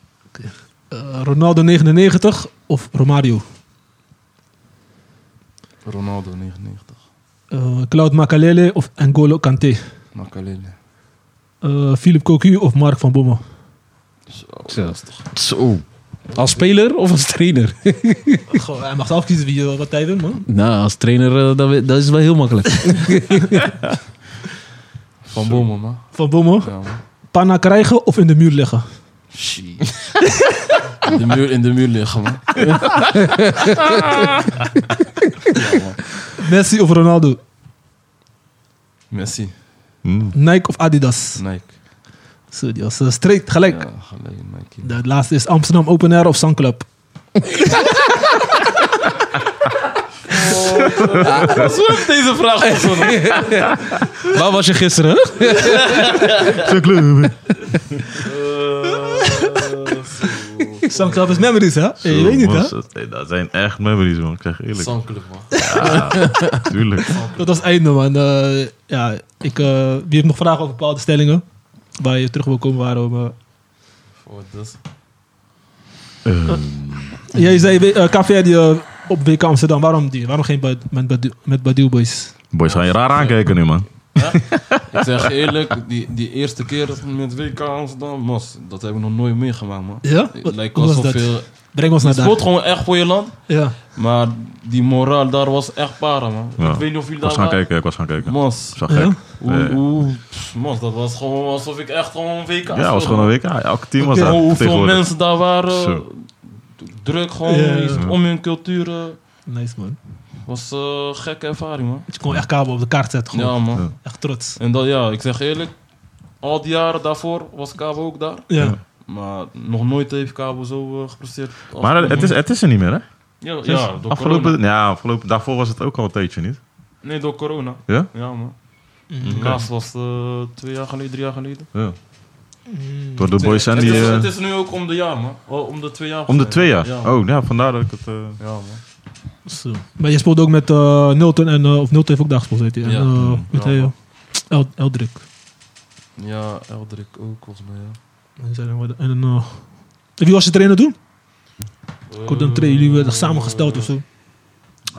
Speaker 2: Eh, Ronaldo 99 of Romario?
Speaker 4: Ronaldo 99.
Speaker 2: Eh Cloud Makalele of N'Golo Kanté?
Speaker 4: Makalele.
Speaker 2: Eh Philip Cocu of Mark van Bommel?
Speaker 3: Zo. Zo. Als speler of als trainer?
Speaker 2: Goh, hij mag zelf kiezen wie, eh, wat hij wil, man.
Speaker 3: nou, als trainer, eh, dat, we- dat is wel heel makkelijk.
Speaker 4: Van Bommel, man.
Speaker 2: Van Bommel.
Speaker 4: Ja, man.
Speaker 2: Panna krijgen of in de muur leggen?
Speaker 4: Shit. In de muur, in de muur liggen, man.
Speaker 2: Messi of Ronaldo?
Speaker 4: Messi.
Speaker 5: Hm.
Speaker 6: Hmm.
Speaker 2: Nike of Adidas?
Speaker 4: Nike.
Speaker 2: Zo, die was eh, straight, gelijk.
Speaker 4: Ja, gelijk Nike.
Speaker 2: De laatste is Amsterdam Open Air of Sun Club?
Speaker 4: deze vraag
Speaker 3: Waar was je gisteren?
Speaker 2: Sun Club is memories, hè?
Speaker 5: Zo
Speaker 2: je weet niet, hè?
Speaker 5: was het. Hey, dat zijn echt memories, man. Ik zeg eerlijk.
Speaker 4: Zankelijk, man.
Speaker 5: Tuurlijk.
Speaker 2: Dat was het einde, man. Eh, ja, ik, eh, wie heeft nog vragen over bepaalde stellingen? Waar je terug wil komen, waarom... eh,
Speaker 4: Voor dus.
Speaker 5: Eh,
Speaker 2: Jij zei eh, KVR die, eh, op WK Amsterdam, waarom die? Waarom geen Bad- met, Badu- met Badu Boys?
Speaker 5: boys gaan je raar aankijken nu, man.
Speaker 4: Ik zeg je eerlijk, die, die eerste keer met WK Amsterdam, mos, dat heb ik nog nooit meegemaakt, man.
Speaker 2: Ja?
Speaker 4: Het
Speaker 2: Wat-
Speaker 4: lijkt
Speaker 2: hoe was
Speaker 4: alsof
Speaker 2: dat?
Speaker 4: je...
Speaker 2: Breng ons naar
Speaker 4: Het
Speaker 2: daar.
Speaker 4: speelt gewoon echt voor je land,
Speaker 2: Ja.
Speaker 4: maar die moraal daar was echt para, man.
Speaker 5: Ja.
Speaker 4: Ik weet niet of jullie
Speaker 5: Ik
Speaker 4: daar
Speaker 5: was gaan
Speaker 4: waren.
Speaker 5: kijken, ik was gaan kijken.
Speaker 4: Mos,
Speaker 5: Zag
Speaker 2: Ja?
Speaker 5: gek.
Speaker 4: hoe,
Speaker 5: Nee.
Speaker 4: hoe, pff, mos, dat was gewoon alsof ik echt gewoon een WK
Speaker 5: Ja, het was gewoon een WK. Elk team was
Speaker 2: Oké.
Speaker 5: daar
Speaker 4: Gewoon hoeveel
Speaker 5: tegenwoordig.
Speaker 4: mensen daar waren,
Speaker 5: Zo.
Speaker 4: druk gewoon,
Speaker 2: Ja.
Speaker 4: iets
Speaker 5: Ja.
Speaker 4: om hun cultuur. eh,
Speaker 2: Nice, man.
Speaker 4: was eh, een gekke ervaring, man.
Speaker 2: Dat je kon echt kabel op de kaart zetten. Gewoon.
Speaker 4: Ja, man.
Speaker 5: Ja.
Speaker 2: Echt trots.
Speaker 4: En dat, ja, ik zeg eerlijk, al die jaren daarvoor was Cabo ook daar.
Speaker 2: Ja.
Speaker 4: Maar nog nooit heeft Cabo zo eh, gepresteerd. als
Speaker 5: Maar
Speaker 4: toen,
Speaker 5: het is,
Speaker 4: man.
Speaker 5: het is er niet meer, hè?
Speaker 4: Ja,
Speaker 5: Het is
Speaker 4: ja door corona.
Speaker 5: afgelopen, ja, afgelopen, daarvoor was het ook al een tijdje niet.
Speaker 4: Nee, door corona.
Speaker 5: Ja?
Speaker 4: Ja, man.
Speaker 2: Mm.
Speaker 4: Laatst was het eh, twee jaar geleden, drie jaar geleden.
Speaker 5: Ja.
Speaker 2: Mm.
Speaker 5: Door de boys zijn
Speaker 4: het,
Speaker 5: die...
Speaker 4: is, het
Speaker 5: eh,
Speaker 4: is nu ook om de jaar, man. Oh, om de twee jaar.
Speaker 5: om de twee jaar.
Speaker 4: Ja, man.
Speaker 5: Oh, ja, vandaar dat ik het... eh,
Speaker 4: Ja, man.
Speaker 2: Zo. Maar je speelde ook met eh Nilton en... eh, of Nilton heeft ook daar gespeeld, weet je. En,
Speaker 4: Ja. Mm.
Speaker 2: eh, met
Speaker 4: Ja.
Speaker 2: hij, eh, El- Eldrik.
Speaker 4: Ja, Eldrik ook, volgens mij, ja.
Speaker 2: En zijn- En eh, wie was je trainer toen? Ik hoorde een trainer, jullie werden
Speaker 4: Eh,
Speaker 2: samengesteld of zo.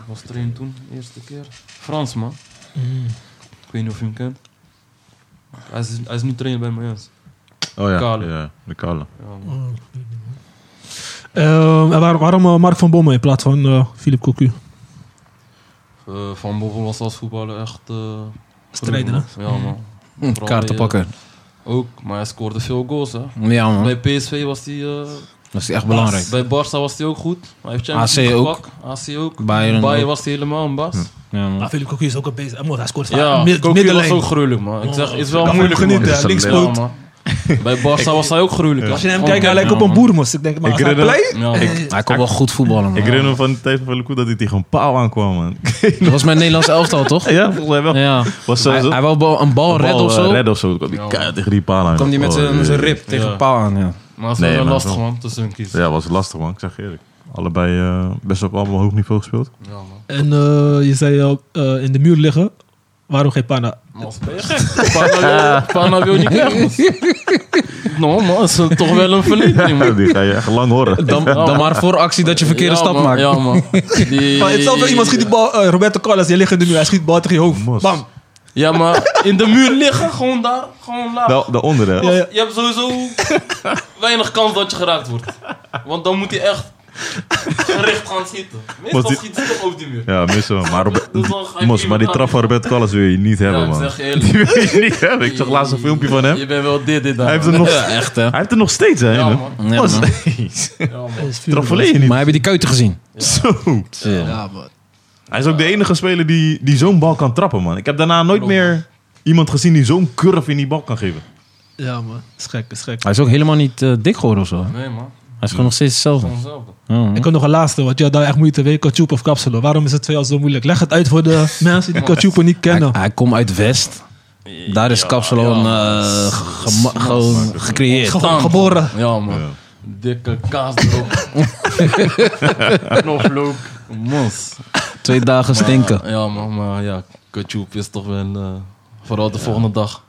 Speaker 4: Was trainer toen, eerste keer. Frans, man.
Speaker 2: Mm.
Speaker 4: Ik weet niet of je hem kent. Hij is, hij is nu trainer bij Mayans.
Speaker 5: oh ja,
Speaker 4: Kale.
Speaker 5: ja, de kale.
Speaker 4: Ja, man.
Speaker 2: Oh, ik weet niet, man. Ehm, en waar- waarom eh, Mark van Bommel in plaats van eh Philip Cocu?
Speaker 4: Eh, van Bommel was als voetballer echt... eh
Speaker 2: Strijder,
Speaker 4: goed, man. Ja, man. Vooral
Speaker 3: Kaarten
Speaker 4: bij, eh,
Speaker 3: pakken.
Speaker 4: Ook, maar hij scoorde veel goals, hè.
Speaker 3: Ja, man.
Speaker 4: Bij PSV was hij... eh,
Speaker 3: Dat is echt Hm? belangrijk.
Speaker 4: Bij Barca was hij ook goed. Hij heeft Champions
Speaker 3: AC
Speaker 4: League
Speaker 3: ook.
Speaker 4: gepakt. AC ook.
Speaker 3: Bayern
Speaker 4: Bayern
Speaker 3: ook.
Speaker 4: was hij helemaal een baas.
Speaker 3: Ja, man.
Speaker 2: Maar Ah, Philip Cocu is ook een bezig. Hij moet- Hij scoort vaak
Speaker 4: Ja,
Speaker 2: mid-
Speaker 4: Koki was
Speaker 2: middenlijn.
Speaker 4: ook gruwelijk, man. Ik zeg, is wel
Speaker 2: Dat
Speaker 4: moeilijk,
Speaker 2: moet je
Speaker 4: man.
Speaker 2: genieten, hè.
Speaker 4: Dat is een
Speaker 2: Linkspoot.
Speaker 4: ja, man. Bij Barca was hij ook gruwelijk. hè.
Speaker 2: Als je naar hem
Speaker 4: Gewoon
Speaker 2: kijkt, hij lijkt op
Speaker 4: Oh, ja,
Speaker 2: een boermos. Ik denk, maar
Speaker 5: Ik
Speaker 2: als hij
Speaker 5: herinner-
Speaker 2: play...
Speaker 4: man. Ja, man.
Speaker 3: Hij kon wel goed voetballen, man.
Speaker 5: Ik herinner me van de tijd van Veluku dat hij tegen een paal aankwam, man.
Speaker 3: Dat was mijn Nederlands elftal, toch?
Speaker 5: ja, volgens mij wel.
Speaker 3: Ja.
Speaker 5: Was
Speaker 3: Hij,
Speaker 5: sowieso-
Speaker 3: hij wou bal- een bal
Speaker 5: Een
Speaker 3: redden
Speaker 5: bal,
Speaker 3: of
Speaker 5: eh,
Speaker 3: zo.
Speaker 5: Redden of zo. Kwam die
Speaker 4: Ja.
Speaker 5: keihard tegen die paal aan.
Speaker 3: Kwam die met
Speaker 5: Oh,
Speaker 3: zijn
Speaker 5: jee.
Speaker 3: zijn rib tegen
Speaker 4: Ja.
Speaker 3: een paal aan, ja.
Speaker 4: Maar het is
Speaker 5: Nee,
Speaker 4: wel
Speaker 5: maar
Speaker 4: lastig,
Speaker 5: wel.
Speaker 4: man, tussen hun kiezen.
Speaker 5: Ja, was lastig, man. Ik zeg je eerlijk. Allebei eh, best op allemaal hoog niveau gespeeld.
Speaker 4: Ja, man.
Speaker 2: En eh, je zei al, eh, in de muur liggen. Waarom geen Panna?
Speaker 4: Mas, ben je gek? Pana wil- Pana wil niet weg, man. No, man, is het toch wel een verlichting, man.
Speaker 5: die ga je echt lang horen.
Speaker 3: Dan, dan maar voor actie dat je verkeerde
Speaker 4: Ja,
Speaker 3: stap
Speaker 4: man,
Speaker 3: maakt.
Speaker 4: Ja, man. Die-
Speaker 2: Maar hetzelfde, iemand schiet die bal... eh, Roberto Carlos, je ligt in de muur. Hij schiet bal tegen je hoofd.
Speaker 5: Mos.
Speaker 2: Bam.
Speaker 4: Ja, maar in de muur liggen, gewoon daar, gewoon laag.
Speaker 5: Da daaronder, hè?
Speaker 2: Ja, ja.
Speaker 4: Je hebt sowieso weinig kans dat je geraakt wordt. Want dan moet hij echt gericht gaan schieten. Meestal
Speaker 5: Want die-
Speaker 4: schiet hij toch over die muur.
Speaker 5: Ja, missen we. Maar, Robert-
Speaker 4: Dus dan ga je
Speaker 5: Mos, maar die
Speaker 4: iemand
Speaker 5: trap van Robert Callas wil je niet hebben,
Speaker 4: ik
Speaker 5: man.
Speaker 4: zeg je eerlijk.
Speaker 5: Die wil je niet hebben. Ik zag laatst een filmpje van hem.
Speaker 4: Je bent wel dit, dit, daar.
Speaker 5: Hij heeft er nog, hij
Speaker 3: Echt, hè?
Speaker 5: heeft er nog steeds, hè?
Speaker 4: Ja,
Speaker 5: hè?
Speaker 4: man.
Speaker 3: Ja,
Speaker 5: Mos,
Speaker 3: man.
Speaker 5: jeez.
Speaker 4: Ja, man.
Speaker 2: Is vuur,
Speaker 5: Trap
Speaker 2: man.
Speaker 5: volledig niet.
Speaker 3: Maar heb je die kuiten gezien?
Speaker 5: Zo.
Speaker 3: Ja.
Speaker 5: Hij is ook de enige speler die, die zo'n bal kan trappen, man. Ik heb daarna nooit meer iemand gezien die zo'n curve in die bal kan geven.
Speaker 2: Ja, man. Is gek, is gek.
Speaker 3: Hij is ook helemaal niet eh, dik geworden of zo. Hij
Speaker 4: Nee, man.
Speaker 3: is gewoon nog steeds hetzelfde.
Speaker 4: Gewoon hetzelfde.
Speaker 3: Ja, man.
Speaker 2: Ik heb nog een laatste, want je had daar echt moeite mee. Kachup of Kapselo. Waarom is het twee al zo moeilijk? Leg het uit voor de mensen die Kachup niet
Speaker 3: Hij,
Speaker 2: kennen.
Speaker 3: hij komt uit West. Daar is Kapsalon eh, gema- gewoon gecreëerd.
Speaker 2: Gewoon geboren.
Speaker 4: Ja, man.
Speaker 5: Ja.
Speaker 4: Dikke kaas erop. Knoflook. Mos.
Speaker 3: Twee dagen stinken.
Speaker 4: Ja, man. Maar ja, Kachoep is toch wel... eh, vooral de volgende dag.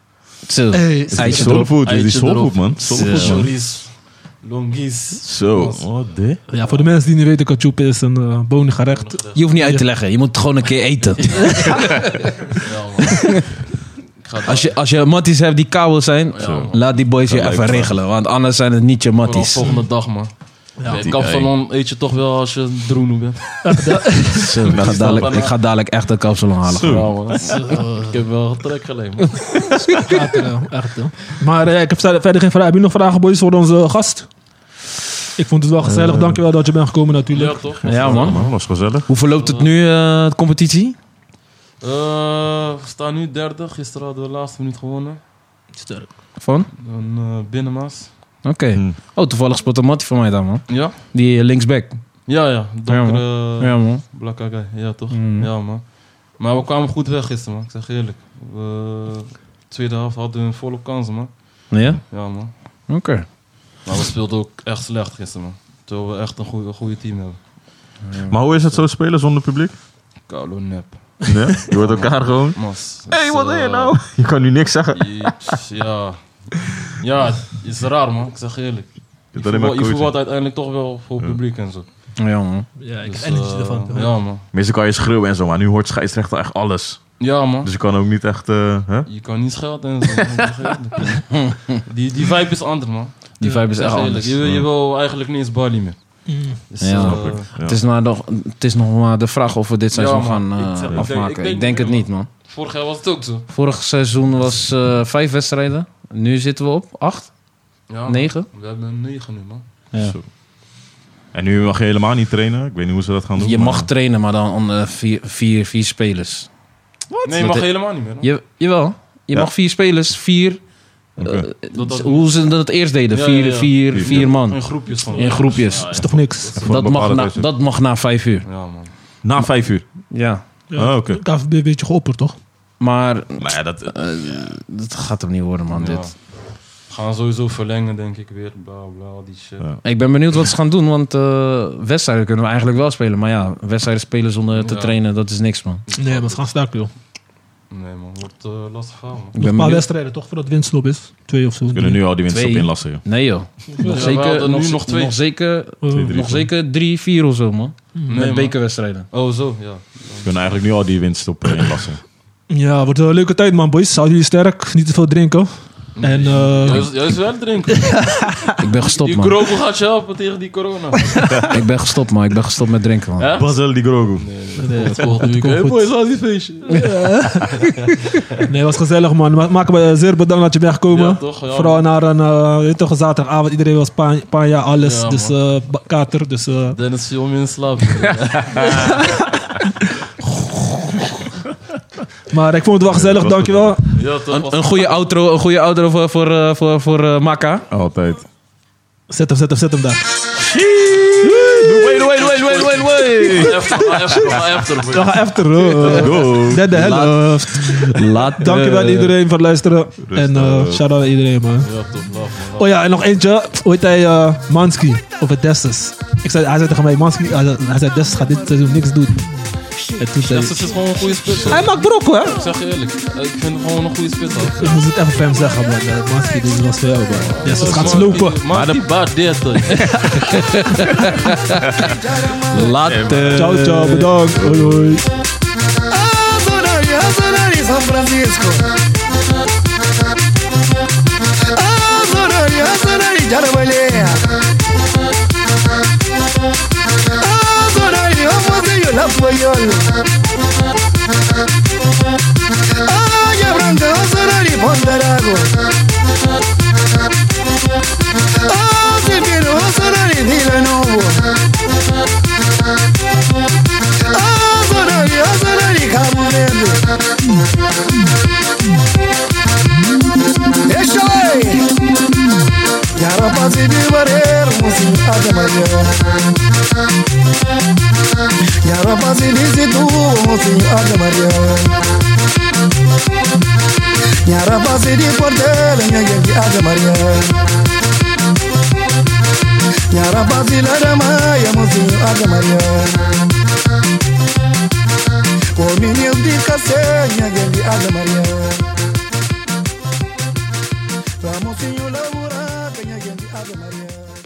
Speaker 3: Zo.
Speaker 2: Hey,
Speaker 7: Die
Speaker 3: Eitje
Speaker 7: soul
Speaker 3: erop.
Speaker 5: dus
Speaker 7: food, die
Speaker 4: eitje
Speaker 7: soul
Speaker 4: erop.
Speaker 7: food, man. Soul
Speaker 3: Ja.
Speaker 7: food, man.
Speaker 4: Choris, longies.
Speaker 7: Zo.
Speaker 4: Ons.
Speaker 5: Oh,
Speaker 7: Wat de?
Speaker 2: Ja, voor de mensen die niet weten, kachup is een eh bonengerecht.
Speaker 3: Je hoeft niet uit te leggen. Je moet het gewoon een keer eten.
Speaker 4: Ja, man. Ik ga het
Speaker 3: Als je, als je matties hebt die kabel zijn,
Speaker 4: Zo.
Speaker 3: laat die boys je
Speaker 7: lijkt
Speaker 3: even
Speaker 7: me.
Speaker 3: regelen. Want anders zijn het niet je
Speaker 4: vooral
Speaker 3: matties.
Speaker 4: volgende dag, man. Ja,
Speaker 7: Die-
Speaker 4: kapsalon eet je toch wel als je droen bent.
Speaker 3: Zo, ik, ga dadelijk, ik ga dadelijk echt een kapsalon halen.
Speaker 4: Ja, man. Dat is, eh, Ik heb wel trek geleden, man.
Speaker 2: Later, eh, echt, eh. Maar eh, ik heb verder verder geen vragen. Heb je nog vragen, boys, voor onze gast? Ik vond het wel gezellig. Dankjewel dat je bent gekomen, natuurlijk.
Speaker 4: Ja, toch?
Speaker 3: Ja,
Speaker 7: Man,
Speaker 3: man.
Speaker 7: man, was gezellig.
Speaker 3: Hoe verloopt het nu, eh, de competitie?
Speaker 4: Eh, we staan nu 30. Gisteren hadden we de laatste minuut gewonnen.
Speaker 2: Sterk.
Speaker 3: Van?
Speaker 4: Dan eh Binnenmaas.
Speaker 3: Oké. Oh, toevallig spot een mattie van mij dan, man.
Speaker 4: Ja?
Speaker 3: Die eh, linksback.
Speaker 4: Ja, ja. eh, Donkere,
Speaker 3: Ja, man.
Speaker 4: blakke guy. Ja, toch?
Speaker 3: Mm.
Speaker 4: Ja, man. Maar we kwamen goed weg gisteren, man. Ik zeg je eerlijk. We, tweede helft hadden we een volle kans, man.
Speaker 3: Ja?
Speaker 4: Ja, man.
Speaker 3: Oké.
Speaker 4: Maar we speelden ook echt slecht gisteren, man. Terwijl we echt een goede, een goede team hebben.
Speaker 7: Maar hoe is het zo spelen zonder publiek?
Speaker 4: Kalo nep.
Speaker 7: Nee? Je hoort elkaar gewoon.
Speaker 4: Mas.
Speaker 7: Hé, hey, wat
Speaker 4: is
Speaker 7: ben je
Speaker 4: eh,
Speaker 7: nou? Je kan nu niks zeggen.
Speaker 4: je- Ja. Ja, het is raar, man. Ik zeg je eerlijk. Je
Speaker 7: bent alleen maar
Speaker 4: voetbal- je
Speaker 7: coachen.
Speaker 4: voetbalt uiteindelijk toch wel voor publiek en zo.
Speaker 3: Ja, man.
Speaker 2: Ja, ik
Speaker 4: Dus,
Speaker 2: heb
Speaker 4: eh,
Speaker 2: ervan.
Speaker 4: Ja, man.
Speaker 7: Meestal kan je schreeuwen en zo, maar nu hoort scheidsrechter echt alles.
Speaker 4: Ja, man.
Speaker 7: Dus je kan ook niet echt... eh, hè?
Speaker 4: Je kan niet schelden en zo. man. Ik zeg je eerlijk. die, die vibe is anders, man.
Speaker 3: Die vibe is
Speaker 4: Ik zeg
Speaker 3: echt
Speaker 4: je
Speaker 3: anders.
Speaker 4: eerlijk, Je, je wil eigenlijk niet eens Bali meer.
Speaker 2: Mm.
Speaker 4: Dus,
Speaker 3: Ja,
Speaker 4: eh,
Speaker 3: snap
Speaker 7: ik. Ja.
Speaker 3: Het, is nou nog, het is nog maar de vraag of we dit seizoen
Speaker 4: man.
Speaker 3: gaan eh,
Speaker 4: Ik zeg- ik denk-
Speaker 3: afmaken.
Speaker 4: ik
Speaker 3: Ik
Speaker 4: denk
Speaker 3: denk,
Speaker 4: niet,
Speaker 3: het
Speaker 4: man.
Speaker 3: niet, man.
Speaker 4: Vorig jaar was het ook zo.
Speaker 3: Vorig seizoen was eh, vijf wedstrijden. Nu zitten we op acht,
Speaker 4: Ja, man.
Speaker 3: negen.
Speaker 4: We hebben een 9 nu, man.
Speaker 3: Ja.
Speaker 7: Zo. En nu mag je helemaal niet trainen. Ik weet niet hoe ze dat gaan doen.
Speaker 3: Je
Speaker 7: maar-
Speaker 3: mag trainen, maar dan onder vier, vier, vier spelers.
Speaker 4: Nee, je
Speaker 3: Wat
Speaker 4: mag
Speaker 3: de-
Speaker 4: helemaal niet meer. man.
Speaker 3: Je, jawel. Je
Speaker 7: Ja.
Speaker 3: mag vier spelers, vier... eh,
Speaker 7: Oké.
Speaker 4: Dat- dat-
Speaker 3: hoe ze dat eerst deden.
Speaker 4: Ja,
Speaker 3: vier,
Speaker 4: ja, ja.
Speaker 3: Vier, vier, man.
Speaker 4: In groepjes van.
Speaker 3: In groepjes.
Speaker 2: is toch niks.
Speaker 7: Voor een
Speaker 3: Dat mag,
Speaker 7: bepaalde
Speaker 3: na,
Speaker 7: tijd.
Speaker 3: dat mag na vijf uur.
Speaker 4: Ja, man.
Speaker 7: Na vijf uur.
Speaker 3: Ja.
Speaker 7: Ah, oké.
Speaker 2: Ik heb een beetje geopperd, toch?
Speaker 3: Maar eh,
Speaker 7: Maar ja, dat, eh,
Speaker 3: dat gaat hem niet worden, man.
Speaker 4: Ja.
Speaker 3: Dit.
Speaker 4: Gaan sowieso verlengen, denk ik weer. Bla bla, al die shit.
Speaker 7: Ja.
Speaker 3: Ik ben benieuwd wat ze gaan doen, want eh, wedstrijden kunnen we eigenlijk wel spelen. Maar ja, wedstrijden spelen zonder te
Speaker 4: Ja.
Speaker 3: trainen, dat is niks, man.
Speaker 2: Nee, maar ze gaan sterk, joh.
Speaker 4: Nee, man. Wordt eh, lastig verhaal, man.
Speaker 3: Ik ben
Speaker 2: Nog een paar
Speaker 3: benieuwd.
Speaker 2: wedstrijden, toch? Voordat winstloop is. Twee of zo.
Speaker 7: we kunnen nu al die winst op
Speaker 3: Twee.
Speaker 7: inlassen. joh.
Speaker 3: Nee, joh. Nog
Speaker 4: we
Speaker 3: zeker,
Speaker 4: hadden
Speaker 3: nog,
Speaker 4: nu nog twee.
Speaker 3: nog zeker,
Speaker 2: Eh,
Speaker 7: Drie,
Speaker 3: nog
Speaker 7: vier.
Speaker 3: zeker drie, vier of zo, man.
Speaker 4: Nee,
Speaker 3: Met
Speaker 4: man.
Speaker 3: bekerwedstrijden.
Speaker 4: Oh, zo, ja.
Speaker 7: We kunnen eigenlijk nu al die winst op eh, inlassen.
Speaker 2: Ja, wordt een leuke tijd, man, boys. Houden jullie sterk. Niet te veel drinken. En eh,
Speaker 4: Juist, juist wel drinken.
Speaker 3: Ik ben gestopt,
Speaker 4: die
Speaker 3: man.
Speaker 4: krokel gaat je helpen tegen die corona.
Speaker 3: Ik ben gestopt, man. Ik ben gestopt met drinken, man.
Speaker 4: Ja?
Speaker 7: Basel di Grogu.
Speaker 2: het komt- het komt
Speaker 4: Hey
Speaker 2: goed.
Speaker 4: boys, laat die feestje.
Speaker 2: Nee, was gezellig, man. Maar Maak me zeer bedankt dat je bent gekomen.
Speaker 4: Ja, toch, ja.
Speaker 2: Vooral naar een eh, weet je toch, een zaterdagavond. Iedereen was pa- panja, alles.
Speaker 4: Ja,
Speaker 2: dus eh, ba- kater. Dus eh,
Speaker 4: Dennis viel me in slaap.
Speaker 2: Maar ik vond het wel gezellig,
Speaker 7: dat was
Speaker 2: dankjewel.
Speaker 4: Ja, toch.
Speaker 3: Een, een goede outro, een goede outro voor, voor, eh, voor, voor eh, Maka.
Speaker 7: Altijd.
Speaker 2: Zet hem, zet hem, zet hem daar.
Speaker 7: Wait, wait, wait, wait, wait, wait.
Speaker 4: After, after, after, boy.
Speaker 2: Dan ga after. eh,
Speaker 7: Go.
Speaker 2: Dead the hell.
Speaker 3: Laat
Speaker 2: Dankjewel aan iedereen voor het luisteren. En eh
Speaker 7: Rustig.
Speaker 2: shout-out aan iedereen, man.
Speaker 4: Ja, toch. Love, man.
Speaker 2: Oh ja, en nog eentje. Hoe heet hij? eh, Mansky. Of het Dessus. Ik zei, hij zei tegen mij, Mansky. Hij zei, hij zei Dessus gaat dit seizoen niks doen. En toen zei
Speaker 4: Dat is gewoon een goede spits. hoor.
Speaker 2: hij, hij maakt brokkel, hè?
Speaker 4: Ik zeg je eerlijk. Ik vind het gewoon een goede spits. hoor.
Speaker 2: Ik moest het even voor hem zeggen, man. Eh, Mansky, dit was voor jou, man. Dessus gaat slopen.
Speaker 4: Maar die baat deed dat.
Speaker 3: Later.
Speaker 2: Ciao, ciao. Bedankt. Hoi, hoi.
Speaker 8: Ah, zona vieja, zona de San Francisco. Ah, zona vieja, zona de Yarbalea. Ah, zona vieja, Poseidón, Apollón. Ah, ya pronto, zona de Pondarago. Ah, Silvino, zona de Dilanovo. Ah, zona vieja, zona de Camonendo. Eso es. Ya rapaz y vivaré, música de mayor. Ya rapaz y dice tú, música de mayor. Ya rapaz y dice por tele, ya ya ya de mayor. Ya rapaz y la rama, ya música de mayor. Por mi Dios, dígase, ya ya ya de mayor. mosinho laura, penha gendi Ave Maria.